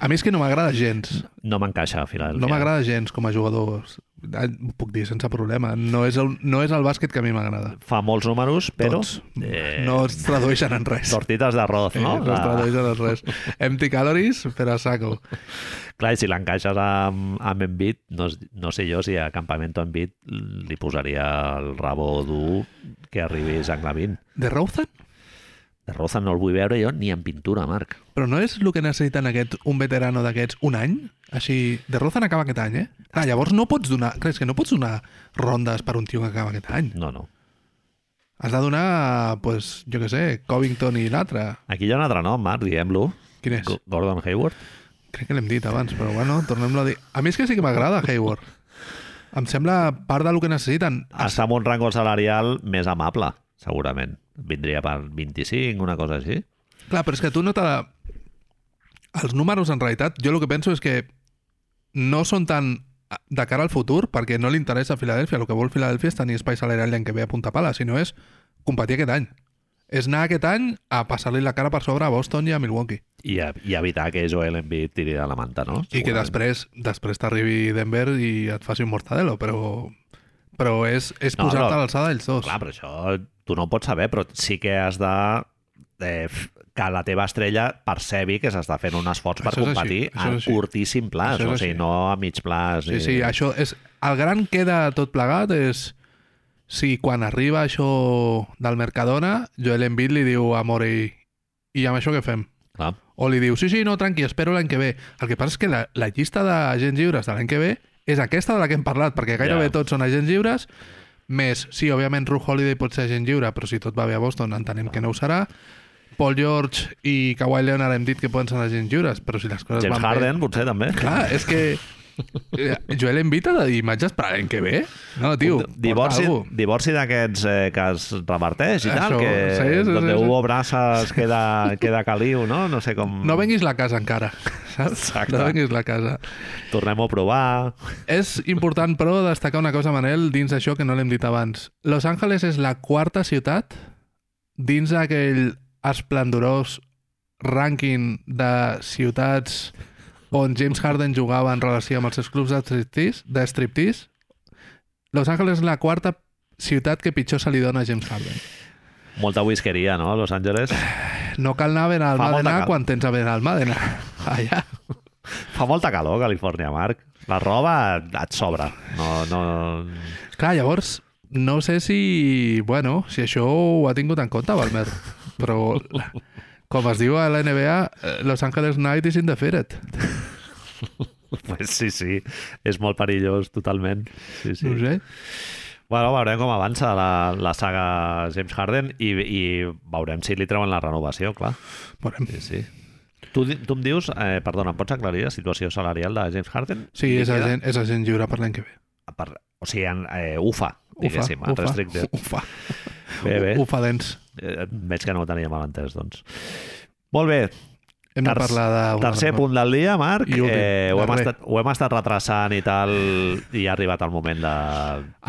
Speaker 2: a mi és que no m'agrada gens
Speaker 1: no m'encaixa a Filadèlfia.
Speaker 2: no m'agrada gens com a jugador Eh, ho puc dir sense problema no és el, no és el bàsquet que a mi m'agrada
Speaker 1: Fa molts números, però...
Speaker 2: Tots. no es tradueixen en res
Speaker 1: Tortites d'arroz,
Speaker 2: Eh,
Speaker 1: no? Ah.
Speaker 2: no es tradueixen en res empty calories per a saco
Speaker 1: Clar, i si l'encaixes amb, amb Embiid, no, es- no sé jo si a Campamento Embiid li posaria el rabo dur que arribi Sanglavín.
Speaker 2: de Routhan?
Speaker 1: De Roza no el vull veure jo ni en pintura, Marc.
Speaker 2: Però no és el que necessiten aquest, un veterano d'aquests un any? Així, de Rozan acaba aquest any, eh? Ah, llavors no pots donar... Clar, és que no pots donar rondes per un tio que acaba aquest any.
Speaker 1: No, no.
Speaker 2: Has de donar, pues, jo que sé, Covington i l'altre.
Speaker 1: Aquí hi ha un altre nom, Marc, diguem-lo.
Speaker 2: Quin és?
Speaker 1: Go- Gordon Hayward.
Speaker 2: Crec que l'hem dit abans, però bueno, tornem-lo a dir. A mi és que sí que m'agrada Hayward. Em sembla part del que necessiten.
Speaker 1: Està amb un rango salarial més amable, segurament. Vindria per 25, una cosa així.
Speaker 2: Clar, però és que tu no te... Els números, en realitat, jo el que penso és que no són tan de cara al futur, perquè no li interessa a Filadèlfia. El que vol Filadèlfia és tenir espai salarial l'any que ve a punta pala, sinó és competir aquest any. És anar aquest any a passar-li la cara per sobre a Boston i a Milwaukee.
Speaker 1: I, a- i evitar que Joel Embiid tiri de la manta, no?
Speaker 2: I que
Speaker 1: Segurament.
Speaker 2: després després t'arribi Denver i et faci un mortadelo, però però és, és
Speaker 1: No,
Speaker 2: posar-te
Speaker 1: no.
Speaker 2: a l'alçada dels dos.
Speaker 1: Clar, però això tu no ho pots saber, però sí que has de eh, f- que la teva estrella percebi que s'està fent un esforç per
Speaker 2: Això és
Speaker 1: competir
Speaker 2: així, això és
Speaker 1: a
Speaker 2: així.
Speaker 1: curtíssim plaç,
Speaker 2: Això és
Speaker 1: o sigui,
Speaker 2: així.
Speaker 1: no a mig plaç.
Speaker 2: Sí,
Speaker 1: ni-
Speaker 2: sí, això és... El gran que de tot plegat és si quan arriba això del Mercadona, Joel Embiid li diu a Morey i amb això què fem?
Speaker 1: Clar.
Speaker 2: O li diu, sí, sí, no, tranqui, espero l'any que ve. El que passa és que la, la llista d'agents lliures de l'any que ve és aquesta de la que hem parlat, perquè gairebé
Speaker 1: Ja.
Speaker 2: tots són agents lliures, més, sí, òbviament, Ru Holiday pot ser agent lliure, però si tot va bé a Boston entenem que no ho serà. Paul George i Kawhi Leonard hem dit que poden ser agents lliures, però si les coses
Speaker 1: James
Speaker 2: van bé...
Speaker 1: Harden, potser, també.
Speaker 2: Clar, és que... eh, Joel Embiid ha de dir imatges per l'any que ve. No, tio,
Speaker 1: Divorci,
Speaker 2: porta algú.
Speaker 1: divorci d'aquests eh, que es reverteix i tal,
Speaker 2: Això,
Speaker 1: que
Speaker 2: sí, sí, sí,
Speaker 1: donde
Speaker 2: sí.
Speaker 1: hubo brasas queda, queda caliu, no? No sé com...
Speaker 2: No venguis la casa encara, saps?
Speaker 1: Exacte.
Speaker 2: No venguis la casa.
Speaker 1: Tornem-ho a provar.
Speaker 2: És important, però, destacar una cosa, Manel, dins d'això que no l'hem dit abans. Los Angeles és la quarta ciutat dins d'aquell esplendorós rànquing de ciutats on James Harden jugava en relació amb els seus clubs de striptease- de striptease. Los Angeles és la quarta ciutat que pitjor se li dona a James Harden.
Speaker 1: Molta whiskeria, no, a Los Angeles?
Speaker 2: No cal anar a
Speaker 1: molta
Speaker 2: Benalmàdena
Speaker 1: cal-
Speaker 2: quan tens a Benalmàdena. Allà.
Speaker 1: Fa molta calor, a Califòrnia, Marc. La roba et sobra. No, no...
Speaker 2: Clar, llavors, no sé si... Bueno, si això ho ha tingut en compte, Balmer. Però, com es diu a la NBA, eh, Los Angeles Night is in the Feret.
Speaker 1: Pues sí, sí. És molt perillós, totalment. Sí, sí.
Speaker 2: No ho sé.
Speaker 1: Bueno, veurem com avança la, la saga James Harden i, i veurem si li treuen la renovació, clar.
Speaker 2: Veurem.
Speaker 1: Sí, sí. Tu, di- tu em dius, eh, perdona, em pots aclarir la situació salarial de James Harden?
Speaker 2: Sí,
Speaker 1: Li
Speaker 2: és
Speaker 1: queda-
Speaker 2: agent, és agent lliure per l'any que ve.
Speaker 1: Per, o sigui, en, eh, UFA,
Speaker 2: Ufa,
Speaker 1: diguéssim, en restricted.
Speaker 2: ufa,
Speaker 1: Bé, bé,
Speaker 2: ufa dents.
Speaker 1: eh, veig que no ho tenia mal entès, doncs. Molt bé,
Speaker 2: Hem de
Speaker 1: Terc-
Speaker 2: parlar de...
Speaker 1: tercer punt del dia, Marc.
Speaker 2: I últim,
Speaker 1: Eh, ho, hem
Speaker 2: darrer.
Speaker 1: estat, ho hem estat retrasant i tal, i ha arribat el moment de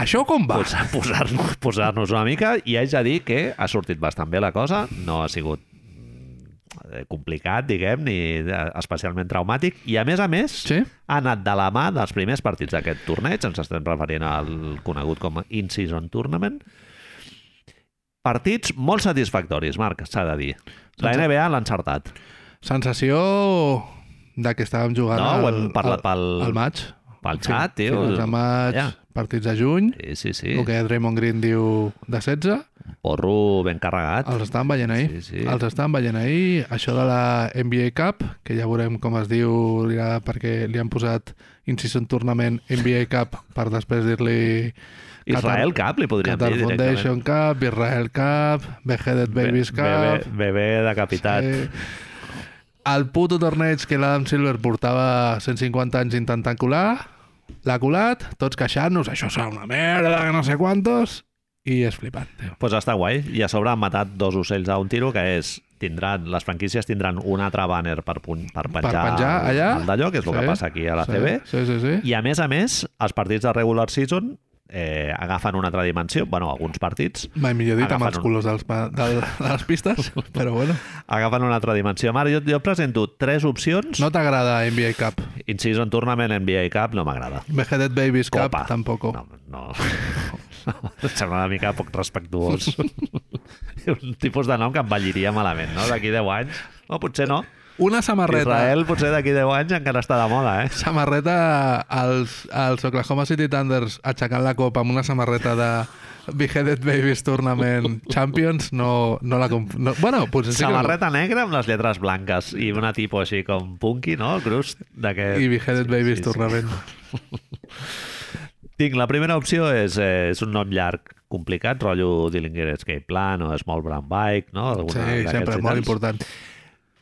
Speaker 2: Això com va?
Speaker 1: posar- posar-nos posar una mica, i haig de dir que ha sortit bastant bé la cosa, no ha sigut mm, eh, complicat, diguem, ni eh, especialment traumàtic, i a més a més
Speaker 2: Sí?
Speaker 1: ha anat de la mà dels primers partits d'aquest torneig, ens estem referint al conegut com a In-Season Tournament. Partits molt satisfactoris, Marc, s'ha de dir. La
Speaker 2: Sense-
Speaker 1: NBA l'ha encertat.
Speaker 2: Sensació de que estàvem jugant
Speaker 1: No, ho
Speaker 2: al,
Speaker 1: hem parlat
Speaker 2: al,
Speaker 1: pel,
Speaker 2: al maig.
Speaker 1: pel xat, Ah, tio.
Speaker 2: Finals de maig,
Speaker 1: Ja.
Speaker 2: partits de juny,
Speaker 1: Sí, sí, sí.
Speaker 2: el que Draymond Green diu de 16,
Speaker 1: Porro ben carregat.
Speaker 2: els estan veient ahir.
Speaker 1: Sí, sí.
Speaker 2: Els estan veient ahir. Això de la NBA Cup, que ja veurem com es diu, ja, perquè li han posat incís en tornament NBA Cup per després dir-li
Speaker 1: Israel Cap, li podríem
Speaker 2: Qatar
Speaker 1: dir directament.
Speaker 2: Foundation Cup, Israel Cup, Beheaded Babies
Speaker 1: Be-
Speaker 2: Cup...
Speaker 1: Bebè, bebè decapitat.
Speaker 2: Eh, el puto torneig que l'Adam Silver portava 150 anys intentant colar, l'ha colat, tots queixant-nos, això serà una merda, que no sé quantos, i és flipant, tio.
Speaker 1: Pues està guai. I a sobre han matat dos ocells a un tiro, que és tindran, les franquícies tindran un altre banner per, pun- per penjar,
Speaker 2: penjar allà.
Speaker 1: el d'allò, que és el
Speaker 2: Sí.
Speaker 1: que passa aquí a la
Speaker 2: sí,
Speaker 1: CB.
Speaker 2: Sí, sí, sí.
Speaker 1: I a més a més, els partits de regular season eh, agafen una altra dimensió, bueno, alguns partits,
Speaker 2: Mai millor dit, amb
Speaker 1: Agafen
Speaker 2: els
Speaker 1: un-
Speaker 2: colors dels, pa- del, de les pistes, però bueno.
Speaker 1: agafen una altra dimensió. Mare, jo, jo presento tres opcions. No.
Speaker 2: No t'agrada NBA Cup.
Speaker 1: Incision Tournament, NBA Cup, no m'agrada.
Speaker 2: Beheaded Babies
Speaker 1: Copa.
Speaker 2: Cup, tampoc.
Speaker 1: No, no. Em Sembla una mica poc respectuós. un tipus de nom que em balliria malament, no? D'aquí 10 anys. No, potser no.
Speaker 2: Una samarreta.
Speaker 1: Israel potser d'aquí 10 anys encara està de moda, eh?
Speaker 2: Samarreta als, als Oklahoma City Thunders aixecant la copa amb una samarreta de Beheaded Babies Tournament Champions no, no la... Comp no, bueno, potser sí que la-
Speaker 1: Samarreta negra amb les lletres blanques i una tipo així com punky, no? El crust d'aquest...
Speaker 2: i Beheaded Babies Tournament.
Speaker 1: Tinc, la primera opció és, eh, és un nom llarg complicat, rotllo Dillinger Escape Plan o Small Brand Bike, no?
Speaker 2: Sí,
Speaker 1: Alguna d'aquests
Speaker 2: sempre,
Speaker 1: i
Speaker 2: molt
Speaker 1: tals.
Speaker 2: important.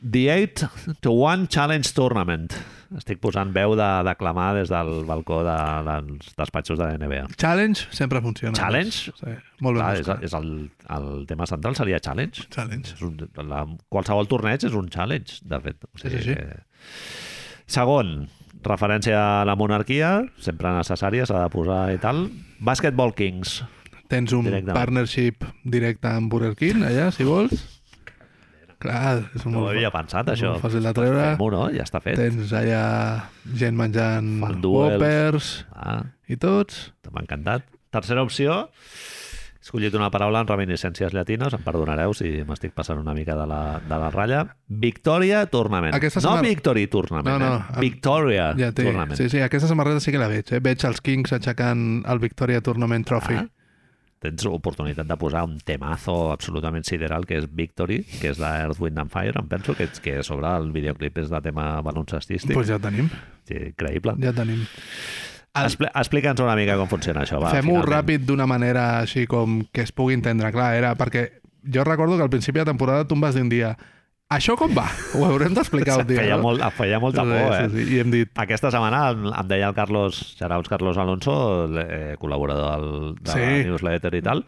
Speaker 1: The 8 to 1 Challenge Tournament. Estic posant veu de declamar des del balcó de, dels despatxos de la NBA.
Speaker 2: Challenge sempre funciona.
Speaker 1: Challenge?
Speaker 2: Sí, molt
Speaker 1: Clar,
Speaker 2: ben
Speaker 1: és,
Speaker 2: buscat.
Speaker 1: és el, el tema central seria Challenge.
Speaker 2: Challenge.
Speaker 1: És un, la, qualsevol torneig és un challenge, de fet. O
Speaker 2: Sí, sí, sí.
Speaker 1: Que... Segon, referència a la monarquia, sempre necessària, s'ha de posar i tal. Basketball Kings.
Speaker 2: Tens un
Speaker 1: Directament.
Speaker 2: partnership directe amb Burger King, allà, si vols. Clar, és
Speaker 1: No ho
Speaker 2: molt,
Speaker 1: havia pensat,
Speaker 2: molt
Speaker 1: això.
Speaker 2: fàcil de treure.
Speaker 1: Fem-ho, no? Ja està fet.
Speaker 2: Tens allà gent menjant
Speaker 1: Fan duels.
Speaker 2: Whoppers
Speaker 1: Ah,
Speaker 2: i tots.
Speaker 1: M'ha encantat. Tercera opció, he escollit una paraula en reminiscències llatines, em perdonareu si m'estic passant una mica de la, de la ratlla. Victòria Tournament.
Speaker 2: Aquesta
Speaker 1: no
Speaker 2: setmana-
Speaker 1: Victory Tournament,
Speaker 2: No, no,
Speaker 1: eh?
Speaker 2: em-
Speaker 1: Victòria
Speaker 2: Ja té.
Speaker 1: Tournament.
Speaker 2: Sí, sí, aquesta samarreta sí que la veig. Eh? Veig els Kings aixecant el Victoria Tournament Trophy.
Speaker 1: Ah. Tens oportunitat de posar un temazo absolutament sideral que és Victory, que és d'Earth, Wind and Fire, em penso que, que a sobre el videoclip és de tema baloncestístic.
Speaker 2: Doncs pues ja ho tenim,
Speaker 1: Sí, increïble.
Speaker 2: ja ho tenim.
Speaker 1: Expl Explica'ns una mica com funciona això. va,
Speaker 2: Fem-ho
Speaker 1: finalment.
Speaker 2: ràpid d'una manera així com que es pugui entendre. Clar, era perquè jo recordo que al principi de temporada tu em vas dir un dia això com va? Ho haurem d'explicar un dia.
Speaker 1: Feia,
Speaker 2: no?"
Speaker 1: molt, feia molta
Speaker 2: Sí,
Speaker 1: por, eh?
Speaker 2: sí, sí, I hem dit,
Speaker 1: Aquesta setmana em, em deia el Carlos, Xaraus Carlos Alonso, l- eh, col·laborador del, de sí.
Speaker 2: Sí.
Speaker 1: la newsletter i tal,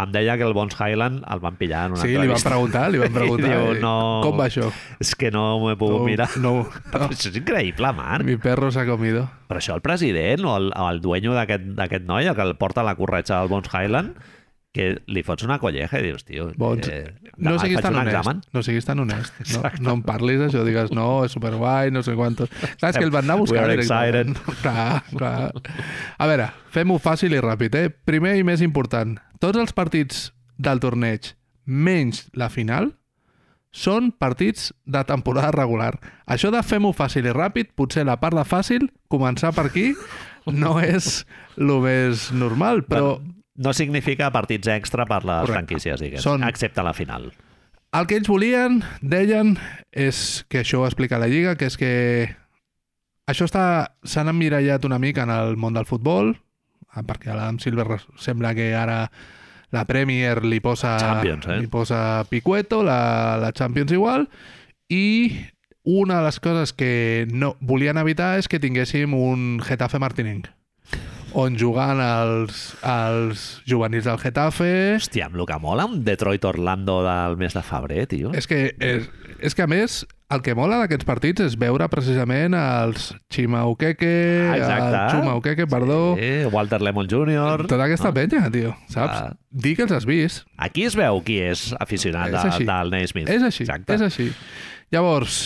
Speaker 1: em deia que el Bones Highland el van pillar en una
Speaker 2: sí, li van
Speaker 1: entrevista.
Speaker 2: preguntar, li van preguntar
Speaker 1: diu,
Speaker 2: eh,
Speaker 1: "No,
Speaker 2: com va això?
Speaker 1: És que no m'ho he pogut
Speaker 2: No,
Speaker 1: mirar.
Speaker 2: No,
Speaker 1: Però
Speaker 2: no,
Speaker 1: això és increïble, Marc.
Speaker 2: mi perro s'ha comido.
Speaker 1: Però això el president o el, o el duenyo d'aquest d'aquest noi, el que el porta la corretxa del Bones Highland, que li fots una colleja i dius, tio, eh,
Speaker 2: Bones-
Speaker 1: demà
Speaker 2: No
Speaker 1: et
Speaker 2: siguis
Speaker 1: faig
Speaker 2: tan
Speaker 1: un
Speaker 2: honest.
Speaker 1: examen.
Speaker 2: No siguis tan honest. No, no em parlis això, digues, no, és superguai, no sé quantos... Clar, és que el van anar a
Speaker 1: We
Speaker 2: buscar
Speaker 1: are
Speaker 2: directament. Clar, clar. A veure, fem-ho fàcil i ràpid, eh? Primer i més important, tots els partits del torneig menys la final, són partits de temporada regular. Això de fem-ho fàcil i ràpid, potser la part de fàcil, començar per aquí, no és el més normal, però...
Speaker 1: Bueno, no significa partits extra per les
Speaker 2: Correcte.
Speaker 1: franquícies, diguem,
Speaker 2: Són-
Speaker 1: excepte la final.
Speaker 2: El que ells volien, deien, és que això ho explica la Lliga, que és que això està s'han emmirallat una mica en el món del futbol, ah, perquè a l'Adam Silver res- sembla que ara la Premier li posa,
Speaker 1: Champions, eh?
Speaker 2: li posa picueto, la, la Champions igual, i una de les coses que no volien evitar és que tinguéssim un Getafe Martinenc, on jugant els, els juvenils del Getafe...
Speaker 1: Hòstia, amb el que mola un Detroit Orlando del mes de febrer, tio.
Speaker 2: És que, és, és que a més, el que mola d'aquests partits és veure precisament els Chimaukeke,
Speaker 1: Ah,
Speaker 2: el
Speaker 1: exacte.
Speaker 2: Chumaukeke, perdó, sí.
Speaker 1: Eh, Walter Lemon Jr.
Speaker 2: tota aquesta penya, tio, saps?
Speaker 1: Ah.
Speaker 2: Dir que els has vist.
Speaker 1: Aquí es veu qui és aficionat
Speaker 2: És així.
Speaker 1: de, del Naismith.
Speaker 2: És així,
Speaker 1: Exacte.
Speaker 2: és així. Llavors,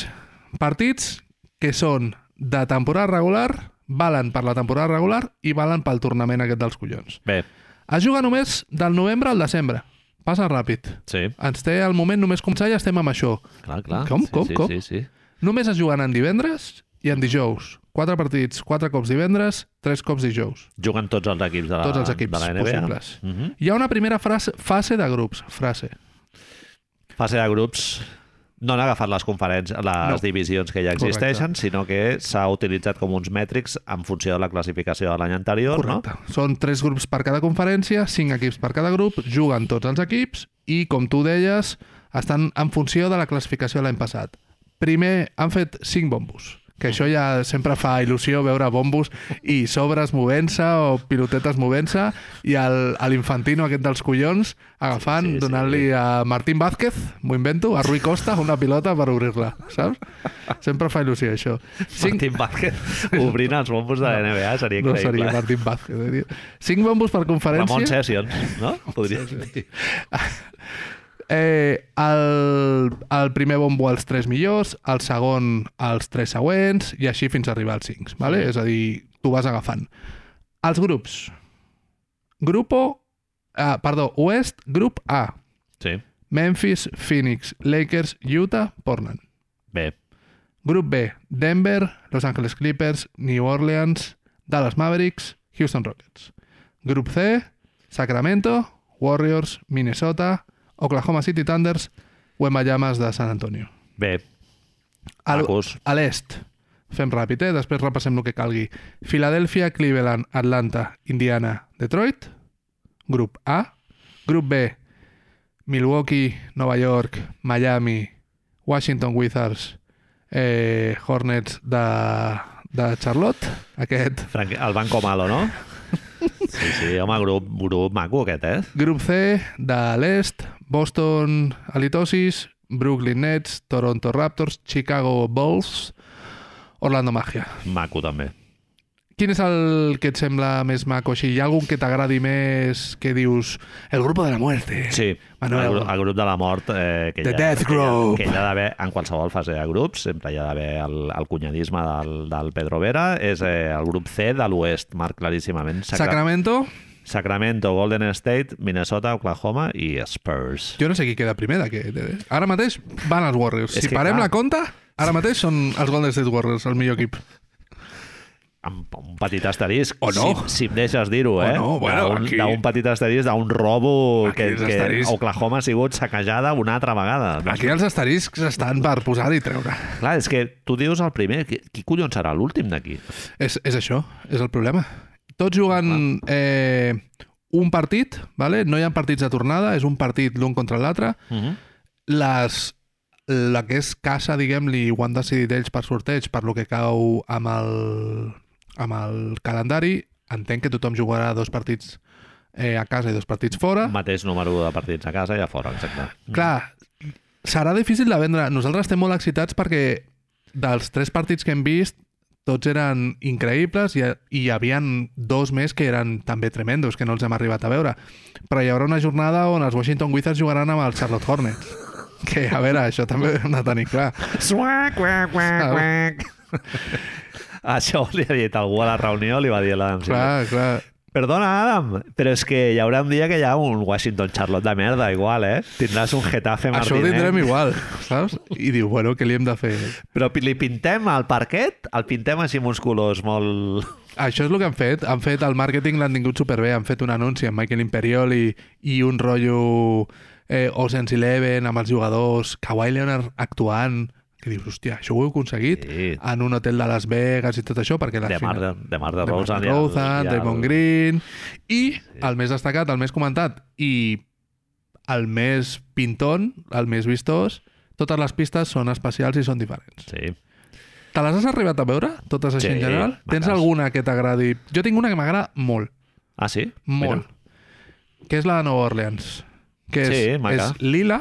Speaker 2: partits que són de temporada regular, valen per la temporada regular i valen pel tornament aquest dels collons.
Speaker 1: Bé,
Speaker 2: Es juga només del novembre al desembre. Passa ràpid.
Speaker 1: sí,
Speaker 2: Ens té al moment només començar i estem amb això.
Speaker 1: clar, clar.
Speaker 2: Com,
Speaker 1: sí,
Speaker 2: com,
Speaker 1: sí,
Speaker 2: com?
Speaker 1: Sí, sí.
Speaker 2: Només es juguen en divendres i en dijous. Quatre partits, quatre cops divendres, tres cops dijous.
Speaker 1: Juguen tots els equips de la,
Speaker 2: Tots els
Speaker 1: Ah,
Speaker 2: equips
Speaker 1: de la NBA.
Speaker 2: possibles.
Speaker 1: Mm -hmm.
Speaker 2: Hi ha una primera frase, fase de grups, frase.
Speaker 1: Fase de grups no han agafat les conferències, les
Speaker 2: No.
Speaker 1: no. divisions que ja existeixen, Correcte. sinó que s'ha utilitzat com uns mètrics en funció de la classificació de l'any anterior,
Speaker 2: Correcte. Són tres grups per cada conferència, cinc equips per cada grup, juguen tots els equips i, com tu deies, estan en funció de la classificació de l'any passat. Primer han fet cinc bombos, que això ja sempre fa il·lusió veure bombos i sobres movent-se o pilotetes movent-se i el- a l'infantino aquest dels collons agafant, sí,
Speaker 1: Sí,
Speaker 2: sí,
Speaker 1: sí,
Speaker 2: donant-li
Speaker 1: sí.
Speaker 2: a Martín Vázquez, m'ho invento, a Rui Costa una pilota per obrir-la, saps? Sempre fa il·lusió això.
Speaker 1: no?
Speaker 2: Cinc,
Speaker 1: Martín Vázquez obrint els bombos de la NBA seria
Speaker 2: no
Speaker 1: increïble.
Speaker 2: seria Martín Vázquez, eh, tio. Cinc bombos per conferència.
Speaker 1: Ramon Sessions, no? Podria dir.
Speaker 2: Eh, el, el primer bombo als 3 millors, el segon als 3 següents i així fins a arribar als 5, vale? és a dir, tu vas agafant. Els grups. Grupo... Ah, perdó, Oest, grup A.
Speaker 1: Sí,
Speaker 2: Memphis, Phoenix, Lakers, Utah, Portland.
Speaker 1: bé.
Speaker 2: Grup B, Denver, Los Angeles Clippers, New Orleans, Dallas Mavericks, Houston Rockets. Grup C, Sacramento, Warriors, Minnesota, Oklahoma City Thunders, Wemba Llamas de San Antonio.
Speaker 1: Bé,
Speaker 2: Al,
Speaker 1: Macos.
Speaker 2: a l'est, fem ràpid, eh? després repassem el que calgui. Filadèlfia, Cleveland, Atlanta, Indiana, Detroit. Grup A. Grup B, Milwaukee, Nova York, Miami, Washington Wizards, eh, Hornets de, de Charlotte, aquest.
Speaker 1: Frank, el Banco Malo, no? Sí, sí, home, grup, grup maco aquest, eh?
Speaker 2: Grup C, de l'est, Boston Halitosis, Brooklyn Nets, Toronto Raptors, Chicago Bulls, Orlando Magia.
Speaker 1: Maco, també.
Speaker 2: Quin és el que et sembla més maco? Així, hi ha algun que t'agradi més que dius el grup de la muerte?
Speaker 1: Sí,
Speaker 2: Manuel.
Speaker 1: el, gru- el grup de la mort... Eh, que
Speaker 2: The
Speaker 1: hi ha- que hi
Speaker 2: Death
Speaker 1: ha-
Speaker 2: Group.
Speaker 1: Que hi ha d'haver, en qualsevol fase de grups, sempre hi ha d'haver el, el cunyadisme del, del Pedro Vera, és eh, el grup C de l'oest, marc claríssimament. Sacra
Speaker 2: Sacramento?
Speaker 1: Sacramento, Golden State, Minnesota, Oklahoma i Spurs.
Speaker 2: Jo no sé qui queda primer d'aquest. eh? Ara mateix van els Warriors.
Speaker 1: És
Speaker 2: Si
Speaker 1: que
Speaker 2: parem
Speaker 1: clar.
Speaker 2: la compta, ara mateix són els Golden State Warriors, el millor equip.
Speaker 1: Amb un petit asterisc.
Speaker 2: O no.
Speaker 1: Si, si em deixes dir-ho, eh?
Speaker 2: no, bueno,
Speaker 1: D'un-
Speaker 2: aquí-
Speaker 1: D'un petit asterisc, d'un robo
Speaker 2: Aquí
Speaker 1: que,
Speaker 2: els
Speaker 1: que
Speaker 2: asteriscs.
Speaker 1: Oklahoma ha sigut saquejada una altra vegada.
Speaker 2: Aquí els asteriscs estan per posar i treure.
Speaker 1: Clar, és que tu dius el primer, qui, qui collons serà l'últim d'aquí?
Speaker 2: És, és això, és el problema. Tots juguen eh, un partit, vale? no hi ha partits de tornada, és un partit l'un contra l'altre,
Speaker 1: Uh -huh.
Speaker 2: les la que és casa, diguem-li, ho han decidit ells per sorteig, per lo que cau amb el, amb el calendari, entenc que tothom jugarà dos partits eh, a casa i dos partits fora.
Speaker 1: Mateix número de partits a casa i a fora, exacte.
Speaker 2: Mm. Clar, serà difícil de vendre. Nosaltres estem molt excitats perquè dels tres partits que hem vist, tots eren increïbles i, i hi havia dos més que eren també tremendos, que no els hem arribat a veure. Però hi haurà una jornada on els Washington Wizards jugaran amb els Charlotte Hornets. Que, a veure, això també ho hem de tenir clar.
Speaker 1: Suac, quac, quac, Ah, quac. Això li ha dit algú a la reunió, li va dir a l'Adam Silver.
Speaker 2: Clar, clar.
Speaker 1: Perdona, Adam, però és que hi haurà un dia que hi ha un Washington Charlotte de merda, igual, eh? Tindràs un Getafe
Speaker 2: Això ho
Speaker 1: Martinenc.
Speaker 2: tindrem igual, saps? I diu, bueno, què li hem de fer?
Speaker 1: Però pi- li pintem al parquet, el pintem així amb uns colors molt...
Speaker 2: Això és el que han fet. Han fet el màrqueting, l'han tingut superbé. Han fet un anunci amb Michael Imperioli i un rotllo eh, Ocean's Eleven amb els jugadors, Kawhi Leonard actuant, que dius, hòstia, això ho heu aconseguit
Speaker 1: Sí.
Speaker 2: en un hotel de Las Vegas i tot això, perquè la
Speaker 1: De Mar de, de, Mar de
Speaker 2: de
Speaker 1: Rosen.
Speaker 2: Martin
Speaker 1: i el-
Speaker 2: Rosen,
Speaker 1: i el-
Speaker 2: Draymond Green... I el més destacat, el més comentat i el més pintón, el més vistós, totes les pistes són especials i són diferents.
Speaker 1: Sí.
Speaker 2: Te les has arribat a veure, totes així
Speaker 1: Sí,
Speaker 2: en general? Tens
Speaker 1: maques.
Speaker 2: alguna que t'agradi? Jo tinc una que m'agrada molt,
Speaker 1: Ah, sí?
Speaker 2: molt.
Speaker 1: Mira.
Speaker 2: Que és la de Nova Orleans. Que és,
Speaker 1: Sí, maca.
Speaker 2: és lila,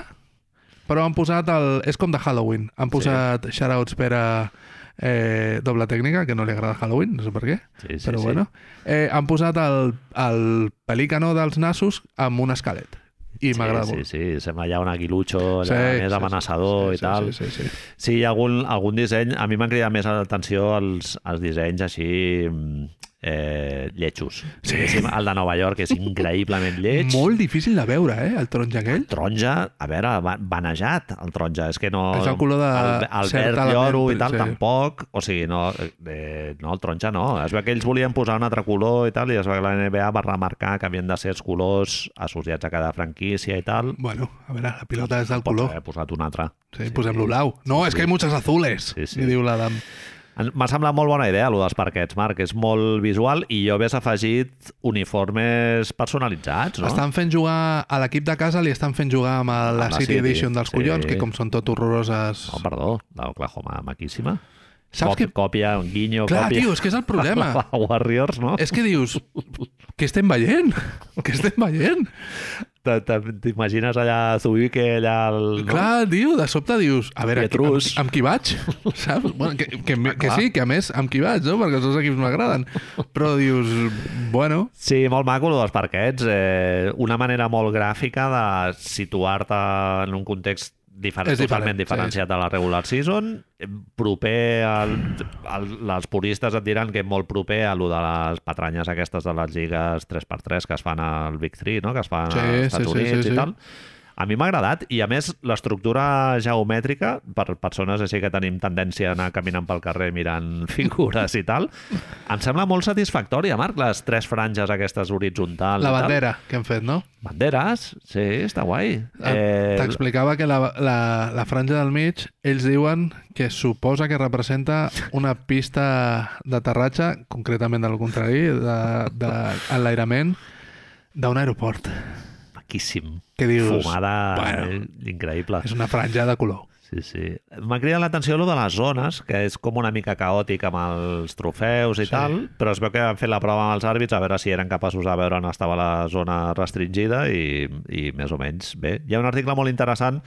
Speaker 2: però han posat el... És com de Halloween. Han posat sí. shoutouts per a eh, doble tècnica, que no li agrada Halloween, no sé per què.
Speaker 1: Sí, sí,
Speaker 2: però
Speaker 1: sí.
Speaker 2: bueno. Eh, han posat el, el pelícano dels nassos amb un esquelet. I m'agrada
Speaker 1: sí,
Speaker 2: molt.
Speaker 1: sí, sí, sembla ja un aguilutxo allà, sí, més amenaçador i
Speaker 2: sí,
Speaker 1: tal.
Speaker 2: Sí, sí, sí. sí.
Speaker 1: Sí, hi ha algun, algun disseny... A mi m'han cridat més l'atenció els, els dissenys així mm, eh, lletjos.
Speaker 2: Sí.
Speaker 1: Diguéssim, El de Nova York és increïblement lleig.
Speaker 2: Molt difícil de veure, eh, el taronja aquell.
Speaker 1: Taronja, a veure, ba- banejat el taronja, és que no...
Speaker 2: És el color de
Speaker 1: El, el
Speaker 2: cert
Speaker 1: verd
Speaker 2: element,
Speaker 1: lloro i tal,
Speaker 2: sí.
Speaker 1: sí. tampoc. O sigui, no, eh, no, el taronja no. Es veu que ells volien posar un altre color i tal, i es veu que la NBA va remarcar que havien de ser els colors associats a cada franquícia i tal.
Speaker 2: Bueno, a veure, la pilota és del
Speaker 1: Pots
Speaker 2: color.
Speaker 1: haver posat un altre.
Speaker 2: Sí, posem-lo blau. No, és que hi ha muchas azules,
Speaker 1: Sí, sí.
Speaker 2: li diu l'Adam.
Speaker 1: En- M'ha semblat molt bona idea, allò dels parquets, Marc. És molt visual i jo hagués afegit uniformes personalitzats, no?
Speaker 2: Estan fent jugar, a l'equip de casa li estan fent jugar amb la,
Speaker 1: la
Speaker 2: City,
Speaker 1: City,
Speaker 2: Edition dels
Speaker 1: sí.
Speaker 2: collons, que com són tot horroroses...
Speaker 1: Oh, perdó, l'Oklahoma, maquíssima.
Speaker 2: Saps que-
Speaker 1: Còpia, un guinyo,
Speaker 2: Clar,
Speaker 1: còpia...
Speaker 2: tio, és que és el problema.
Speaker 1: La Warriors, no?
Speaker 2: és que dius, què estem veient? Què estem veient?
Speaker 1: Te- te- T'imagines allà Zubique, allà... El, no?
Speaker 2: Clar, tio, de sobte dius, a veure, amb, amb,
Speaker 1: Pietrus.
Speaker 2: amb qui vaig? Saps? Bueno, que, que, que
Speaker 1: clar.
Speaker 2: sí, que a més, amb qui vaig, no? Perquè els dos equips m'agraden. Però dius, bueno,
Speaker 1: Sí, molt maco, allò dels parquets. Eh, una manera molt gràfica de situar-te en un context diferent,
Speaker 2: És diferent,
Speaker 1: totalment diferenciat de la regular season, eh, proper al, al, els puristes et diran que és molt proper a lo de les patranyes aquestes de les lligues 3x3 que es fan al Big 3, no? que es fan
Speaker 2: Sí,
Speaker 1: als
Speaker 2: sí,
Speaker 1: Estats
Speaker 2: sí,
Speaker 1: Units
Speaker 2: sí, sí.
Speaker 1: i tal. A mi m'ha agradat, i a més l'estructura geomètrica, per persones així que tenim tendència a anar caminant pel carrer mirant figures i tal, em sembla molt satisfactòria, Marc, les tres franges aquestes horitzontals. i
Speaker 2: la
Speaker 1: tal.
Speaker 2: bandera que hem fet, no?
Speaker 1: Banderes, sí, està guai.
Speaker 2: Eh, T'explicava que la, la, la franja del mig, ells diuen que suposa que representa una pista d'aterratge, concretament del contrari, d'enlairament, de, de, enlairament d'un aeroport.
Speaker 1: maquíssim.
Speaker 2: Què dius?
Speaker 1: Fumada
Speaker 2: Bueno.
Speaker 1: bueno. increïble.
Speaker 2: És una franja de color.
Speaker 1: Sí, sí. M'ha cridat l'atenció allò de les zones, que és com una mica caòtic amb els trofeus i
Speaker 2: Sí.
Speaker 1: sí. tal, però es veu que han fet la prova amb els àrbits a veure si eren capaços de veure on estava la zona restringida i, i més o menys bé. Hi ha un article molt interessant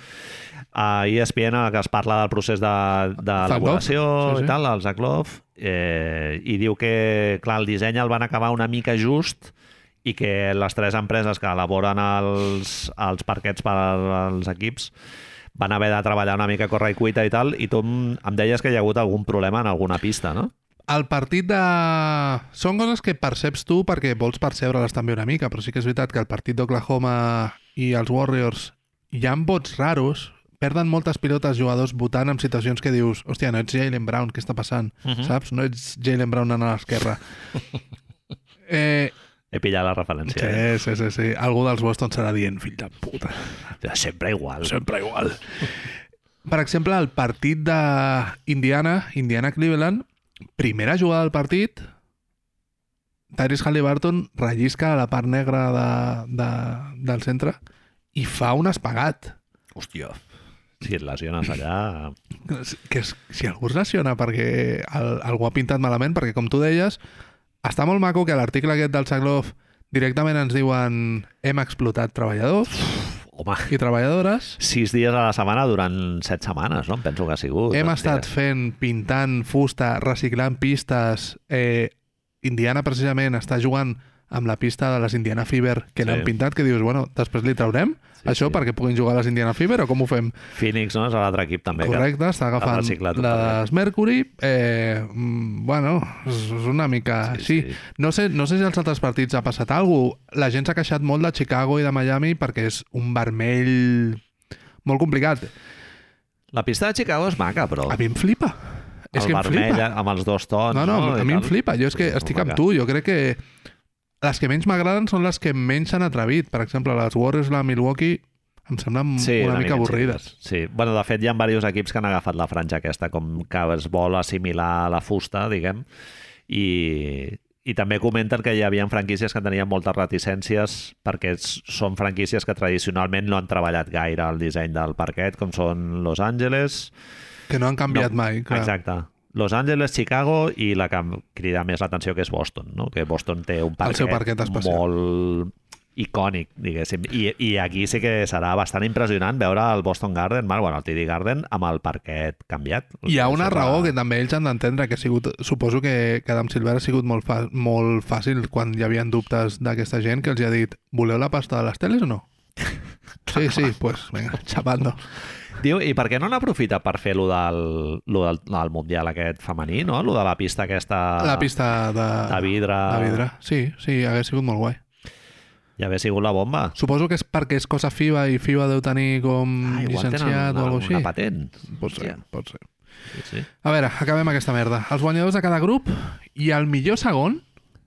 Speaker 1: a E ESPN en el que es parla del procés de, de
Speaker 2: Zaglov.
Speaker 1: elaboració
Speaker 2: Sí,
Speaker 1: sí,
Speaker 2: sí.
Speaker 1: sí. i tal, el Zaglov, eh, i diu que, clar, el disseny el van acabar una mica just i que les tres empreses que elaboren els, els parquets per als equips van haver de treballar una mica a corre i cuita i tal, i tu em em deies que hi ha hagut algun problema en alguna pista, no?
Speaker 2: El partit de... Són coses que perceps tu perquè vols percebre-les també una mica, però sí que és veritat que el partit d'Oklahoma i els Warriors hi ha vots raros, perden moltes pilotes jugadors votant en situacions que dius hòstia, no ets Jalen Brown, què està passant? Uh
Speaker 1: Mm?
Speaker 2: -huh. Saps? No ets Jalen Brown anant a l'esquerra. eh,
Speaker 1: He pillat la referència. eh?
Speaker 2: sí, sí, sí, sí. Algú dels Boston serà dient, fill de puta,
Speaker 1: Sí. Sempre igual.
Speaker 2: sempre igual. Per exemple, el partit d'Indiana, Indiana-Cleveland, primera jugada del partit, Tyrese Halliburton rellisca a la part negra de, de, del centre i fa un espagat.
Speaker 1: Hòstia. Si et lesiones allà...
Speaker 2: Que és- Que és, si algú es lesiona perquè el, algú ha pintat malament, perquè com tu deies, està molt maco que a l'article aquest del Saglov directament ens diuen hem explotat treballadors
Speaker 1: Home,
Speaker 2: i treballadores
Speaker 1: sis dies a la setmana durant set setmanes, no? Em penso que ha sigut.
Speaker 2: Hem
Speaker 1: Hòstia.
Speaker 2: estat fent, pintant fusta, reciclant pistes. Eh, Indiana, precisament, està jugant amb la pista de les Indiana Fever que
Speaker 1: Sí.
Speaker 2: sí. l'han pintat, que dius, bueno, després li traurem sí,
Speaker 1: sí.
Speaker 2: això sí. perquè puguin jugar a les Indiana Fever o com ho fem?
Speaker 1: Phoenix, no? És l'altre equip, també.
Speaker 2: Correcte, està agafant
Speaker 1: reciclat
Speaker 2: les
Speaker 1: totalment.
Speaker 2: Mercury. Eh, mm, bueno, és és una mica
Speaker 1: Sí,
Speaker 2: sí, així.
Speaker 1: sí.
Speaker 2: Sí. No, sé, no sé si als altres partits ha passat alguna cosa. La gent s'ha queixat molt de Chicago i de Miami perquè és un vermell molt complicat.
Speaker 1: Que... La pista de Chicago és maca, però...
Speaker 2: A mi em flipa. És
Speaker 1: el
Speaker 2: que em
Speaker 1: vermell eh,
Speaker 2: flipa.
Speaker 1: amb els dos tons...
Speaker 2: No, no,
Speaker 1: no
Speaker 2: a mi em flipa. Jo és que
Speaker 1: Sí,
Speaker 2: estic
Speaker 1: molt
Speaker 2: amb
Speaker 1: maca.
Speaker 2: tu. Jo crec que les que menys m'agraden són les que menys s'han atrevit. Per exemple, les Warriors, la Milwaukee, em semblen
Speaker 1: Sí,
Speaker 2: una,
Speaker 1: miqueta
Speaker 2: mica avorrides.
Speaker 1: xiquetes. Sí. Bueno, de fet, hi ha diversos equips que han agafat la franja aquesta, com que es vol assimilar a la fusta, diguem, i, i també comenten que hi havia franquícies que tenien moltes reticències perquè s- són franquícies que tradicionalment no han treballat gaire el disseny del parquet, com són Los Angeles...
Speaker 2: Que no han canviat
Speaker 1: no,
Speaker 2: mai. Clar.
Speaker 1: Exacte. Los Angeles, Chicago i la que em crida més l'atenció que és Boston, no? que Boston té un parquet,
Speaker 2: seu parquet especial.
Speaker 1: molt icònic, diguéssim. I, I aquí sí que serà bastant impressionant veure el Boston Garden, mal, bueno, el TD Garden, amb el parquet canviat.
Speaker 2: Hi ha una
Speaker 1: Això
Speaker 2: raó que
Speaker 1: serà-
Speaker 2: també ells han d'entendre, que ha sigut, suposo que, que Adam Silver ha sigut molt, fa, molt fàcil quan hi havia dubtes d'aquesta gent que els hi ha dit, voleu la pasta de les teles o no? Sí, sí, pues venga, chapando.
Speaker 1: Diu, i per què no n'aprofita per fer lo del, lo del, del Mundial aquest femení, no? Lo de la pista aquesta...
Speaker 2: La pista de,
Speaker 1: Ah. de vidre.
Speaker 2: de vidre. Sí, sí, hagués sigut molt guai.
Speaker 1: Ja hauria sigut la bomba.
Speaker 2: Suposo que és perquè és cosa FIBA i FIBA deu tenir com
Speaker 1: Ah, igual tenen
Speaker 2: llicenciat
Speaker 1: una,
Speaker 2: o alguna
Speaker 1: una
Speaker 2: cosa així.
Speaker 1: patent.
Speaker 2: Pot ser,
Speaker 1: Hòstia,
Speaker 2: pot ser.
Speaker 1: Sí, sí.
Speaker 2: A veure, acabem aquesta merda. Els guanyadors de cada grup i el millor segon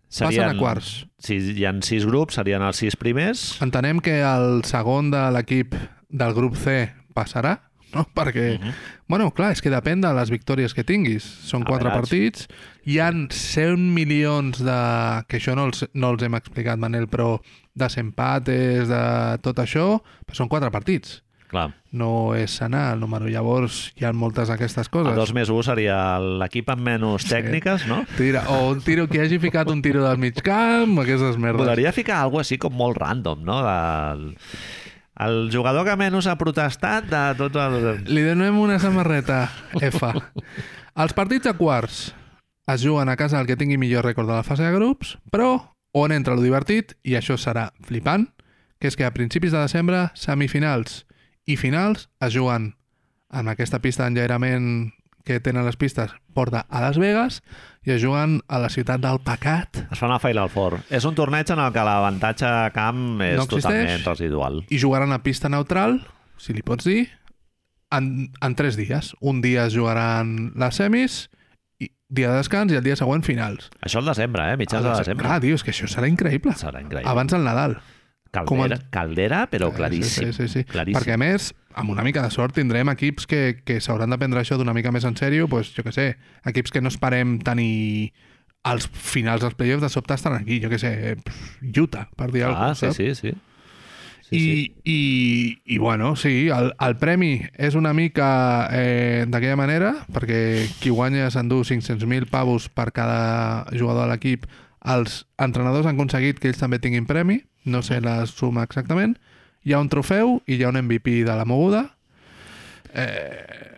Speaker 2: passen a quarts.
Speaker 1: Si hi ha sis grups, serien els sis primers.
Speaker 2: Entenem que el segon de l'equip del grup C passarà, no? Perquè,
Speaker 1: Mhm.
Speaker 2: uh -huh. bueno, clar, és que depèn de les victòries que tinguis. Són
Speaker 1: A
Speaker 2: quatre
Speaker 1: vegades.
Speaker 2: partits, hi han 100 milions de... que això no els, no els hem explicat, Manel, però desempates, de tot això, però són quatre partits.
Speaker 1: Clar.
Speaker 2: No és sanar el número. Llavors, hi ha moltes d'aquestes
Speaker 1: A
Speaker 2: coses.
Speaker 1: dos més un seria l'equip amb menys tècniques, no?
Speaker 2: Tira, o un tiro que hagi ficat un tiro del mig camp, aquestes merdes.
Speaker 1: Voldria ficar alguna cosa així com molt random, no? Del... El jugador que menys ha protestat de tots els...
Speaker 2: Li donem una samarreta F. Els partits a quarts es juguen a casa el que tingui millor rècord de la fase de grups, però on entra lo divertit, i això serà flipant, que és que a principis de desembre, semifinals i finals es juguen en aquesta pista d'enjairament que tenen les pistes porta a Las Vegas i es juguen a la ciutat del pecat
Speaker 1: Es fan a fail al fort. És un torneig en el que l'avantatge a camp és no
Speaker 2: No existeix.
Speaker 1: totalment residual.
Speaker 2: i jugaran a pista neutral, si li pots dir, en, en tres dies. Un dia es jugaran les semis, i dia de descans i el dia següent finals.
Speaker 1: Això el desembre, eh? Mitjans de desembre.
Speaker 2: Ah, Clar, tio, és que això serà increïble.
Speaker 1: Serà increïble.
Speaker 2: Abans del Nadal. com
Speaker 1: Caldera,
Speaker 2: el-
Speaker 1: caldera però claríssim.
Speaker 2: Sí, sí, sí. sí.
Speaker 1: Claríssim.
Speaker 2: Perquè, a més, amb una mica de sort tindrem equips que, que s'hauran de prendre això d'una mica més en sèrio, doncs, jo que sé, equips que no esperem tenir als finals dels playoffs de sobte estan aquí, jo que sé, pff, Utah, per dir alguna
Speaker 1: Ah,
Speaker 2: cosa,
Speaker 1: sí, sí, sí. sí,
Speaker 2: I,
Speaker 1: sí.
Speaker 2: I, I, bueno, sí, el, el premi és una mica eh, d'aquella manera, perquè qui guanya s'endú 500.000 pavos per cada jugador de l'equip. Els entrenadors han aconseguit que ells també tinguin premi, no sé la suma exactament. Hi ha un trofeu i hi ha un MVP de la moguda.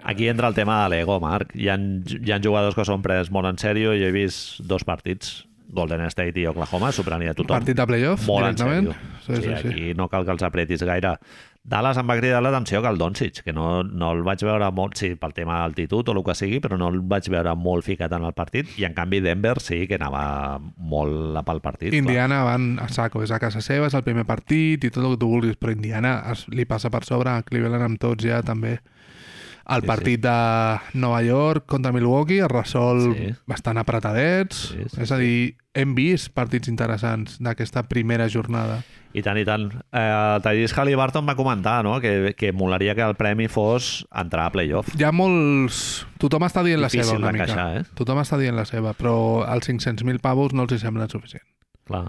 Speaker 1: Aquí entra el tema de l'ego, Marc. Hi ha, hi ha jugadors que s'han pres molt en sèrio. Jo he vist dos partits, Golden State i Oklahoma, s'ho prenia tothom
Speaker 2: Partit de playoff,
Speaker 1: molt en
Speaker 2: directament.
Speaker 1: sèrio. Sí, sí, sí. Aquí no cal que els apretis gaire. Dallas em va cridar l'atenció que el Doncic, que no, no el vaig veure molt, sí, pel tema d'altitud o el que sigui, però no el vaig veure molt ficat en el partit, i en canvi Denver sí que anava molt a pel partit.
Speaker 2: Indiana van a saco, és a casa seva, és el primer partit i tot el que tu vulguis, però Indiana es, li passa per sobre a Cleveland amb tots ja també. El
Speaker 1: Sí,
Speaker 2: sí, partit sí. de Nova York contra Milwaukee es resol
Speaker 1: Sí.
Speaker 2: sí. bastant apretadets,
Speaker 1: Sí,
Speaker 2: sí,
Speaker 1: sí,
Speaker 2: sí, és a dir, hem vist partits interessants d'aquesta primera jornada.
Speaker 1: I tant, i tant. Eh, el Tyrese Halliburton va comentar no? que, que molaria que el premi fos entrar a playoff.
Speaker 2: Hi ha molts... Tothom està dient la
Speaker 1: Difícil
Speaker 2: seva una
Speaker 1: de
Speaker 2: mica.
Speaker 1: encaixar, eh?
Speaker 2: Tothom està dient la seva, però els 500.000 pavos no els hi semblen suficient.
Speaker 1: Clar.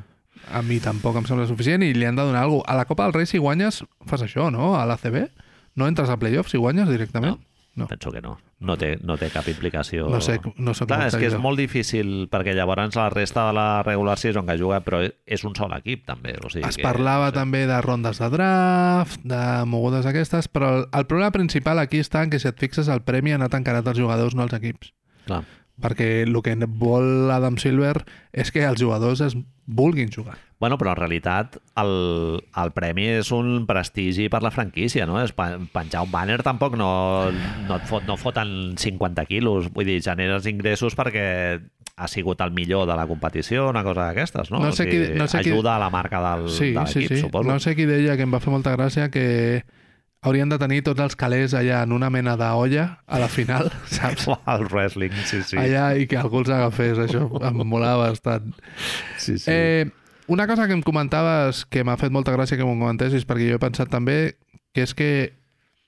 Speaker 2: A mi tampoc em sembla suficient i li han de donar alguna cosa. A la Copa del Rei, si guanyes, fas això, no? A l'ACB? No entres a playoffs si guanyes directament? No.
Speaker 1: Penso que no. No té, no té cap implicació.
Speaker 2: No sé, no sóc
Speaker 1: Clar,
Speaker 2: molt
Speaker 1: és que és
Speaker 2: seguidor.
Speaker 1: molt difícil, perquè llavors la resta de la regular season que juga, però és un sol equip, també. O sigui
Speaker 2: Es
Speaker 1: que,
Speaker 2: parlava també de rondes de draft, de mogudes aquestes, però el, el problema principal aquí està en que si et fixes el premi ha anat encarat als jugadors, no als equips.
Speaker 1: Clar.
Speaker 2: perquè el que vol Adam Silver és que els jugadors es vulguin jugar.
Speaker 1: Bueno, però en realitat el, el premi és un prestigi per la franquícia, no? És pen- penjar un banner tampoc no, no, et fot, no foten 50 quilos, vull dir, generes ingressos perquè ha sigut el millor de la competició, una cosa d'aquestes, no?
Speaker 2: No sé
Speaker 1: O sigui,
Speaker 2: qui- no sé qui-
Speaker 1: ajuda a la marca del, de l'equip, suposo.
Speaker 2: No sé qui deia, que em va fer molta gràcia, que haurien de tenir tots els calés allà en una mena d'olla a la final, saps?
Speaker 1: El wrestling, sí, sí.
Speaker 2: Allà i que algú els agafés, això em molava bastant.
Speaker 1: sí, sí.
Speaker 2: Eh, una cosa que em comentaves, que m'ha fet molta gràcia que m'ho comentessis, perquè jo he pensat també, que és que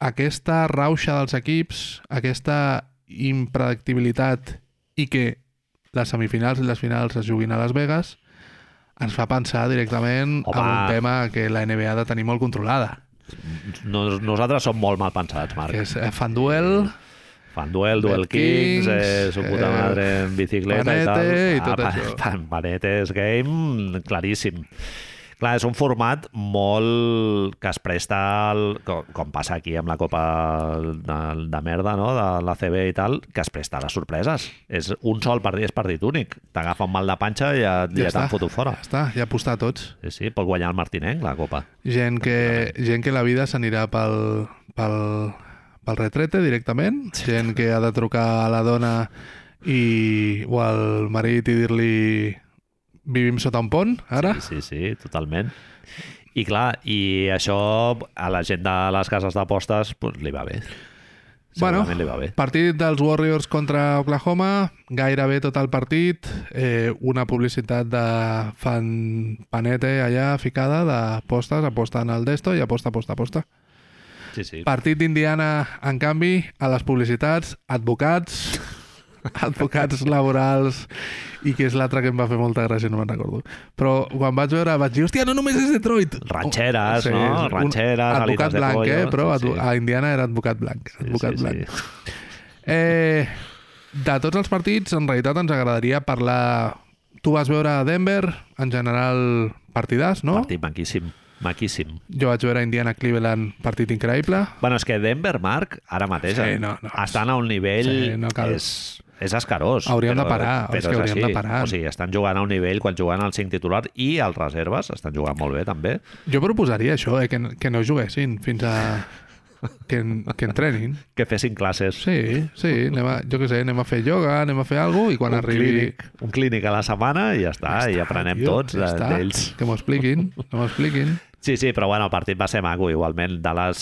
Speaker 2: aquesta rauxa dels equips, aquesta impredictibilitat i que les semifinals i les finals es juguin a Las Vegas, ens fa pensar directament
Speaker 1: Home.
Speaker 2: en un tema que la NBA ha de tenir molt controlada,
Speaker 1: Nos, nosaltres som molt mal pensats, Marc.
Speaker 2: que és eh, fan duel,
Speaker 1: Fan duel, duel
Speaker 2: Bet Kings,
Speaker 1: kings, eh, su puta
Speaker 2: eh,
Speaker 1: madre en bicicleta
Speaker 2: Panete
Speaker 1: i
Speaker 2: i
Speaker 1: tal. Ah,
Speaker 2: tot això.
Speaker 1: pa, Panetes game, claríssim. Clar, és un format molt que es presta, al, com, com passa aquí amb la copa de, de merda, no? de la CB i tal, que es presta a les sorpreses. És un sol partit, és partit únic. T'agafa un mal de panxa i ja, eh, ja, ja
Speaker 2: està.
Speaker 1: t'han fotut fora.
Speaker 2: ja està, ja apostar tots.
Speaker 1: Sí, sí, pot guanyar el Martinenc, la copa.
Speaker 2: Gent que, gent que la vida s'anirà pel, pel, pel retrete directament, gent que ha de trucar a la dona i, o al marit i dir-li vivim sota un pont, ara?
Speaker 1: Sí, sí, sí, totalment. I clar, i això a la gent de les cases d'apostes pues, li va bé.
Speaker 2: Bueno.
Speaker 1: Segurament li va bé.
Speaker 2: Partit dels Warriors contra Oklahoma, gairebé tot el partit, eh, una publicitat de fan panete allà ficada d'apostes, apostant al desto i aposta, aposta, aposta.
Speaker 1: Sí, sí.
Speaker 2: Partit d'Indiana, en canvi, a les publicitats, advocats, advocats laborals i que és l'altre que em va fer molta gràcia, no me'n recordo. Però quan vaig veure vaig dir, hòstia, no només és Detroit.
Speaker 1: Rancheras,
Speaker 2: Sí,
Speaker 1: no?
Speaker 2: un
Speaker 1: Rancheras, alitas
Speaker 2: Advocat
Speaker 1: de
Speaker 2: blanc,
Speaker 1: pollo,
Speaker 2: eh? Però
Speaker 1: sí,
Speaker 2: advo-
Speaker 1: sí.
Speaker 2: a Indiana era advocat blanc. Advocat blanc.
Speaker 1: Sí.
Speaker 2: Eh, de tots els partits, en realitat ens agradaria parlar... Tu vas veure a Denver, en general partidàs, no?
Speaker 1: Partit maquíssim, maquíssim.
Speaker 2: Jo vaig veure Indiana-Cleveland, partit increïble.
Speaker 1: Bueno, és que Denver, Marc, ara mateix eh,
Speaker 2: Sí, no, no.
Speaker 1: estan a un nivell...
Speaker 2: Sí, no cal.
Speaker 1: És, és escarós.
Speaker 2: Hauríem de parar,
Speaker 1: però
Speaker 2: és que
Speaker 1: és
Speaker 2: hauríem
Speaker 1: així.
Speaker 2: de parar.
Speaker 1: O sigui, estan jugant a un nivell quan jugant al 5 titular i els reserves estan jugant molt bé, també.
Speaker 2: Jo proposaria això, eh? que, que no juguessin fins a... Que, en- que entrenin.
Speaker 1: Que fessin classes.
Speaker 2: Sí, sí, anem a, jo què sé, anem a fer ioga, anem a fer alguna i quan
Speaker 1: un
Speaker 2: arribi...
Speaker 1: clínic, un clínic a la setmana i ja està, ja, està, i aprenem
Speaker 2: tio,
Speaker 1: tots
Speaker 2: ja
Speaker 1: de-
Speaker 2: està.
Speaker 1: d'ells.
Speaker 2: Que m'ho expliquin, que m'ho expliquin.
Speaker 1: Sí, sí, però bueno, el partit va ser maco, igualment. Dallas,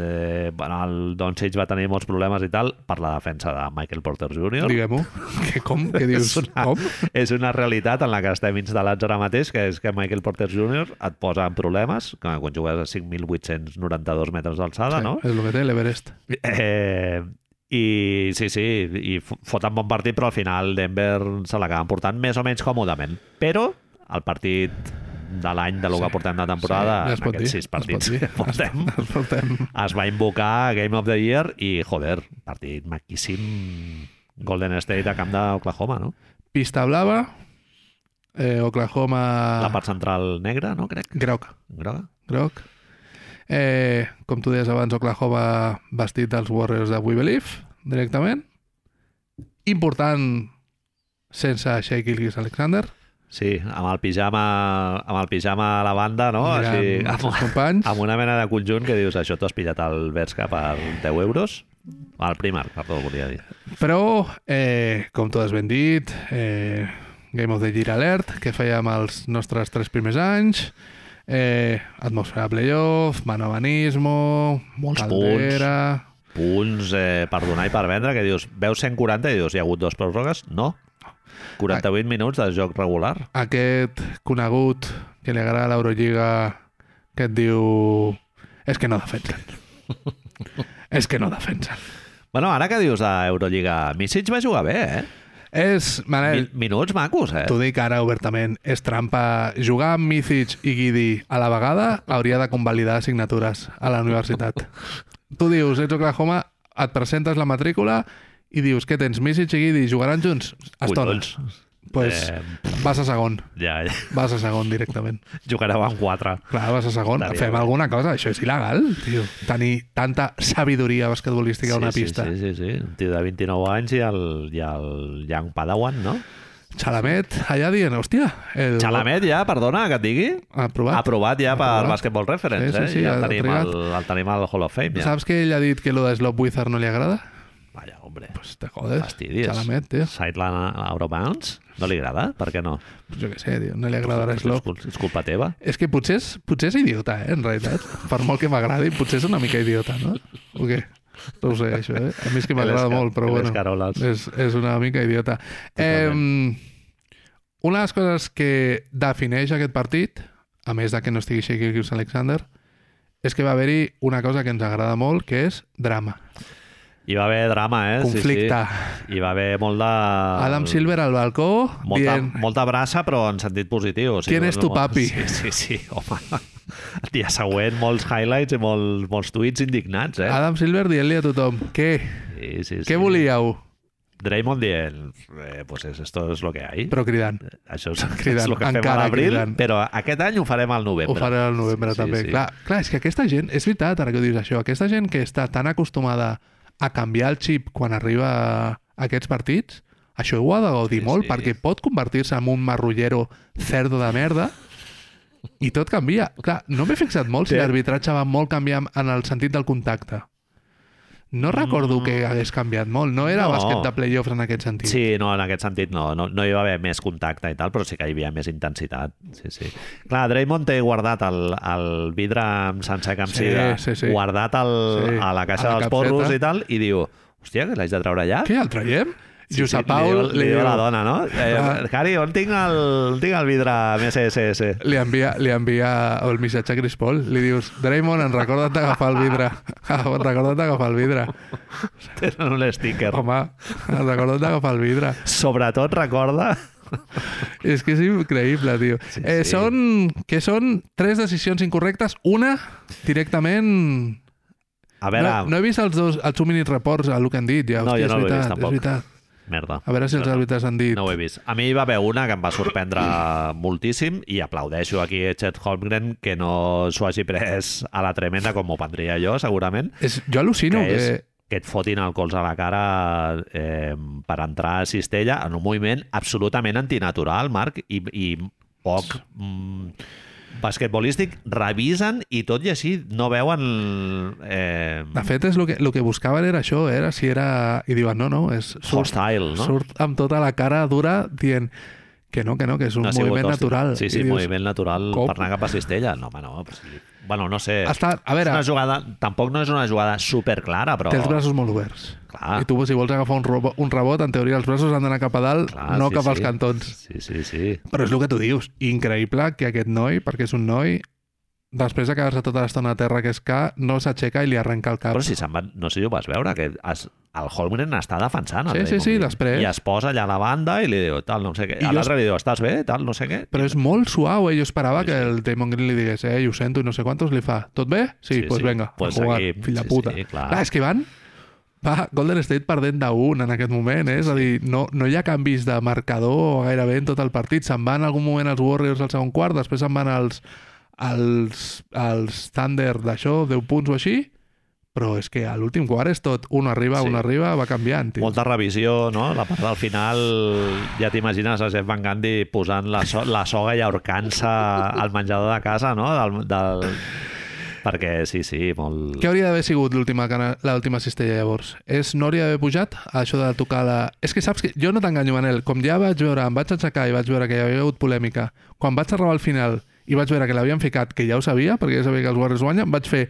Speaker 1: eh, bueno, el Doncic va tenir molts problemes i tal per la defensa de Michael Porter Jr.
Speaker 2: Diguem-ho. Que com? Que dius?
Speaker 1: és una,
Speaker 2: Com?
Speaker 1: és una realitat en la que estem instal·lats ara mateix, que és que Michael Porter Jr. et posa en problemes, que quan jugues a 5.892 metres d'alçada, no?
Speaker 2: Sí, és el que té l'Everest.
Speaker 1: Eh, I sí, sí, i fo- foten bon partit, però al final Denver se l'acaben portant més o menys còmodament. Però el partit de l'any, de lo que portem de temporada,
Speaker 2: no es
Speaker 1: en
Speaker 2: pot
Speaker 1: aquests
Speaker 2: dir,
Speaker 1: sis
Speaker 2: no es pot
Speaker 1: partits
Speaker 2: dir.
Speaker 1: que portem,
Speaker 2: Ens portem...
Speaker 1: es va invocar Game of the Year i, joder, partit maquíssim Golden State a camp d'Oklahoma, no?
Speaker 2: Pista blava, eh, Oklahoma...
Speaker 1: La part central negra, no, crec?
Speaker 2: Groc.
Speaker 1: Groga?
Speaker 2: Groc. Eh, com tu deies abans, Oklahoma vestit dels Warriors de We Believe, directament. Important sense Shea Gilgis Alexander,
Speaker 1: Sí, amb el pijama, amb el pijama a la banda, no?
Speaker 2: mirant
Speaker 1: Així,
Speaker 2: els
Speaker 1: amb,
Speaker 2: seus companys.
Speaker 1: Amb una mena de conjunt que dius, això t'ho has pillat al Bershka per 10 euros? Al Primark, perdó, volia dir.
Speaker 2: Però, eh, com tu has ben dit, eh, Game of the Year Alert, que fèiem els nostres tres primers anys, eh, atmosfera playoff, manomanismo,
Speaker 1: Molts
Speaker 2: caldera...
Speaker 1: Punts eh, per donar i per vendre, que dius, veus 140 i dius, hi ha hagut dos pròrrogues? No. 48 minuts de joc regular.
Speaker 2: Aquest conegut que li agrada l'Eurolliga que et diu... És que no defensen. És que no defensen.
Speaker 1: Bueno, ara que dius d'Eurolliga, Misic va jugar bé, eh?
Speaker 2: És, Manel,
Speaker 1: Min minuts macos, eh?
Speaker 2: T'ho dic ara obertament, és trampa. Jugar amb Mithic i Guidi a la vegada hauria de convalidar assignatures a la universitat. tu dius, ets Oklahoma, et presentes la matrícula i dius, què tens, Mithic i Guidi, jugaran junts? Estones.
Speaker 1: Collons.
Speaker 2: pues,
Speaker 1: Eh.
Speaker 2: vas a segon.
Speaker 1: Ja, ja.
Speaker 2: Vas a segon directament.
Speaker 1: Jugarà amb 4.
Speaker 2: Clar, vas a segon.
Speaker 1: Estaria
Speaker 2: Fem
Speaker 1: bé.
Speaker 2: alguna cosa. Això és il·legal, tio. Tenir tanta sabidoria basquetbolística a una pista.
Speaker 1: Sí, sí, sí. Un tio de 29 anys i el, i el Young Padawan, no?
Speaker 2: Chalamet, allà dient, hòstia... El...
Speaker 1: Chalamet ja, perdona, que et digui.
Speaker 2: Aprovat.
Speaker 1: Aprovat ja per
Speaker 2: Aprovat.
Speaker 1: Basketball Reference,
Speaker 2: Sí, sí, sí,
Speaker 1: eh? Ja
Speaker 2: ha
Speaker 1: el tenim,
Speaker 2: trigat.
Speaker 1: al, el tenim al Hall of Fame, ja.
Speaker 2: Saps que ell ha dit que lo de Slop Wizard no li agrada?
Speaker 1: Vaja, hombre.
Speaker 2: Pues te jodes.
Speaker 1: Fastidies.
Speaker 2: Chalamet, tio.
Speaker 1: Sideline Eurobounds? No li agrada? Per què no?
Speaker 2: Pues jo què sé, tio. No li agradarà
Speaker 1: És,
Speaker 2: Slop.
Speaker 1: cul- és culpa teva?
Speaker 2: És que potser és, potser és idiota, eh, en realitat. Per molt que m'agradi, potser és una mica idiota, no? O què? No ho sé, això, eh? A mi és que m'agrada
Speaker 1: Les ca-
Speaker 2: molt, però
Speaker 1: les
Speaker 2: bueno. eh,
Speaker 1: caroles.
Speaker 2: És, és una mica idiota. Eh, una de les coses que defineix aquest partit, a més de que no estigui Shaquille Gibbs Alexander, és que va haver-hi una cosa que ens agrada molt, que és drama,
Speaker 1: Hi va haver drama, eh?
Speaker 2: conflicte.
Speaker 1: Sí, sí. Hi va haver molt de...
Speaker 2: Adam Silver al balcó,
Speaker 1: Molta,
Speaker 2: dient...
Speaker 1: molta brassa, però en sentit positiu. O
Speaker 2: ¿Quién es tu papi?
Speaker 1: Sí, sí, sí, home. El dia següent, molts highlights i molts, molts tuits indignats, eh?
Speaker 2: Adam Silver dient-li a tothom, què?
Speaker 1: Sí, sí, sí.
Speaker 2: Què volíeu?
Speaker 1: Draymond dient, eh, pues es, esto es lo que hay.
Speaker 2: Però cridant.
Speaker 1: Això és,
Speaker 2: cridant,
Speaker 1: és el que fem a
Speaker 2: encara
Speaker 1: l'abril,
Speaker 2: cridant.
Speaker 1: però aquest any ho farem al novembre.
Speaker 2: Ho farà al novembre
Speaker 1: Sí, sí,
Speaker 2: també.
Speaker 1: sí.
Speaker 2: Clar, clar, és que aquesta gent, és veritat ara que ho dius això, aquesta gent que està tan acostumada a canviar el xip quan arriba a aquests partits, això ho ha de gaudir
Speaker 1: Sí,
Speaker 2: sí, molt
Speaker 1: sí.
Speaker 2: sí. perquè pot convertir-se en un marrullero cerdo de merda i tot canvia. Clar, no m'he fixat molt si
Speaker 1: Té-
Speaker 2: l'arbitratge va molt canviar en el sentit del contacte. No recordo que hagués canviat molt. No era
Speaker 1: Mm. No.
Speaker 2: no. bàsquet de playoffs en aquest sentit.
Speaker 1: Sí, no, en aquest sentit no, no, no hi va haver més contacte i tal, però sí que hi havia més intensitat. Sí, sí. Clar, Draymond té guardat el, el vidre amb sencer que em
Speaker 2: Sí,
Speaker 1: sida,
Speaker 2: sí, sí.
Speaker 1: guardat el,
Speaker 2: Sí,
Speaker 1: sí, a la caixa
Speaker 2: a la
Speaker 1: dels
Speaker 2: capseta.
Speaker 1: porros i tal, i diu, hòstia, que l'haig de treure ja?
Speaker 2: Què, el traiem? Sí, Josep
Speaker 1: li
Speaker 2: Pau
Speaker 1: diu, li diu a la dona, no?
Speaker 2: Ah.
Speaker 1: Eh, Cari, on tinc el, tinc el vidre MSSS?
Speaker 2: Li envia, li envia el missatge a Chris Paul. Li dius, Draymond, en recorda't d'agafar el vidre. En recorda't d'agafar el vidre.
Speaker 1: Tenen un sticker.
Speaker 2: Home, en recorda't d'agafar el vidre.
Speaker 1: Sobretot recorda...
Speaker 2: És que és increïble, tio.
Speaker 1: Sí,
Speaker 2: eh,
Speaker 1: sí.
Speaker 2: Són, que són tres decisions incorrectes. Una, directament...
Speaker 1: A veure...
Speaker 2: No, no he vist els, dos, els two minute reports, el que han dit. Ja,
Speaker 1: No, jo no
Speaker 2: hòstia, és
Speaker 1: l'he vist,
Speaker 2: veritat,
Speaker 1: tampoc.
Speaker 2: és veritat.
Speaker 1: Merda.
Speaker 2: A veure si els
Speaker 1: No, no.
Speaker 2: àrbitres han dit.
Speaker 1: No ho he vist. A mi hi va haver una que em va sorprendre moltíssim i aplaudeixo aquí a Chet Holmgren que no s'ho hagi pres a la tremenda com m'ho prendria jo, segurament.
Speaker 2: És, jo al·lucino
Speaker 1: que
Speaker 2: que...
Speaker 1: és que et fotin el cols a la cara eh, per entrar a Cistella en un moviment absolutament antinatural, Marc, i, i poc mm, basquetbolístic. Revisen i tot i així no veuen... Eh,
Speaker 2: De fet, és el que, el que buscaven era això, era si era... I diuen, no, no, és... Surt,
Speaker 1: hostile, no?
Speaker 2: surt amb tota la cara dura dient que no, que no, que és un
Speaker 1: No ha sigut
Speaker 2: moviment
Speaker 1: hòstil.
Speaker 2: natural.
Speaker 1: Sí, sí,
Speaker 2: I dius,
Speaker 1: moviment natural
Speaker 2: "Com?"
Speaker 1: per anar cap a Cistella. No, home, no. Però sí. Bueno, no sé.
Speaker 2: Està, a veure,
Speaker 1: És una jugada, tampoc no és una jugada super clara, però...
Speaker 2: té els braços molt oberts.
Speaker 1: Clar.
Speaker 2: I tu, si vols agafar un, robo, un rebot, en teoria els braços han d'anar cap a dalt,
Speaker 1: Clar,
Speaker 2: no
Speaker 1: sí,
Speaker 2: cap
Speaker 1: sí.
Speaker 2: als cantons.
Speaker 1: Sí, sí, sí.
Speaker 2: Però és el que tu dius. Increïble que aquest noi, perquè és un noi, després de quedar-se tota l'estona a terra que és que no s'aixeca i li arrenca el cap.
Speaker 1: Però si se'n van... No sé si ho vas veure, que es, el Holmgren està defensant. el
Speaker 2: Sí, sí,
Speaker 1: Draymond
Speaker 2: sí,
Speaker 1: Green.
Speaker 2: després.
Speaker 1: I es posa allà a la banda i li diu tal, no sé què.
Speaker 2: I
Speaker 1: I
Speaker 2: jo-
Speaker 1: l'altre li diu, estàs bé, tal, no sé què.
Speaker 2: Però és molt suau, eh? Jo esperava
Speaker 1: Sí,
Speaker 2: que
Speaker 1: sí.
Speaker 2: el Damon Green li digués, eh, ho sento i no sé quantos, li fa, tot bé? Sí,
Speaker 1: Sí,
Speaker 2: pues
Speaker 1: sí.
Speaker 2: venga,
Speaker 1: Pues
Speaker 2: a jugar,
Speaker 1: aquí,
Speaker 2: fill de
Speaker 1: sí,
Speaker 2: puta.
Speaker 1: sí, clar.
Speaker 2: és que van... Va, Golden State perdent d'un en aquest moment, eh? és a dir, no, no hi ha canvis de marcador gairebé en tot el partit. Se'n van en algun moment els Warriors al segon quart, després se'n van els, els, els Thunder d'això, 10 punts o així, però és que a l'últim quart és tot, un arriba,
Speaker 1: Sí.
Speaker 2: sí. un arriba, va canviant. Tio.
Speaker 1: Molta revisió, no? La part del final ja t'imagines a Jeff Van Gundy posant la, so la soga i ahorcant-se al menjador de casa, no? Del, del... Perquè sí, sí, molt...
Speaker 2: Què hauria d'haver sigut l'última cana- l'última cistella, llavors? És, no hauria d'haver pujat a això de tocar la... És que saps que... Jo no t'enganyo, Manel. Com ja vaig veure, em vaig aixecar i vaig veure que hi havia hagut polèmica, quan vaig arribar al final i vaig veure que l'havien ficat, que ja ho sabia, perquè ja sabia que els Warriors guanyen, vaig fer...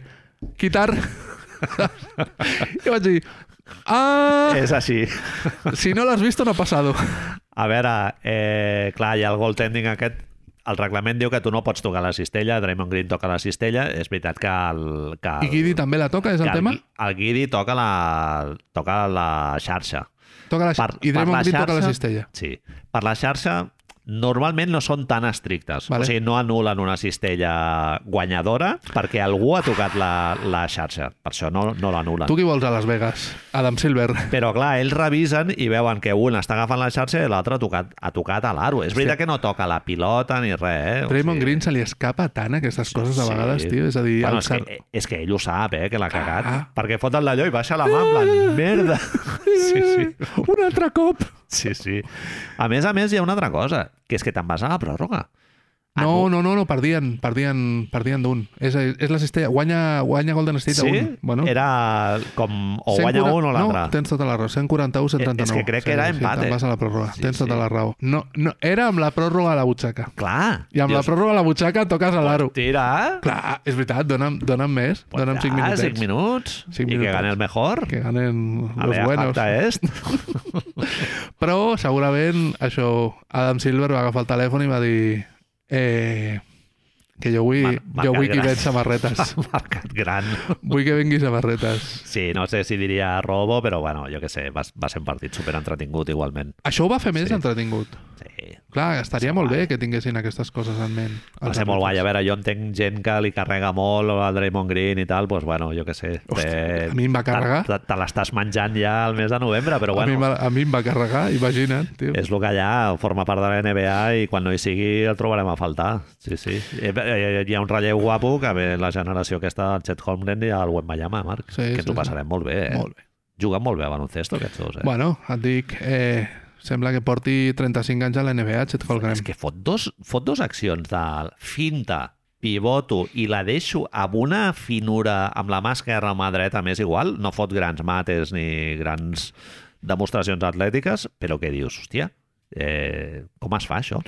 Speaker 2: Quitar! I vaig dir... Ah!
Speaker 1: És així. Eh.
Speaker 2: Si no l'has vist, no ha pasado.
Speaker 1: A veure, eh, clar, hi ha el goaltending aquest el reglament diu que tu no pots tocar la cistella, Draymond Green toca la cistella, és veritat que el... Que el
Speaker 2: I Guidi també la toca, és
Speaker 1: que
Speaker 2: el tema?
Speaker 1: El, el Guidi toca la, toca la xarxa.
Speaker 2: Toca la...
Speaker 1: Per- per
Speaker 2: I
Speaker 1: la
Speaker 2: Draymond Green toca la
Speaker 1: xarxa-
Speaker 2: cistella.
Speaker 1: Sí. Per la xarxa normalment no són tan estrictes.
Speaker 2: Vale.
Speaker 1: Vale. O sigui, no anulen una cistella guanyadora perquè algú ha tocat la, la xarxa. Per això no, no l'anulen.
Speaker 2: Tu qui vols a Las Vegas? Adam Silver.
Speaker 1: Però, clar, ells revisen i veuen que un està agafant la xarxa i l'altre ha tocat, ha tocat a l'aro. És veritat que no toca la pilota ni res, eh? O
Speaker 2: Draymond
Speaker 1: sigui,
Speaker 2: Green se li escapa tant aquestes coses de vegades, tio. És a dir,
Speaker 1: Bueno,
Speaker 2: el
Speaker 1: és,
Speaker 2: sar-
Speaker 1: que, eh, és que ell ho sap, eh, que l'ha cagat.
Speaker 2: Ah.
Speaker 1: Perquè fot el d'allò i baixa la mà en plan, merda. Sí, sí.
Speaker 2: Un altre cop!
Speaker 1: Sí, sí. A més a més, hi ha una altra cosa, que és que te'n vas a la pròrroga. Ah,
Speaker 2: No, no, no, no, perdien, perdien, perdien d'un. És, és la cistella. Guanya, guanya Golden State a
Speaker 1: Sí?
Speaker 2: un. Bueno,
Speaker 1: Era com o guanya
Speaker 2: 140
Speaker 1: un o l'altre.
Speaker 2: No, tens tota la raó. 141,
Speaker 1: Eh,
Speaker 2: 139.
Speaker 1: és que crec
Speaker 2: sí,
Speaker 1: que era
Speaker 2: sí,
Speaker 1: empat,
Speaker 2: te'n
Speaker 1: eh?
Speaker 2: vas a la pròrroga.
Speaker 1: Sí,
Speaker 2: Sí, tens
Speaker 1: sí.
Speaker 2: tota la raó. No, no, era amb la pròrroga a la butxaca.
Speaker 1: Clar.
Speaker 2: I amb la pròrroga a la butxaca toques a l'aro.
Speaker 1: Tira.
Speaker 2: Clar, és veritat, dona'm, dona'm més.
Speaker 1: Pues
Speaker 2: dona'm 5 minutets.
Speaker 1: 5 minuts.
Speaker 2: Cinc
Speaker 1: I que
Speaker 2: minutets.
Speaker 1: gane el mejor.
Speaker 2: Que ganen
Speaker 1: A
Speaker 2: los
Speaker 1: ver,
Speaker 2: buenos.
Speaker 1: falta est.
Speaker 2: Però segurament això, Adam Silver va agafar el telèfon i va dir eh, que jo vull,
Speaker 1: Mar- marca
Speaker 2: jo vull que
Speaker 1: gran.
Speaker 2: ven samarretes.
Speaker 1: Mercat gran.
Speaker 2: vull que vengui samarretes.
Speaker 1: Sí, no sé si diria robo, però bueno, jo que sé, va, va ser un partit super entretingut igualment.
Speaker 2: Això ho va fer més
Speaker 1: Sí.
Speaker 2: entretingut.
Speaker 1: Sí.
Speaker 2: Clar, estaria molt bé que tinguessin aquestes coses en ment.
Speaker 1: Va
Speaker 2: els
Speaker 1: ser molt guai. A veure,
Speaker 2: àrbitres.
Speaker 1: jo entenc gent que li carrega molt a Draymond Green i tal, doncs bueno, jo que sé.
Speaker 2: Hosti,
Speaker 1: té-
Speaker 2: a mi em va carregar.
Speaker 1: Te, te l'estàs menjant ja al mes de novembre, però
Speaker 2: a,
Speaker 1: bueno,
Speaker 2: mi, em va- a mi em va carregar, imagina't, tio.
Speaker 1: és el que hi ha, forma part de la NBA i quan no hi sigui el trobarem a faltar. Sí, sí. Eh, eh, Hi ha un relleu guapo que ve la generació aquesta del Chet Holmgren i el Wembanyama, Marc,
Speaker 2: Sí,
Speaker 1: que ens
Speaker 2: sí,
Speaker 1: ho passarem molt bé. Eh?
Speaker 2: Molt bé.
Speaker 1: Juguen molt bé a baloncesto aquests dos, eh?
Speaker 2: Bueno, et dic, eh, sembla que porti 35 anys a la NBA, Chet Holmgren.
Speaker 1: És que fot dos, fot dos accions de finta, pivoto i la deixo amb una finura amb la mà esquerra o mà dreta, més igual, no fot grans mates ni grans demostracions atlètiques, però què dius, hòstia, eh, com es fa això?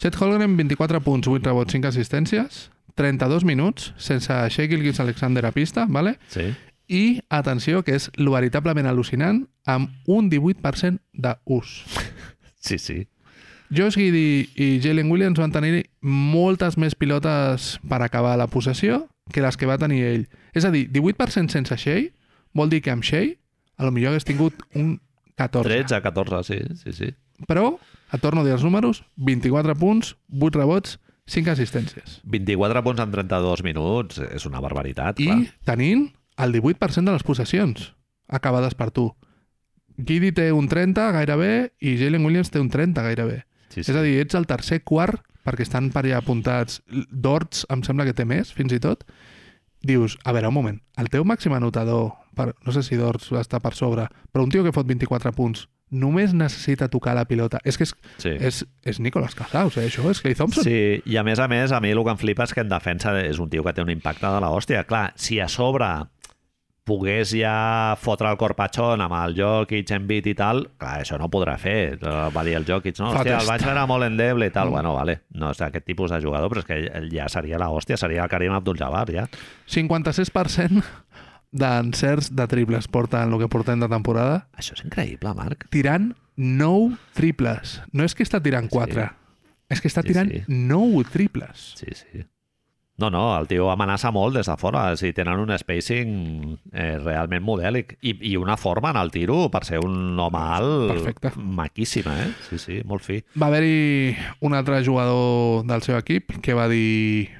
Speaker 2: Chet Holmgren, 24 punts, 8 rebots, 5 assistències, 32 minuts, sense Shea Gilgis Alexander a pista, vale?
Speaker 1: Sí.
Speaker 2: i, atenció, que és lo veritablement al·lucinant, amb un 18% d'ús.
Speaker 1: Sí, sí.
Speaker 2: Josh Giddy i Jalen Williams van tenir moltes més pilotes per acabar la possessió que les que va tenir ell. És a dir, 18% sense Shea vol dir que amb Shea a lo millor hagués tingut un 14.
Speaker 1: 13, 14, sí, sí, sí.
Speaker 2: Però, et torno a dir els números, 24 punts, 8 rebots, 5 assistències.
Speaker 1: 24 punts en 32 minuts, és una barbaritat,
Speaker 2: I
Speaker 1: clar.
Speaker 2: tenint el 18% de les possessions acabades per tu. Giddy té un 30 gairebé i Jalen Williams té un 30 gairebé.
Speaker 1: Sí,
Speaker 2: És a dir, ets el tercer quart perquè estan per allà apuntats. Dortz em sembla que té més, fins i tot. Dius, a veure, un moment, el teu màxim anotador, per, no sé si Dortz està per sobre, però un tio que fot 24 punts només necessita tocar la pilota. És que és,
Speaker 1: sí.
Speaker 2: és, és Nicolas Casaus, eh, això, és Clay Thompson.
Speaker 1: Sí, i a més a més, a mi el que em flipa és que en defensa és un tio que té un impacte de la hòstia. Clar, si a sobre pogués ja fotre el corpatxón amb el Jokic, Embiid i tal, clar, això no ho podrà fer. Eh, Va dir el Jokic, no,
Speaker 2: Fa
Speaker 1: hòstia,
Speaker 2: test.
Speaker 1: el vaig veure molt endeble i tal. Bueno, vale, no és aquest tipus de jugador, però és que ja seria la hòstia, seria el Karim Abdul-Jabbar, ja.
Speaker 2: 56% d'encerts de triples porta en el que portem de temporada,
Speaker 1: Això és increïble, Marc.
Speaker 2: tirant 9 triples. No és que està tirant 4, és que està
Speaker 1: Sí,
Speaker 2: tirant
Speaker 1: sí.
Speaker 2: 9 triples.
Speaker 1: Sí, sí. No, no, el tio amenaça molt des de fora. O sigui, tenen un spacing eh, realment modèlic. I, I una forma en el tiro per ser un home alt
Speaker 2: Perfecte.
Speaker 1: maquíssima, eh? Sí, sí, molt fi.
Speaker 2: Va haver-hi un altre jugador del seu equip que va dir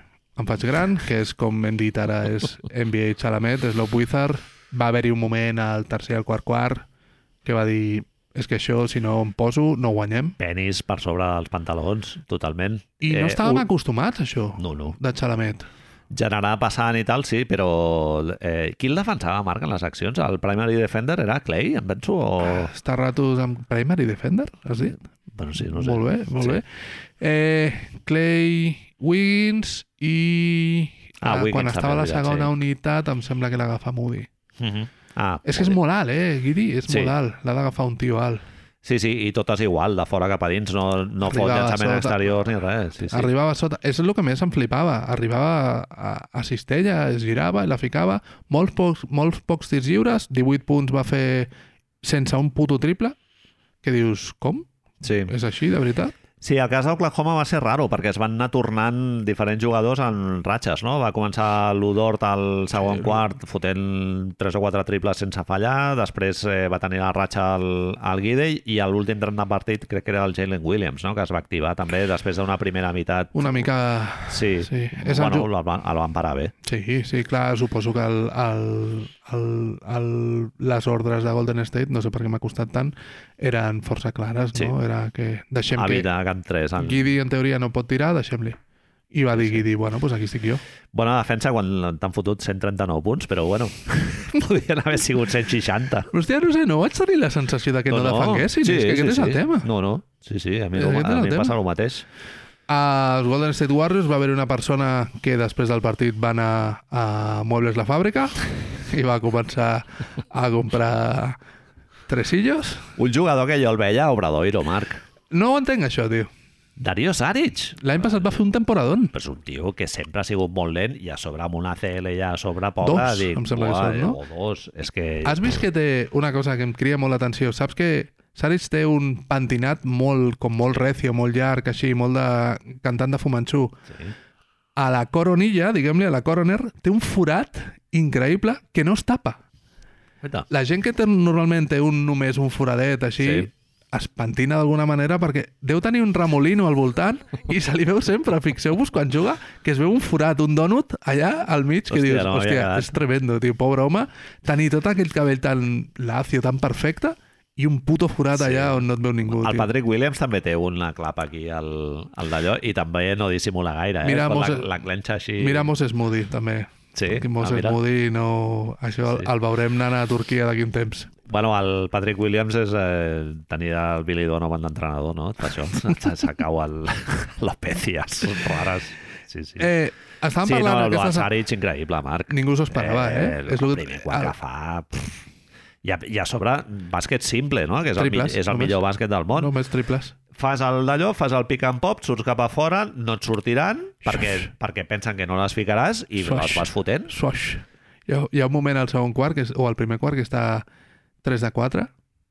Speaker 2: em faig gran, que és com hem dit ara és NBA Chalamet, és Love Wizard va haver-hi un moment al tercer i al quart quart que va dir és que això si no em poso no guanyem
Speaker 1: Penis per sobre dels pantalons, totalment.
Speaker 2: i no estàvem
Speaker 1: Eh, un-
Speaker 2: acostumats a això
Speaker 1: No, no.
Speaker 2: de Chalamet
Speaker 1: Generar passant i tal, sí, però... Eh, qui el defensava, Marc, en les accions? El primary defender era Clay, em penso? O...
Speaker 2: Està ratos amb Primary Defender, has dit?
Speaker 1: Bueno, sí, Eh, no sé.
Speaker 2: Molt bé, molt
Speaker 1: Sí.
Speaker 2: bé. Eh, Clay Wiggins i... eh,
Speaker 1: Ah, Wiggins
Speaker 2: quan
Speaker 1: també,
Speaker 2: estava a la
Speaker 1: veritat,
Speaker 2: segona
Speaker 1: sí.
Speaker 2: unitat em sembla que l'agafa Moody.
Speaker 1: Mhm. Ah,
Speaker 2: És que és molt alt, eh, Guidi? És
Speaker 1: Sí.
Speaker 2: molt alt. L'ha d'agafar un tio alt.
Speaker 1: Sí, sí, i totes igual, de fora cap a dins, no, no fot
Speaker 2: Arribava
Speaker 1: llançament
Speaker 2: sota.
Speaker 1: exterior ni res. Sí, sí.
Speaker 2: Arribava sota... És el que més em flipava. Arribava a, a Cistella, es girava i la ficava. Molts pocs, molts pocs tirs lliures. 18 punts va fer sense un puto triple. Que dius, com?
Speaker 1: Sí.
Speaker 2: És així, de veritat?
Speaker 1: Sí, el cas d'Oklahoma va ser raro, perquè es van anar tornant diferents jugadors en ratxes, no? Va començar l'Udort al segon sí, quart fotent 3 o 4 triples sense fallar, després eh, va tenir la ratxa al, al Guidey i a l'últim tram de partit crec que era el Jalen Williams, no? Que es va activar també després d'una primera meitat.
Speaker 2: Una mica...
Speaker 1: Sí,
Speaker 2: Sí, és el
Speaker 1: bueno,
Speaker 2: ju-
Speaker 1: el, van, el van parar bé.
Speaker 2: Sí, sí, clar, suposo que el, el, el, el, les ordres de Golden State, no sé per què m'ha costat tant, eren força clares,
Speaker 1: Sí.
Speaker 2: no? Era que deixem que
Speaker 1: Evita que entrés en
Speaker 2: Guidi, en teoria, no pot tirar, deixem-li. I va dir Guidi, bueno, doncs aquí estic jo.
Speaker 1: Bona defensa quan t'han fotut 139 punts, però bueno, podien haver sigut 160.
Speaker 2: Però hòstia, no sé, no vaig tenir la sensació de que no, no defenguessin, sí, és que aquest sí, és el
Speaker 1: sí.
Speaker 2: tema.
Speaker 1: No, no, sí, sí, a mi,
Speaker 2: És
Speaker 1: no,
Speaker 2: aquest és
Speaker 1: a
Speaker 2: el
Speaker 1: mi em
Speaker 2: tema.
Speaker 1: passa el mateix.
Speaker 2: Als Golden State Warriors va haver una persona que després del partit va anar a Muebles La Fàbrica i va començar a comprar tresillos.
Speaker 1: Un jugador que jo el veia a Obradoiro, Marc.
Speaker 2: No ho entenc, això, tio.
Speaker 1: Darío Saric.
Speaker 2: L'any passat va fer un temporadón.
Speaker 1: Però és un tio que sempre ha sigut molt lent i a sobre amb una CL ja a sobre pobra.
Speaker 2: Dos,
Speaker 1: dic,
Speaker 2: em sembla que
Speaker 1: "Buah,
Speaker 2: són, no?"
Speaker 1: O dos. És que...
Speaker 2: Has vist que té una cosa que em cria molt l'atenció? Saps que Saris té un pentinat molt, com molt recio, molt llarg, així, molt de cantant de Fumanchu.
Speaker 1: Sí.
Speaker 2: A la coronilla, diguem-li, a la coroner, té un forat increïble que no es tapa.
Speaker 1: Aspeta.
Speaker 2: La gent que té, normalment té un, només un foradet així, sí.
Speaker 1: Sí.
Speaker 2: es pentina d'alguna manera perquè deu tenir un remolino al voltant i se li veu sempre, fixeu-vos quan juga, que es veu un forat, un dònut allà al mig que
Speaker 1: Hòstia,
Speaker 2: dius,
Speaker 1: no m'havia
Speaker 2: hòstia,
Speaker 1: quedat."
Speaker 2: és tremendo, tio, pobre home, tenir tot aquell cabell tan lacio, tan perfecte i un puto forat sí. allà on no et veu ningú,
Speaker 1: El
Speaker 2: tio.
Speaker 1: Patrick Williams també té una clapa aquí al, al d'allò i també no dissimula gaire, eh? Es
Speaker 2: Mira,
Speaker 1: pot
Speaker 2: Moses-
Speaker 1: la, la clenxa així...
Speaker 2: Mira Moses Moody, també.
Speaker 1: Sí?
Speaker 2: Perquè
Speaker 1: Ah,
Speaker 2: Moses
Speaker 1: mira.
Speaker 2: Moody, no... Això sí.
Speaker 1: Sí.
Speaker 2: el veurem anant a Turquia d'aquí un temps.
Speaker 1: Bueno, el Patrick Williams és eh, tenir el Billy Donovan d'entrenador, no? Per això se, se cau el, les pècies rares. Sí, sí.
Speaker 2: Eh, estàvem
Speaker 1: sí, no,
Speaker 2: parlant
Speaker 1: el
Speaker 2: aquesta se-
Speaker 1: Saric, increïble, Marc.
Speaker 2: Ningú s'ho esperava,
Speaker 1: És
Speaker 2: eh?
Speaker 1: el
Speaker 2: És lo
Speaker 1: que...
Speaker 2: que-
Speaker 1: primer quart
Speaker 2: ara-
Speaker 1: que fa... Pff. I a, I a sobre, bàsquet simple, no? Que és el,
Speaker 2: Triples,
Speaker 1: mi- és el
Speaker 2: només.
Speaker 1: millor bàsquet del món.
Speaker 2: Només triples.
Speaker 1: Fas el d'allò, fas el pick and pop, surts cap a fora, no et sortiran perquè, perquè pensen que no les ficaràs i
Speaker 2: Xoix.
Speaker 1: les vas fotent.
Speaker 2: Soix. Hi ha, hi ha un moment al segon quart, que és, o al primer quart, que està 3 de 4.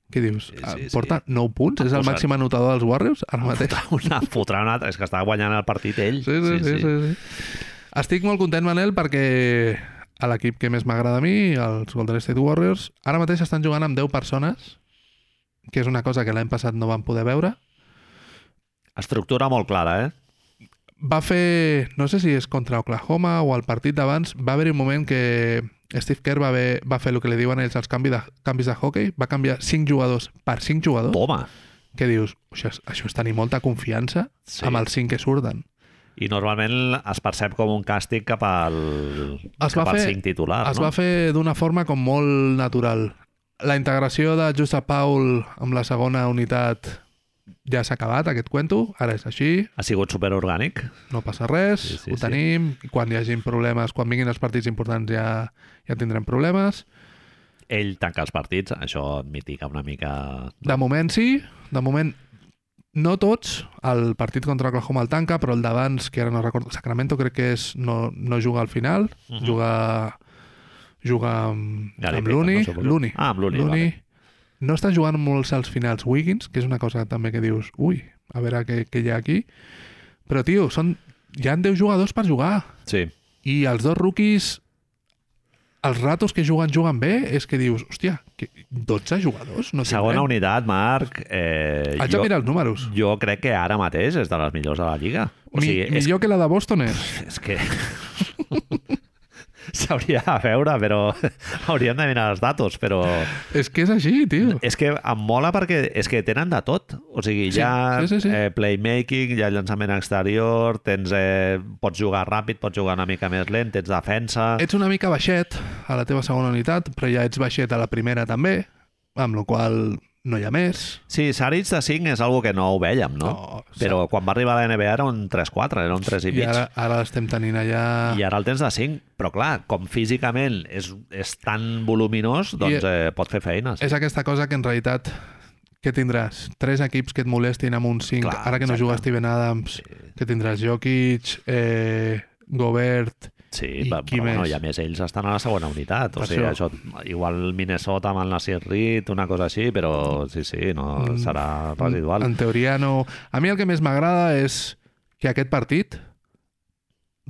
Speaker 2: Què dius?
Speaker 1: Sí,
Speaker 2: Sí, sí,
Speaker 1: sí,
Speaker 2: Porta 9 punts? És el
Speaker 1: Posat.
Speaker 2: màxim anotador dels Warriors ara mateix?
Speaker 1: Fotrà una, fotrà una altra. És que estava guanyant el partit ell.
Speaker 2: Sí sí sí, sí, sí, sí. Estic molt content, Manel, perquè a l'equip que més m'agrada a mi, els Golden State Warriors, ara mateix estan jugant amb 10 persones, que és una cosa que l'any passat no van poder veure.
Speaker 1: Estructura molt clara, eh?
Speaker 2: va fer, no sé si és contra Oklahoma o al partit d'abans, va haver-hi un moment que Steve Kerr va, haver, va fer el que li diuen ells els canvis de, canvis de hockey, va canviar 5 jugadors per 5 jugadors,
Speaker 1: Poma.
Speaker 2: que dius, això és, això és tenir molta confiança
Speaker 1: Sí.
Speaker 2: sí. amb els 5 que surten.
Speaker 1: I normalment es percep com un càstig cap al,
Speaker 2: Es
Speaker 1: cap
Speaker 2: va
Speaker 1: al
Speaker 2: fer-
Speaker 1: cinc titular,
Speaker 2: es
Speaker 1: no?
Speaker 2: va fer d'una forma com molt natural. La integració de Josep Paul amb la segona unitat ja s'ha acabat, aquest cuento, ara és així,
Speaker 1: Ha sigut superorgànic.
Speaker 2: no passa res,
Speaker 1: Sí,
Speaker 2: sí,
Speaker 1: sí,
Speaker 2: sí, ho
Speaker 1: sí.
Speaker 2: tenim, i quan hi hagin problemes, quan vinguin els partits importants ja, ja tindrem problemes.
Speaker 1: Ell tanca els partits, això et mitiga una mica...
Speaker 2: De moment sí, de moment no tots, el partit contra Oklahoma el tanca, però el d'abans, que ara no recordo, Sacramento crec que és, no, no juga al final, uh
Speaker 1: Mhm.
Speaker 2: -huh. juga, juga amb,
Speaker 1: Gary
Speaker 2: amb
Speaker 1: Payton,
Speaker 2: l'Uni.
Speaker 1: suposo.
Speaker 2: L'Uni.
Speaker 1: Ah, amb l'Uni, vale.
Speaker 2: L'Uni no està jugant molts als finals Wiggins, que és una cosa també que dius, ui, a veure què, què hi ha aquí. Però, tio, són, hi ha 10 jugadors per jugar.
Speaker 1: Sí.
Speaker 2: I els dos rookies, els ratos que juguen, juguen bé, és que dius, hòstia, que 12 jugadors? No
Speaker 1: Segona
Speaker 2: tindrem.
Speaker 1: unitat, Marc. Eh,
Speaker 2: eh? Haig de mirar els números.
Speaker 1: jo crec que ara mateix és de les millors de la Lliga. O sigui,
Speaker 2: Mi,
Speaker 1: és,
Speaker 2: millor que la de Boston és.
Speaker 1: és que... S'hauria de veure, però hauríem de mirar els datos, però
Speaker 2: És que és així, tio.
Speaker 1: és que em mola perquè és que tenen de tot. O sigui,
Speaker 2: Sí,
Speaker 1: hi ha
Speaker 2: sí, sí, sí.
Speaker 1: Eh, playmaking, hi ha llançament exterior, tens, eh, pots jugar ràpid, pots jugar una mica més lent, tens defensa...
Speaker 2: Ets una mica baixet a la teva segona unitat, però ja ets baixet a la primera també, amb la qual cosa no hi ha més.
Speaker 1: Sí, Saric de 5 és algo que no ho vèiem, no?
Speaker 2: No,
Speaker 1: Però quan va arribar a la NBA era un 3-4, era un 3 i
Speaker 2: I
Speaker 1: mig.
Speaker 2: ara, ah. ara l'estem tenint allà...
Speaker 1: I ara el tens de 5, però clar, com físicament és, és tan voluminós, doncs
Speaker 2: e-
Speaker 1: eh, pot fer feines.
Speaker 2: És aquesta cosa que en realitat que tindràs? Tres equips que et molestin amb un 5,
Speaker 1: Clar,
Speaker 2: ara que no
Speaker 1: exacte.
Speaker 2: juga Steven Adams, que tindràs Jokic, eh, Gobert
Speaker 1: Sí,
Speaker 2: I
Speaker 1: va,
Speaker 2: qui
Speaker 1: però bueno,
Speaker 2: més?
Speaker 1: i a més ells estan a la segona unitat, o
Speaker 2: Per
Speaker 1: sigui,
Speaker 2: això.
Speaker 1: això. igual Minnesota amb el Nasir Reed, una cosa així, però sí, sí, no
Speaker 2: Mm.
Speaker 1: serà residual.
Speaker 2: En teoria no... A mi el que més m'agrada és que aquest partit,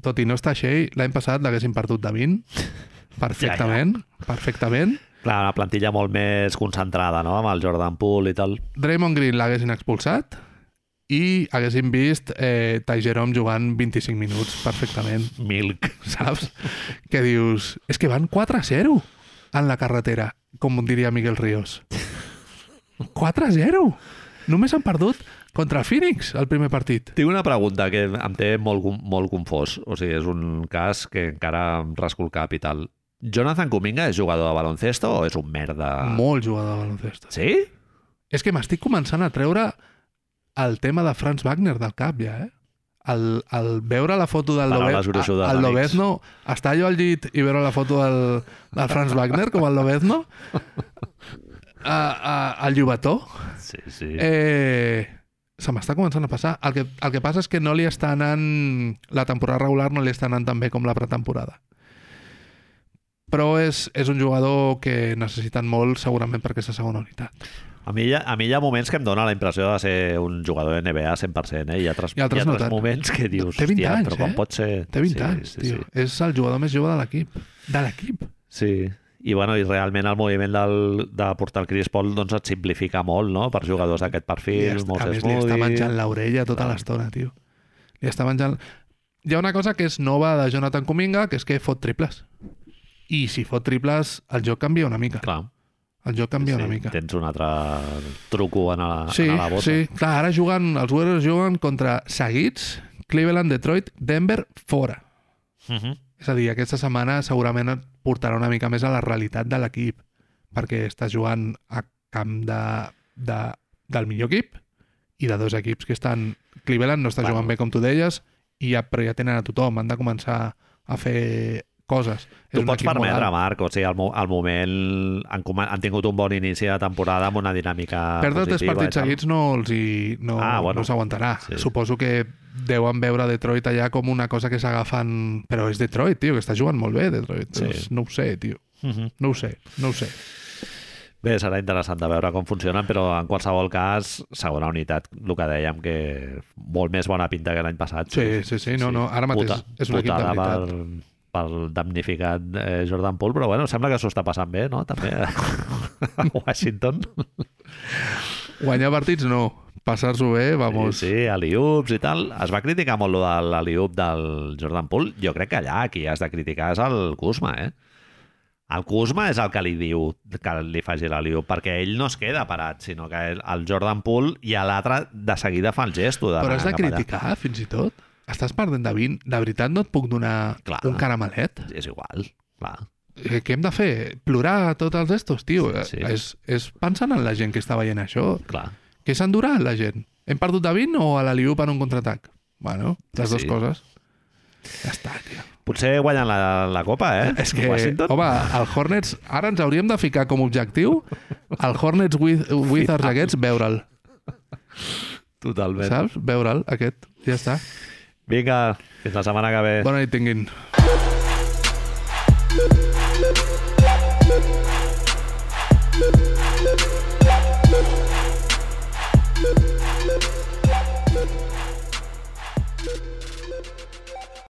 Speaker 2: tot i no estar Shea, l'any passat l'haguessin perdut de 20. Perfectament, perfectament.
Speaker 1: Clar, una plantilla molt més concentrada, no?, amb el Jordan Poole i tal.
Speaker 2: Draymond Green l'haguessin expulsat i haguessin vist eh, Ty Jerome jugant 25 minuts perfectament,
Speaker 1: Milk.
Speaker 2: saps? Que dius, és que van 4-0 en la carretera, com diria Miguel Ríos. 4-0! Només han perdut contra Phoenix el primer partit.
Speaker 1: Tinc una pregunta que em té molt, con- molt confós. O sigui, és un cas que encara em rasco el cap i tal. Jonathan Kuminga és jugador de baloncesto o és un merda?
Speaker 2: Molt jugador de baloncesto.
Speaker 1: Sí?
Speaker 2: És que m'estic començant a treure el tema de Franz Wagner del cap, ja, eh? El, el veure la foto del
Speaker 1: Paraules
Speaker 2: Lobez,
Speaker 1: gruixudes,
Speaker 2: el
Speaker 1: amics.
Speaker 2: Lobezno, estar jo al llit i veure la foto del, del Franz Wagner com el Lobezno, a, a, al llobató,
Speaker 1: Sí, sí.
Speaker 2: eh, se m'està començant a passar. El que, el que passa és que no li està anant... La temporada regular no li està anant tan bé com la pretemporada. Però és, és un jugador que necessiten molt segurament per aquesta segona unitat.
Speaker 1: A mi, hi ha, a mi hi ha moments que em dóna la impressió de ser un jugador de NBA 100%, eh? Hi ha altres,
Speaker 2: I altres
Speaker 1: hi ha
Speaker 2: no
Speaker 1: altres
Speaker 2: tant.
Speaker 1: moments que dius,
Speaker 2: Té 20
Speaker 1: hòstia,
Speaker 2: anys,
Speaker 1: però com
Speaker 2: eh?
Speaker 1: pot ser...
Speaker 2: Té 20
Speaker 1: sí,
Speaker 2: sí, anys,
Speaker 1: sí,
Speaker 2: tio.
Speaker 1: Sí,
Speaker 2: És el jugador més jove de l'equip. De l'equip.
Speaker 1: sí. I, bueno, I realment el moviment del, de portar el Chris Paul doncs, et simplifica molt no? per jugadors d'aquest
Speaker 2: I
Speaker 1: perfil.
Speaker 2: est- A
Speaker 1: Moses
Speaker 2: més, li
Speaker 1: Moody.
Speaker 2: està menjant l'orella tota
Speaker 1: Clar.
Speaker 2: l'estona, tio. Li està menjant... Hi ha una cosa que és nova de Jonathan Cominga, que és que fot triples. I si fot triples, el joc canvia una mica.
Speaker 1: Clar,
Speaker 2: El joc canvia una mica.
Speaker 1: Tens un altre truco en la,
Speaker 2: Sí,
Speaker 1: en la bota.
Speaker 2: sí. Clar, ara juguen, els Warriors juguen contra seguits, Cleveland, Detroit, Denver, fora.
Speaker 1: Uh -huh.
Speaker 2: És a dir, aquesta setmana segurament et portarà una mica més a la realitat de l'equip, perquè estàs jugant a camp de, de, del millor equip i de dos equips que estan... Cleveland no està
Speaker 1: Clar.
Speaker 2: jugant bé, com tu deies, i ja, però ja tenen a tothom, han de començar a fer coses.
Speaker 1: Tu pots
Speaker 2: equip molt
Speaker 1: permetre,
Speaker 2: alt.
Speaker 1: Marc, o sigui, al, mo- al moment han, coma- han tingut un bon inici de temporada amb una dinàmica
Speaker 2: Perdre tres
Speaker 1: positiva.
Speaker 2: partits
Speaker 1: i tal.
Speaker 2: seguits no els hi, no,
Speaker 1: eh, Ah,
Speaker 2: ah,
Speaker 1: bueno.
Speaker 2: bueno. no s'aguantarà.
Speaker 1: Sí.
Speaker 2: Sí. Suposo que deuen veure Detroit allà com una cosa que s'agafen... Però és Detroit, tio, que està jugant molt bé, Detroit.
Speaker 1: Sí.
Speaker 2: Doncs No ho sé, tio.
Speaker 1: Mhm.
Speaker 2: No ho sé, no ho sé.
Speaker 1: Bé, serà interessant de veure com funcionen, però en qualsevol cas, segona unitat, el que dèiem, que molt més bona pinta que l'any passat.
Speaker 2: Sí, sí, sí, no, no, ara mateix és un equip de
Speaker 1: putada
Speaker 2: veritat.
Speaker 1: Per, pel damnificat eh, Jordan Poole, però bueno, sembla que s'ho està passant bé, no? També a Washington.
Speaker 2: Guanyar partits no, passar-s'ho bé, vamos.
Speaker 1: Sí, sí, Aliups i tal. Es va criticar molt lo de l'Aliup del Jordan Poole. Jo crec que allà qui has de criticar és el Kuzma, eh? El Kuzma és el que li diu que li faci l'Aliup, perquè ell no es queda parat, sinó que el- el Jordan Poole i a l'altre de seguida fa el gesto.
Speaker 2: Però
Speaker 1: d'anar
Speaker 2: has de
Speaker 1: cap allà.
Speaker 2: criticar, fins i tot. Estàs perdent de 20. De veritat no et puc donar
Speaker 1: Clar.
Speaker 2: un caramelet?
Speaker 1: És igual, clar.
Speaker 2: Eh, Què hem de fer? Plorar a tots els estos, tio?
Speaker 1: Sí, sí.
Speaker 2: Sí, sí. És, és pensant en la gent que està veient això.
Speaker 1: clar.
Speaker 2: Què s'ha endurat la gent? Hem perdut de 20 o a l'Aliup en un contraatac? Bueno, les
Speaker 1: Sí,
Speaker 2: dues
Speaker 1: sí.
Speaker 2: coses. Ja està, tio.
Speaker 1: Potser guanyen la, la copa, eh?
Speaker 2: És que,
Speaker 1: Washington.
Speaker 2: home, el Hornets... Ara ens hauríem de ficar com a objectiu el Hornets with, Wizards aquests, veure'l,
Speaker 1: Totalment.
Speaker 2: saps? Veure'l, aquest. Ja està.
Speaker 1: Vinga, fins la setmana que ve.
Speaker 2: Bona nit tinguin.